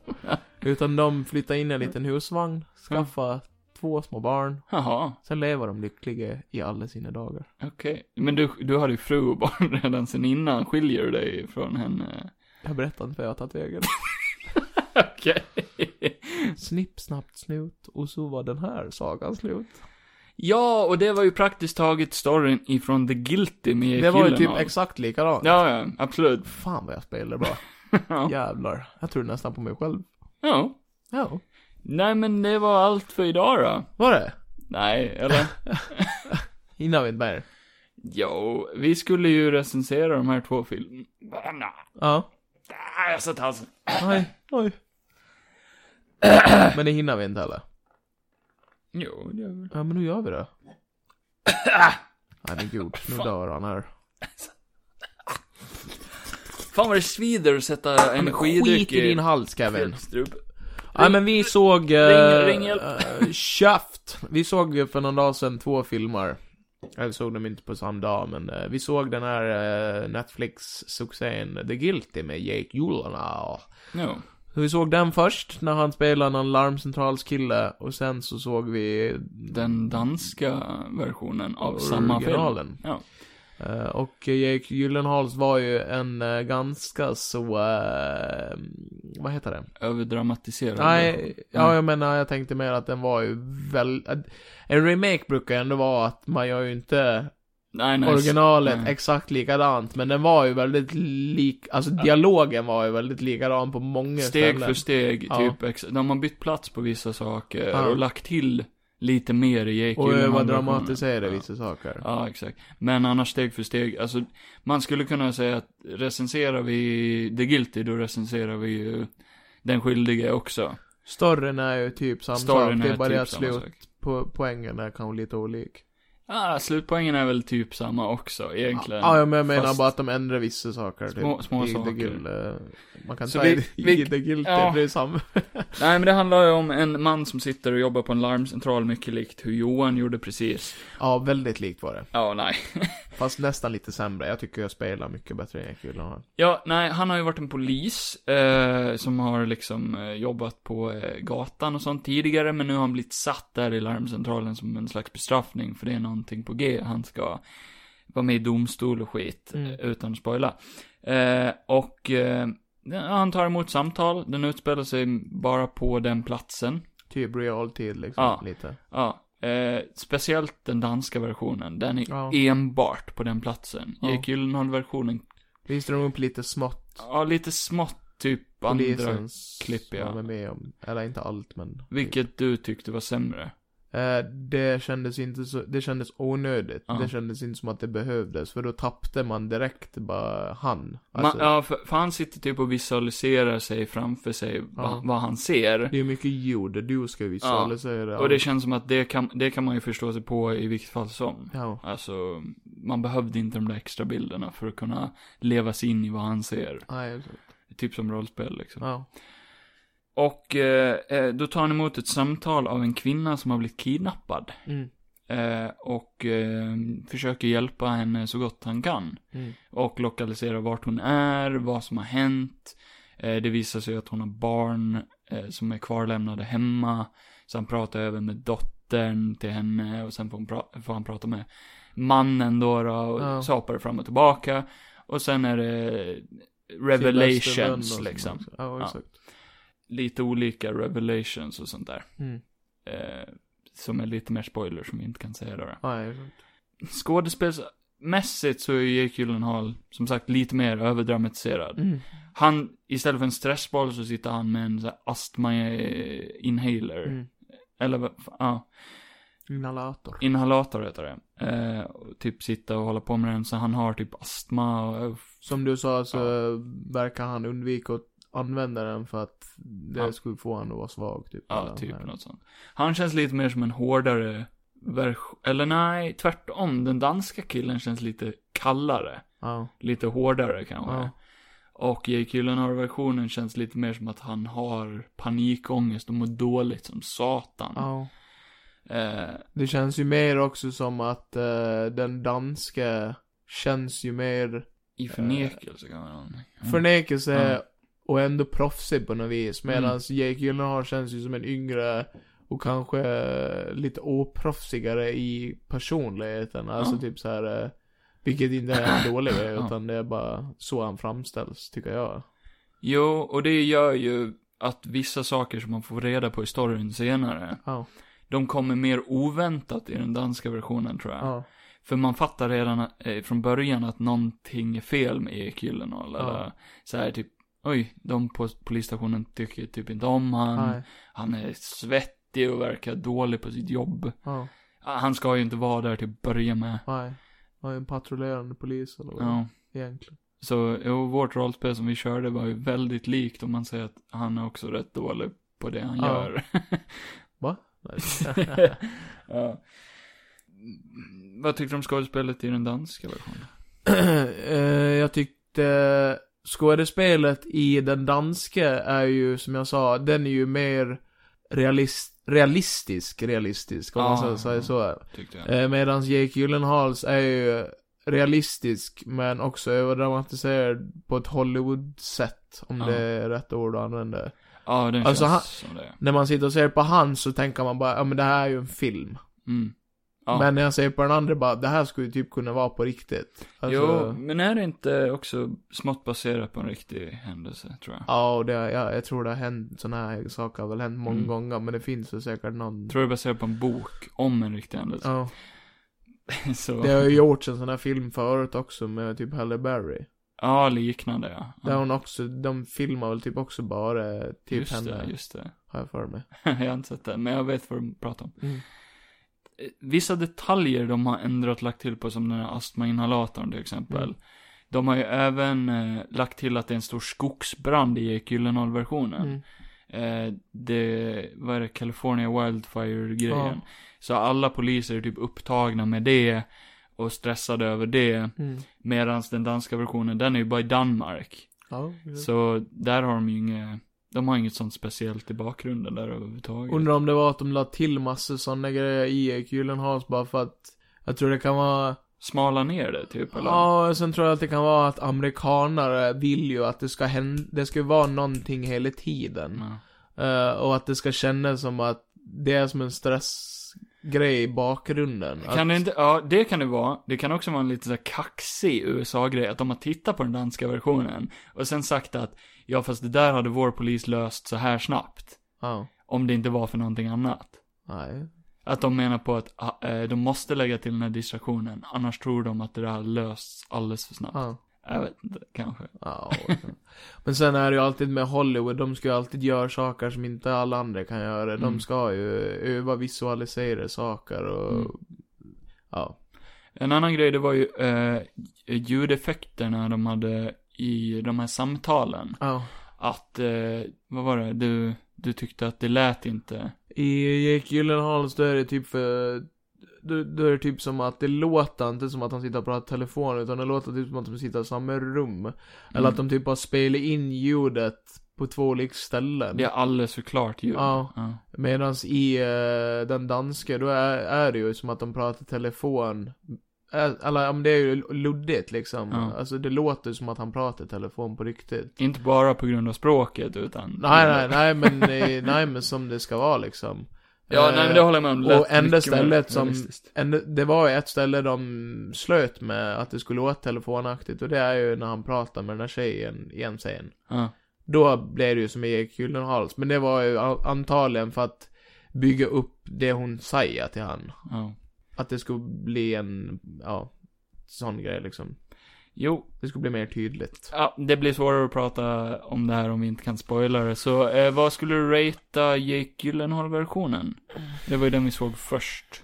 Speaker 2: Utan de flyttar in i en liten husvagn, skaffar två små barn.
Speaker 1: Jaha,
Speaker 2: Sen lever de lyckliga i alla sina dagar.
Speaker 1: okej. Men du, du hade ju fru och barn redan sen innan. Skiljer du dig från henne?
Speaker 2: Jag berättar inte vad jag har tagit vägen.
Speaker 1: Okej.
Speaker 2: Snipp, snabbt, snut. Och så var den här sagan slut.
Speaker 1: Ja, och det var ju praktiskt taget storyn ifrån The Guilty med
Speaker 2: Det var ju
Speaker 1: killen
Speaker 2: typ
Speaker 1: av-
Speaker 2: exakt likadant.
Speaker 1: Ja, ja, absolut.
Speaker 2: Fan vad jag spelar bra.
Speaker 1: Ja.
Speaker 2: Jävlar. Jag tror nästan på mig själv.
Speaker 1: ja.
Speaker 2: Ja.
Speaker 1: Nej, men det var allt för idag då.
Speaker 2: Var det?
Speaker 1: Nej, eller?
Speaker 2: Hinner vi inte mer?
Speaker 1: jo, vi skulle ju recensera de här två filmerna.
Speaker 2: Ja.
Speaker 1: Ah, jag satt halsen.
Speaker 2: Nej. Oj. Men det hinner vi inte heller.
Speaker 1: Jo, det gör vi.
Speaker 2: Ja, men nu gör vi det. Nej men gud, nu dör han här.
Speaker 1: Fan vad det svider att sätta en
Speaker 2: Skit
Speaker 1: skidryck
Speaker 2: i din hals Kevin.
Speaker 1: strupen.
Speaker 2: Nej men vi såg... eh,
Speaker 1: Ring- ring hjälp.
Speaker 2: eh, Shaft. Vi såg ju för någon dag sedan två filmer. Jag såg dem inte på samma dag, men eh, vi såg den här eh, Netflix-succén The Guilty med Jake Gyllenhaal.
Speaker 1: Jo.
Speaker 2: Så vi såg den först, när han spelade någon larmcentralskille, och sen så såg vi
Speaker 1: Den danska versionen av samma film.
Speaker 2: originalen.
Speaker 1: Ja.
Speaker 2: Eh, och Jake Gyllenhaals var ju en eh, ganska så... eh, vad heter det?
Speaker 1: Överdramatiserad. version.
Speaker 2: Nej, ja,
Speaker 1: Mm.
Speaker 2: jag menar, jag tänkte mer att den var ju väl... att- En remake brukar ju ändå vara att man gör ju inte
Speaker 1: nej, nej.
Speaker 2: originalet
Speaker 1: nej.
Speaker 2: exakt likadant, men den var ju väldigt lik... Alltså dialogen var ju väldigt likadan på många
Speaker 1: Steg
Speaker 2: ställen.
Speaker 1: för steg,
Speaker 2: Ja.
Speaker 1: typ. Ex- de har bytt plats på vissa saker
Speaker 2: Ja.
Speaker 1: och lagt till lite mer i Jake
Speaker 2: Och
Speaker 1: Gyllenhaal-versionen.
Speaker 2: överdramatiserade
Speaker 1: Ja.
Speaker 2: vissa saker.
Speaker 1: Ja, exakt. Men annars steg för steg, alltså man skulle kunna säga att recenserar vi The Guilty, då recenserar vi ju Den Skyldige också.
Speaker 2: Storyn är ju typ samma
Speaker 1: Storyn
Speaker 2: sak, det är
Speaker 1: är
Speaker 2: bara
Speaker 1: typ
Speaker 2: det att
Speaker 1: samma
Speaker 2: slut
Speaker 1: sak.
Speaker 2: på poängen är kanske lite olik.
Speaker 1: Ah, slutpoängen är väl typ samma också, egentligen.
Speaker 2: Ja, men jag menar
Speaker 1: Fast-
Speaker 2: bara att de ändrar vissa saker. Typ.
Speaker 1: Små- små
Speaker 2: I the
Speaker 1: saker.
Speaker 2: Guild, eh, man kan
Speaker 1: Så
Speaker 2: ta
Speaker 1: vi-
Speaker 2: i,
Speaker 1: vi-
Speaker 2: i The Guild, typ.
Speaker 1: ja.
Speaker 2: det är samma.
Speaker 1: Nej, men det handlar ju om en man som sitter och jobbar på en larmcentral, mycket likt hur Johan gjorde precis.
Speaker 2: Ja, väldigt likt var det.
Speaker 1: Ja, nej.
Speaker 2: Fast nästan lite sämre. Jag tycker jag spelar mycket bättre än Jake Gyllenhaal.
Speaker 1: Ja, nej, han har ju varit en polis eh, som har liksom eh, jobbat på eh, gatan och sånt tidigare, men nu har han blivit satt där i larmcentralen som en slags bestraffning, för det är någonting på G. Han ska vara med i domstol och skit,
Speaker 2: Mm.
Speaker 1: eh, utan att spoila. Eh, och eh, ja, han tar emot samtal, den utspelar sig bara på den platsen.
Speaker 2: Typ realtid liksom,
Speaker 1: Ja.
Speaker 2: lite.
Speaker 1: Ja, eh, speciellt den danska versionen, den är
Speaker 2: Ja.
Speaker 1: enbart på den platsen.
Speaker 2: Ja.
Speaker 1: Jake Gyllenhaal-versionen,
Speaker 2: Visste de upp lite smått?
Speaker 1: ja, lite smått typ andra
Speaker 2: Polisens...
Speaker 1: klipp, ja.
Speaker 2: Som är med om. Eller inte allt, men...
Speaker 1: Vilket du tyckte var sämre.
Speaker 2: Eh, det kändes inte så, det kändes onödigt.
Speaker 1: Ja.
Speaker 2: Det kändes inte som att det behövdes, för då tappade man direkt bara han. Alltså,
Speaker 1: Man, ja, för, för han sitter typ och visualiserar sig framför sig,
Speaker 2: Ja.
Speaker 1: vad, vad han ser.
Speaker 2: Det är mycket ljud, du ska visualisera. Ja.
Speaker 1: Och det känns som att det kan, det kan man ju förstå sig på i vilket fall som.
Speaker 2: ja.
Speaker 1: Alltså, man behövde inte de där extra bilderna för att kunna leva sig in i vad han ser.
Speaker 2: Nej, exakt.
Speaker 1: Typ som rollspel liksom.
Speaker 2: Ja.
Speaker 1: Och eh, eh, då tar han emot ett samtal av en kvinna som har blivit kidnappad.
Speaker 2: Mm.
Speaker 1: Eh, och eh, försöker hjälpa henne så gott han kan.
Speaker 2: Mm.
Speaker 1: Och lokalisera vart hon är, vad som har hänt. Eh, det visar sig att hon har barn eh, som är kvarlämnade hemma. Så han pratar även med dottern till henne och sen får, hon pra- får han prata med mannen då, då och
Speaker 2: Ja.
Speaker 1: så hoppar det fram och tillbaka. Och sen är det
Speaker 2: Sydvästerlund och
Speaker 1: revelations
Speaker 2: sånt
Speaker 1: liksom.
Speaker 2: också. Ja,
Speaker 1: Ja.
Speaker 2: exakt.
Speaker 1: Lite olika revelations och sånt där.
Speaker 2: Mm.
Speaker 1: Eh, som är lite mer spoiler som vi inte kan säga då. då
Speaker 2: Nej, exakt.
Speaker 1: skådespelsmässigt så är ju Jake Gyllenhaal, som sagt, lite mer överdramatiserad.
Speaker 2: Mm.
Speaker 1: Han, istället för en stressboll så sitter han med en sån här astma-inhaler.
Speaker 2: Mm.
Speaker 1: Eller vad fan, ja.
Speaker 2: Inhalator.
Speaker 1: Inhalator heter det. Eh, och typ sitta och hålla på med den så han har typ astma och...
Speaker 2: Som du sa så verkar han undvika att använda den för att det
Speaker 1: Ja.
Speaker 2: skulle få honom att vara svag typ.
Speaker 1: Ja,
Speaker 2: Eller,
Speaker 1: typ
Speaker 2: nej.
Speaker 1: något sånt. Han känns lite mer som en hårdare version. Eller nej, tvärtom. Den danska killen känns lite kallare.
Speaker 2: Ja.
Speaker 1: lite hårdare kanske.
Speaker 2: Ja.
Speaker 1: Och Jake Gyllenhaal-versionen känns lite mer som att han har panikångest och mår dåligt som satan.
Speaker 2: ja.
Speaker 1: Eh,
Speaker 2: Det känns ju mer också som att eh, den danske känns ju mer
Speaker 1: I förnekelse kan man ha.
Speaker 2: förnekelse
Speaker 1: Mm. Ja.
Speaker 2: och ändå proffsig på något vis.
Speaker 1: Mm.
Speaker 2: Medan Jake Gyllenhaal känns ju som en yngre och kanske eh, lite oproffsigare i personligheten. Alltså
Speaker 1: Ja.
Speaker 2: typ så här. eh, Vilket inte är en dålig grej,
Speaker 1: Ja.
Speaker 2: utan det är bara så han framställs, tycker jag.
Speaker 1: Jo, och det gör ju att vissa saker som man får reda på i storyn senare,
Speaker 2: Ja.
Speaker 1: de kommer mer oväntat i den danska versionen tror jag.
Speaker 2: Ja.
Speaker 1: För man fattar redan eh, från början att någonting är fel med Jake Gyllenhaal.
Speaker 2: Ja.
Speaker 1: Eller så här typ, oj, de på polisstationen tycker typ inte om han.
Speaker 2: Nej.
Speaker 1: Han är svettig och verkar dålig på sitt jobb.
Speaker 2: Ja.
Speaker 1: Ah, Han ska ju inte vara där till att börja med.
Speaker 2: Nej. Han är en patrullerande polis eller vad det är,
Speaker 1: Ja.
Speaker 2: egentligen.
Speaker 1: Så, jo, vårt rollspel som vi körde var ju väldigt likt om man säger att han är också rätt dålig på det han
Speaker 2: Ja.
Speaker 1: gör.
Speaker 2: Va? Nej.
Speaker 1: ja. Vad tyckte du om skådespelet i den danska versionen?
Speaker 2: Eh, jag tyckte skådespelet i den danske är ju, som jag sa, den är ju mer realist, realistisk, realistisk, om man
Speaker 1: Ja.
Speaker 2: så- säger så.
Speaker 1: Tyckte jag.
Speaker 2: Eh, Medan Jake Gyllenhaals är ju realistisk, men också överdramatiserad på ett Hollywood-sätt, om
Speaker 1: Ja.
Speaker 2: det är rätt ord att använda.
Speaker 1: Ja, den
Speaker 2: alltså
Speaker 1: känns
Speaker 2: han-
Speaker 1: som det.
Speaker 2: När man sitter och ser på han så tänker man bara, ja men det här är ju en film.
Speaker 1: Mm. Ja.
Speaker 2: Men när jag ser på den andra bara, det här skulle ju typ kunna vara på riktigt. Alltså,
Speaker 1: Jo, men är det inte också smått baserat på en riktig händelse, tror jag?
Speaker 2: Ja, och det, jag, jag tror det har hänt, sådana här saker har väl hänt många
Speaker 1: Mm.
Speaker 2: gånger, men det finns ju säkert någon.
Speaker 1: Jag tror det är baserat på en bok om en riktig händelse.
Speaker 2: Ja,
Speaker 1: Så,
Speaker 2: det har ju gjorts en sån här film förut också med typ Halle Berry.
Speaker 1: ja, liknande ja. ja.
Speaker 2: Där hon också, de filmar väl typ också bara typ
Speaker 1: just
Speaker 2: henne,
Speaker 1: det, just det.
Speaker 2: har jag för mig.
Speaker 1: jag har inte sett det, men jag vet vad de pratar om.
Speaker 2: Mm.
Speaker 1: Eh, Vissa detaljer de har ändrat, lagt till på, som den här astmainhalatorn till exempel.
Speaker 2: Mm.
Speaker 1: De har ju även eh, lagt till att det är en stor skogsbrand i Jake Gyllenhaal-versionen.
Speaker 2: Mm.
Speaker 1: Eh, det, vad är det, California Wildfire-grejen. Så alla poliser är typ upptagna med det och stressade över det.
Speaker 2: Mm.
Speaker 1: Medan den danska versionen, den är ju bara i Danmark.
Speaker 2: Ja,
Speaker 1: Så där har de ju inget, de har inget sånt speciellt i bakgrunden där överhuvudtaget.
Speaker 2: Undrar om det var att de la till massor sådana grejer i E Erik Gyllenhaals bara för att jag tror det kan vara,
Speaker 1: Smala ner det typ eller?
Speaker 2: ja, och sen tror jag att det kan vara att amerikanare vill ju att det ska hända, det ska vara någonting hela tiden.
Speaker 1: Ja.
Speaker 2: Eh, och att det ska kännas som att det är som en stressgrej i bakgrunden. att,
Speaker 1: Kan det inte, ja det kan det vara. Det kan också vara en lite så här kaxig USA-grej, att de har tittat på den danska versionen och sen sagt att, ja fast det där hade vår polis löst så här snabbt.
Speaker 2: Ja.
Speaker 1: Om det inte var för någonting annat.
Speaker 2: Nej.
Speaker 1: Att de menar på att ah, eh, de måste lägga till den här distraktionen, annars tror de att det där har lösts alldeles för snabbt.
Speaker 2: Ja.
Speaker 1: Jag vet inte, kanske.
Speaker 2: Ja, men sen är det ju alltid med Hollywood, de ska ju alltid göra saker som inte alla andra kan göra.
Speaker 1: Mm.
Speaker 2: De ska ju öva visualisera saker och...
Speaker 1: Mm.
Speaker 2: Ja.
Speaker 1: En annan grej, det var ju eh, ljudeffekterna de hade i de här samtalen.
Speaker 2: ja.
Speaker 1: Att, eh, vad var det, du, du tyckte att det lät inte.
Speaker 2: I Jake Gyllenhaals då är det typ för... Då, då är det typ som att det låter inte som att han sitter och pratar i telefon utan det låter typ som att de sitter i samma rum.
Speaker 1: Mm.
Speaker 2: Eller att de typ har spelat in ljudet på två olika ställen.
Speaker 1: Det är alldeles för klart ljud.
Speaker 2: Ja. Medan i eh, den danska, då är, är det ju som att de pratar telefon. Ä- Eller om det är ju luddigt liksom.
Speaker 1: Ja.
Speaker 2: Alltså det låter som att han pratar telefon på riktigt.
Speaker 1: Inte bara på grund av språket, utan...
Speaker 2: Nej, nej, nej men, eh, nej men som det ska vara liksom.
Speaker 1: Ja,
Speaker 2: Eh,
Speaker 1: nej men det håller jag med om. Det lät
Speaker 2: och enda
Speaker 1: mycket mer
Speaker 2: stället som-
Speaker 1: realistiskt.
Speaker 2: en, det var ju ett ställe de slöt med att det skulle låta telefonaktigt och det är ju när han pratar med den här tjejen igen sen.
Speaker 1: Ja.
Speaker 2: Då blev det ju som i Erik Gyllenhaals. Men det var ju a- antagligen för att bygga upp det hon säger till han.
Speaker 1: ja.
Speaker 2: Att det skulle bli en, ja, sån grej liksom.
Speaker 1: Jo,
Speaker 2: Det skulle bli mer tydligt.
Speaker 1: ja, det blir svårare att prata om det här om vi inte kan spoila det. Så eh, vad skulle du ratea Jake Gyllenhaal-versionen? Det var ju den vi såg först.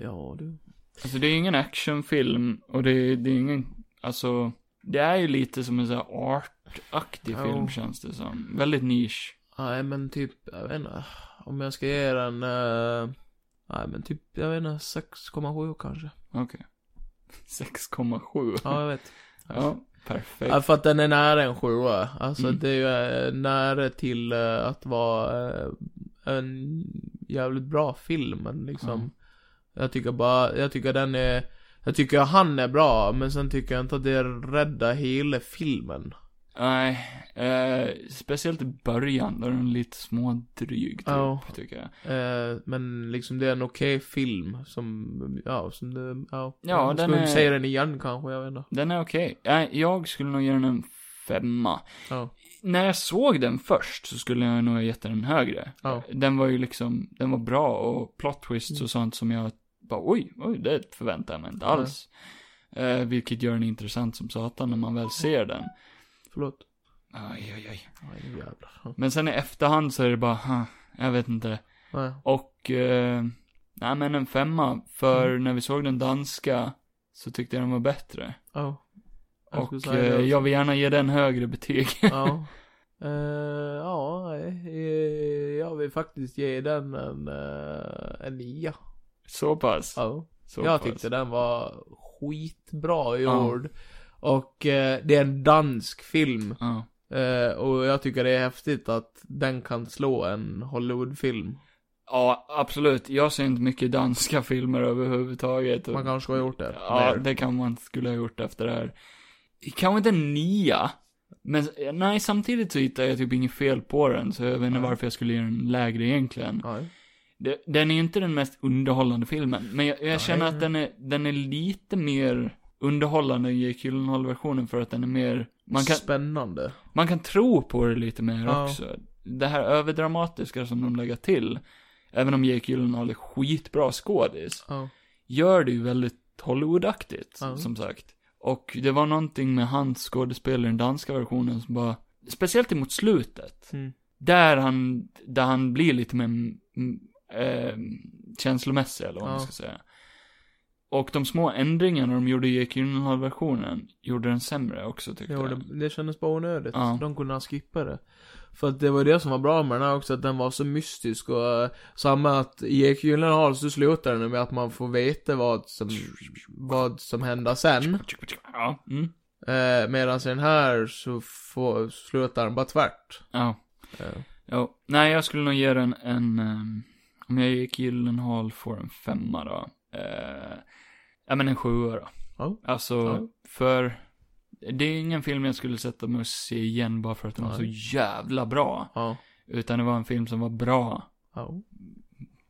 Speaker 2: Ja, du.
Speaker 1: Alltså det är ju ingen actionfilm och det är, det är ingen, alltså, det är ju lite som en sån här artaktig
Speaker 2: Ja.
Speaker 1: film känns det som. Väldigt nisch.
Speaker 2: Nej, men typ, jag vet inte. Om jag ska ge den, eh, nej men typ, jag vet inte, 6,7 kanske.
Speaker 1: Okej. 6,7.
Speaker 2: Ja, jag vet.
Speaker 1: Ja, perfekt.
Speaker 2: Ja, för att den är nära en sjua. Alltså
Speaker 1: Mm.
Speaker 2: det är ju eh, nära till eh, att vara eh, en jävligt bra film, men liksom.
Speaker 1: Mm.
Speaker 2: Jag tycker bara, jag tycker den är, jag tycker han är bra, men sen tycker jag inte att det räddar hela filmen.
Speaker 1: Nej, eh, speciellt i början, då är den lite smådryg typ,
Speaker 2: Ja.
Speaker 1: tycker jag.
Speaker 2: Eh, men liksom det är en okej film som, ja, som det, ja.
Speaker 1: Ja,
Speaker 2: Man
Speaker 1: den
Speaker 2: skulle
Speaker 1: är-
Speaker 2: säga den igen kanske, jag vet inte.
Speaker 1: Den är okej. Nej, Jag skulle nog ge den en femma.
Speaker 2: Ja.
Speaker 1: När jag såg den först så skulle jag nog ha gett den en högre.
Speaker 2: Ja. Mm.
Speaker 1: Den var ju liksom, den var bra och plot twists och sånt som jag bara oj, oj, det förväntar jag mig inte alls. Eh, vilket gör den intressant som satan när man väl ser den.
Speaker 2: Förlåt.
Speaker 1: Aj, aj, aj.
Speaker 2: Nej, nu jävlar. Ja.
Speaker 1: Men sen i efterhand så är det bara, huh, jag vet inte.
Speaker 2: Nej.
Speaker 1: Och, eh, nej men en femma. För
Speaker 2: Mm.
Speaker 1: när vi såg den danska så tyckte jag den var bättre.
Speaker 2: Ja. Jag skulle
Speaker 1: Och
Speaker 2: säga det
Speaker 1: eh,
Speaker 2: också.
Speaker 1: jag vill gärna ge den högre betyg.
Speaker 2: Ja. Eh, ja, eh, jag vill faktiskt ge den en, eh, en nia.
Speaker 1: Så pass.
Speaker 2: Ja.
Speaker 1: Så
Speaker 2: Jag
Speaker 1: pass.
Speaker 2: tyckte den var skitbra
Speaker 1: Ja.
Speaker 2: gjord. Och eh, det är en dansk film.
Speaker 1: Ja.
Speaker 2: Eh, och jag tycker det är häftigt att den kan slå en Hollywoodfilm.
Speaker 1: ja, absolut. Jag ser inte mycket danska filmer överhuvudtaget.
Speaker 2: Man kanske har gjort det.
Speaker 1: Ja,
Speaker 2: mer.
Speaker 1: det kan man skulle ha gjort efter det här. Kanske inte en nia. Men eh, nej, samtidigt så hittar jag typ inget fel på den, så jag vet inte
Speaker 2: Nej.
Speaker 1: varför jag skulle ge den lägre egentligen.
Speaker 2: Nej.
Speaker 1: Det- Den är ju inte den mest underhållande filmen, men jag, jag känner att
Speaker 2: nej.
Speaker 1: den är, den är lite mer underhållande än Jake Gyllenhaal-versionen för att den är mer, man kan,
Speaker 2: Spännande.
Speaker 1: man kan tro på det lite mer
Speaker 2: Ja.
Speaker 1: också. Det här överdramatiska som de lägger till, även om Jake Gyllenhaal är skitbra skådis,
Speaker 2: Ja.
Speaker 1: gör det ju väldigt Hollywoodaktigt,
Speaker 2: Ja.
Speaker 1: som sagt. Och det var någonting med hans skådespel i den danska versionen som bara, speciellt emot slutet,
Speaker 2: Mm.
Speaker 1: där han, där han blir lite mer mm, eh, känslomässig eller vad man
Speaker 2: Ja.
Speaker 1: ska säga. Och de små ändringarna de gjorde i Jake Gyllenhaal-versionen gjorde den sämre också tyckte
Speaker 2: Jo,
Speaker 1: jag.
Speaker 2: det, det kändes bara onödigt.
Speaker 1: Ja.
Speaker 2: De kunde ha skippat det. För att det var det som var bra med den här också, att den var så mystisk och eh, samma att i Jake Gyllenhaal så slutar den med att man får veta vad som, vad som händer sen.
Speaker 1: Ja. Mm.
Speaker 2: Eh, Medan i den här så får, slutar den bara tvärt.
Speaker 1: Ja.
Speaker 2: Eh,
Speaker 1: Jo. Nej, jag skulle nog ge den en... ehm, om jag gick Gyllenhaal får en femma då. Eh, ja, men en sjua då.
Speaker 2: Ja.
Speaker 1: Alltså,
Speaker 2: Ja.
Speaker 1: för... Det är ingen film jag skulle sätta mig och se igen bara för att den var så jävla bra.
Speaker 2: Ja.
Speaker 1: Utan det var en film som var bra.
Speaker 2: ja.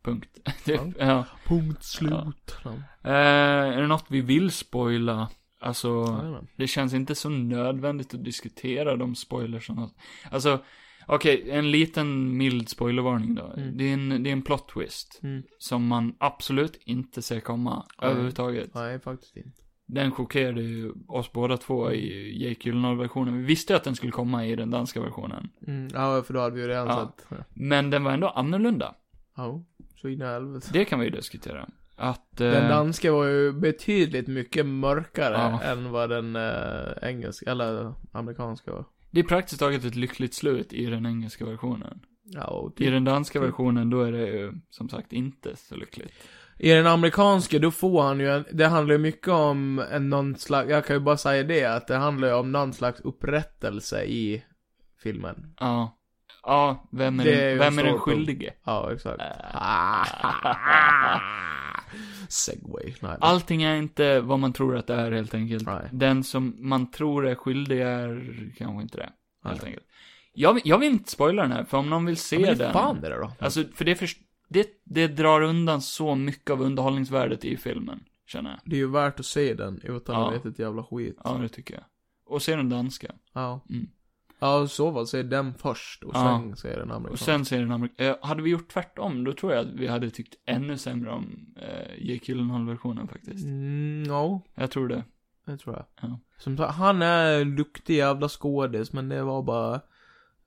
Speaker 1: Punkt. typ. Ja.
Speaker 2: Punkt slut. Ja.
Speaker 1: Eh, är det något vi vill spoila? Alltså...
Speaker 2: Ja, jajamän.
Speaker 1: Det känns inte så nödvändigt att diskutera de spoilersarna. Alltså, okej, en liten mild spoilervarning då.
Speaker 2: Mm.
Speaker 1: Det, är en, det är en plot twist
Speaker 2: Mm.
Speaker 1: som man absolut inte ser komma
Speaker 2: Nej.
Speaker 1: överhuvudtaget.
Speaker 2: Nej, faktiskt inte.
Speaker 1: Den chockerade ju oss båda två i Jake Gyllenhaal-versionen. Vi visste ju att den skulle komma i den danska versionen.
Speaker 2: Mm, ja, för då hade vi ju redan
Speaker 1: Ja.
Speaker 2: sett.
Speaker 1: Men den var ändå annorlunda.
Speaker 2: Ja, så in i helvete.
Speaker 1: Det kan vi ju diskutera. Att... eh,
Speaker 2: Den danska var ju betydligt mycket mörkare
Speaker 1: Ja.
Speaker 2: än vad den eh, engelska, eller amerikanska var.
Speaker 1: Det är praktiskt taget ett lyckligt slut i den engelska versionen.
Speaker 2: Ja, och
Speaker 1: I
Speaker 2: typ.
Speaker 1: den danska versionen då är det ju som sagt inte så lyckligt.
Speaker 2: I den amerikanska, då får han ju en, det handlar ju mycket om en någon slags, jag kan ju bara säga det, att det handlar ju om någon slags upprättelse i filmen.
Speaker 1: Ja. Ja, vem är,
Speaker 2: Det
Speaker 1: den-
Speaker 2: är ju en
Speaker 1: vem är den
Speaker 2: stor punkt.
Speaker 1: skyldige?
Speaker 2: Ja, exakt.
Speaker 1: Eh.
Speaker 2: Ah. Segway, nej.
Speaker 1: Allting är inte vad man tror att det är helt enkelt.
Speaker 2: Nej.
Speaker 1: Den som man tror är skyldig är kanske inte det. Helt
Speaker 2: Nej.
Speaker 1: enkelt. Jag, vill- jag vill inte spoila den här, för om någon vill se
Speaker 2: Ja, men
Speaker 1: den.
Speaker 2: det fan är det då?
Speaker 1: Alltså, för det, först- det, det drar undan så mycket av underhållningsvärdet i filmen, känner jag.
Speaker 2: Det är ju värt att se den utan
Speaker 1: Ja.
Speaker 2: att veta ett jävla skit.
Speaker 1: Ja, det tycker jag. Och se den danska.
Speaker 2: Ja.
Speaker 1: Mm.
Speaker 2: Ja, och så fall se den först och
Speaker 1: Ja.
Speaker 2: sen se den
Speaker 1: Och
Speaker 2: amerikanska.
Speaker 1: sen ser den amerikanska. Eh, hade vi gjort tvärtom, då tror jag att vi hade tyckt ännu sämre om eh, Jake Gyllenhaal-versionen faktiskt.
Speaker 2: Mm, ja,
Speaker 1: Jag tror det.
Speaker 2: det tror jag.
Speaker 1: Ja.
Speaker 2: Som sagt, han är en duktig jävla skådis, men det var bara...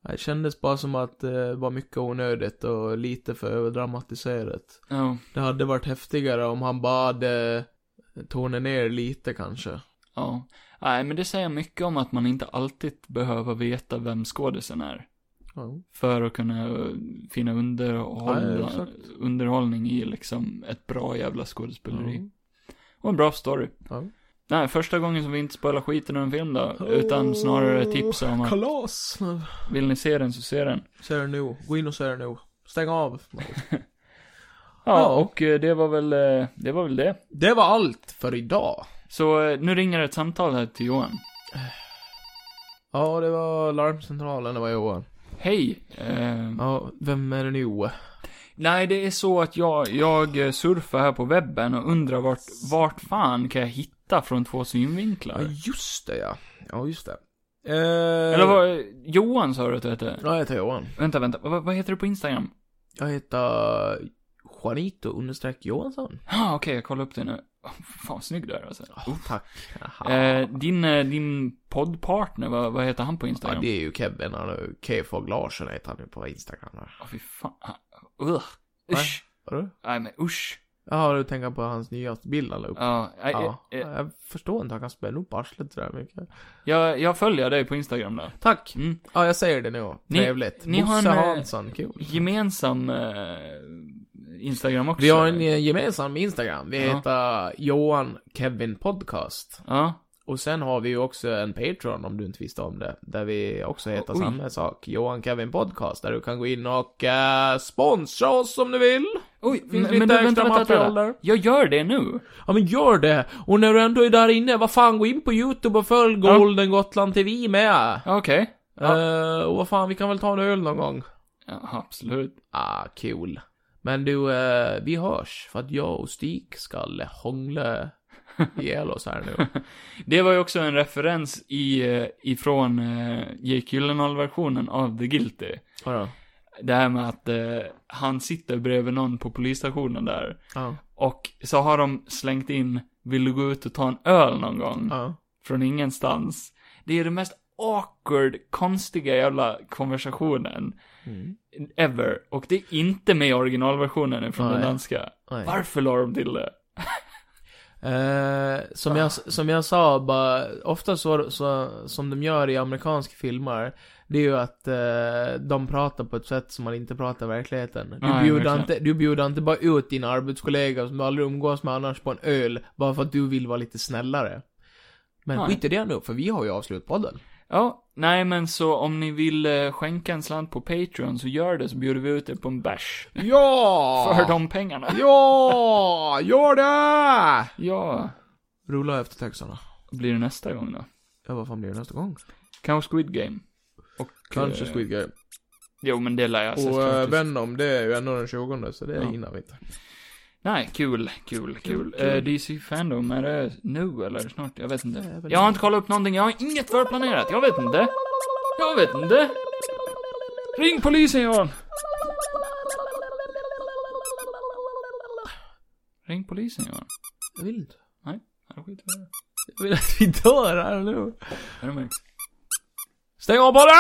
Speaker 2: Det kändes bara som att det var mycket onödigt och lite för överdramatiserat.
Speaker 1: Ja,
Speaker 2: Det hade varit häftigare om han bara hade tonat ner lite kanske.
Speaker 1: ja. Nej, men det säger mycket om att man inte alltid behöver veta vem skådisen är.
Speaker 2: Ja.
Speaker 1: För att kunna eh, finna underhåll,
Speaker 2: Ja, exakt.
Speaker 1: underhållning i liksom ett bra jävla skådespeleri.
Speaker 2: Ja.
Speaker 1: Och en bra story.
Speaker 2: Ja. Oh.
Speaker 1: Nej, första gången som vi inte spoilar skiten ur en film då. Utan snarare tipsa om att
Speaker 2: Kalas!
Speaker 1: vill ni se den så se den.
Speaker 2: Se den nu. Gå in och se den nu. Stäng av.
Speaker 1: Ja,
Speaker 2: Ja.
Speaker 1: och eh, det var väl, eh, det var väl det.
Speaker 2: Det var allt för idag.
Speaker 1: Så eh, nu ringer ett samtal här till Johan.
Speaker 2: Ja, det var larmcentralen, det var Johan.
Speaker 1: Hej! Eh,
Speaker 2: Ja, vem är det nu?
Speaker 1: Nej, det är så att jag, jag eh, surfar här på webben och undrar vart, vart fan kan jag hitta från två synvinklar?
Speaker 2: Ja, just det ja. Ja, just det. Eh,
Speaker 1: Eller vad, Johan sa du att du hette?
Speaker 2: Ja, jag heter Johan.
Speaker 1: Vänta, vänta, vad, vad heter du på Instagram?
Speaker 2: Jag heter Juanito understreck Johansson.
Speaker 1: Ja, ah, okej, jag kollar upp det nu. Oh, Fan, vad snygg du är alltså.
Speaker 2: Oh, tack. Ah.
Speaker 1: Eh, din, eh, din poddpartner, vad, vad heter han på
Speaker 2: Ja,
Speaker 1: Instagram?
Speaker 2: det är ju Kevin, han är K-Fog Larsson heter han ju på Instagram. där.
Speaker 1: Åh, fy fan. Uh, usch.
Speaker 2: Vadå?
Speaker 1: Nej, men usch.
Speaker 2: Jaha, du tänker på hans nyaste bild han la upp?
Speaker 1: Ja, nej,
Speaker 2: Ja.
Speaker 1: eh, eh,
Speaker 2: Jag förstår inte, han kan spänna upp arslet sådär mycket.
Speaker 1: jag, jag följer dig på Instagram där.
Speaker 2: Tack!
Speaker 1: Mm.
Speaker 2: Ja, jag säger det nu.
Speaker 1: Ni-
Speaker 2: Trevligt.
Speaker 1: ni har
Speaker 2: Bosse
Speaker 1: en, eh,
Speaker 2: Hansson, kul.
Speaker 1: Gemensam eh, Instagram också.
Speaker 2: Vi har en eh, gemensam Instagram. Vi
Speaker 1: Ja.
Speaker 2: heter Johan Kevin Podcast.
Speaker 1: Ja.
Speaker 2: Och sen har vi ju också en Patreon om du inte visste om det. Där vi också heter
Speaker 1: Oj.
Speaker 2: samma sak. Johan Kevin Podcast. Där du kan gå in och eh, sponsra oss om du vill.
Speaker 1: Oj, men,
Speaker 2: Finns
Speaker 1: men du,
Speaker 2: lite
Speaker 1: vänta,
Speaker 2: extra
Speaker 1: vänta,
Speaker 2: material
Speaker 1: vänta.
Speaker 2: där.
Speaker 1: Jag gör det nu.
Speaker 2: Ja men gör det! Och när du ändå är där inne, vad fan gå in på YouTube och följ
Speaker 1: Ja.
Speaker 2: Golden Gotland TV med!
Speaker 1: Ja, Okej. Ja.
Speaker 2: Eh, och vad fan, vi kan väl ta en öl någon gång?
Speaker 1: Ja, absolut.
Speaker 2: Ah, kul. Men du, eh, vi hörs. För att jag och Stig skall hångla ihjäl oss här nu.
Speaker 1: Det var ju också en referens i, eh, ifrån eh, Jake Gyllenhaal-versionen av The Guilty.
Speaker 2: Vadå?
Speaker 1: Det här med att eh, han sitter bredvid någon på polisstationen där.
Speaker 2: Ja.
Speaker 1: Och så har de slängt in, vill du gå ut och ta en öl någon gång?
Speaker 2: Ja.
Speaker 1: Från ingenstans. Det är den mest awkward, konstiga jävla konversationen
Speaker 2: Mm.
Speaker 1: ever. Och det är inte med i originalversionen från den
Speaker 2: Nej.
Speaker 1: danska.
Speaker 2: Nej.
Speaker 1: Varför la de till det?
Speaker 2: Eh, som, jag, som jag sa, bara, ofta så, så som de gör i amerikanska filmer, det är ju att eh, de pratar på ett sätt som man inte pratar i verkligheten. Du,
Speaker 1: Nej,
Speaker 2: bjuder
Speaker 1: verkligen.
Speaker 2: inte, du bjuder inte bara ut dina arbetskollegor som du aldrig umgås med annars på en öl, bara för att du vill vara lite snällare. Men
Speaker 1: Nej.
Speaker 2: skit i det nu, för vi har ju avslutat podden.
Speaker 1: Ja, nej men så om ni vill eh, skänka en slant på Patreon så gör det så bjuder vi ut er på en bärs.
Speaker 2: Ja!
Speaker 1: För de pengarna.
Speaker 2: Ja! Gör det!
Speaker 1: Ja,
Speaker 2: Rulla efter texterna.
Speaker 1: blir det nästa gång då?
Speaker 2: Ja, vad fan blir det nästa gång?
Speaker 1: Kanske Squid Game. Och,
Speaker 2: Kanske
Speaker 1: eh,
Speaker 2: Squid Game.
Speaker 1: Jo men det lär jag sig
Speaker 2: Och äh,
Speaker 1: faktiskt.
Speaker 2: Venom, det är ju ändå den 20 så det
Speaker 1: Ja.
Speaker 2: hinner vi inte.
Speaker 1: Nej, kul, kul, kul.
Speaker 2: kul.
Speaker 1: Eh, DC Fandom, är det nu eller snart? Jag vet inte.
Speaker 2: väl
Speaker 1: Jag har inte kollat upp någonting, jag har inget förplanerat. Jag vet inte. Jag vet inte. Ring polisen Johan! Ring polisen Johan.
Speaker 2: Jag vill inte.
Speaker 1: Nej, jag skiter i det. Jag vill att vi dör här nu.
Speaker 6: Är det med?
Speaker 1: Stäng av bara!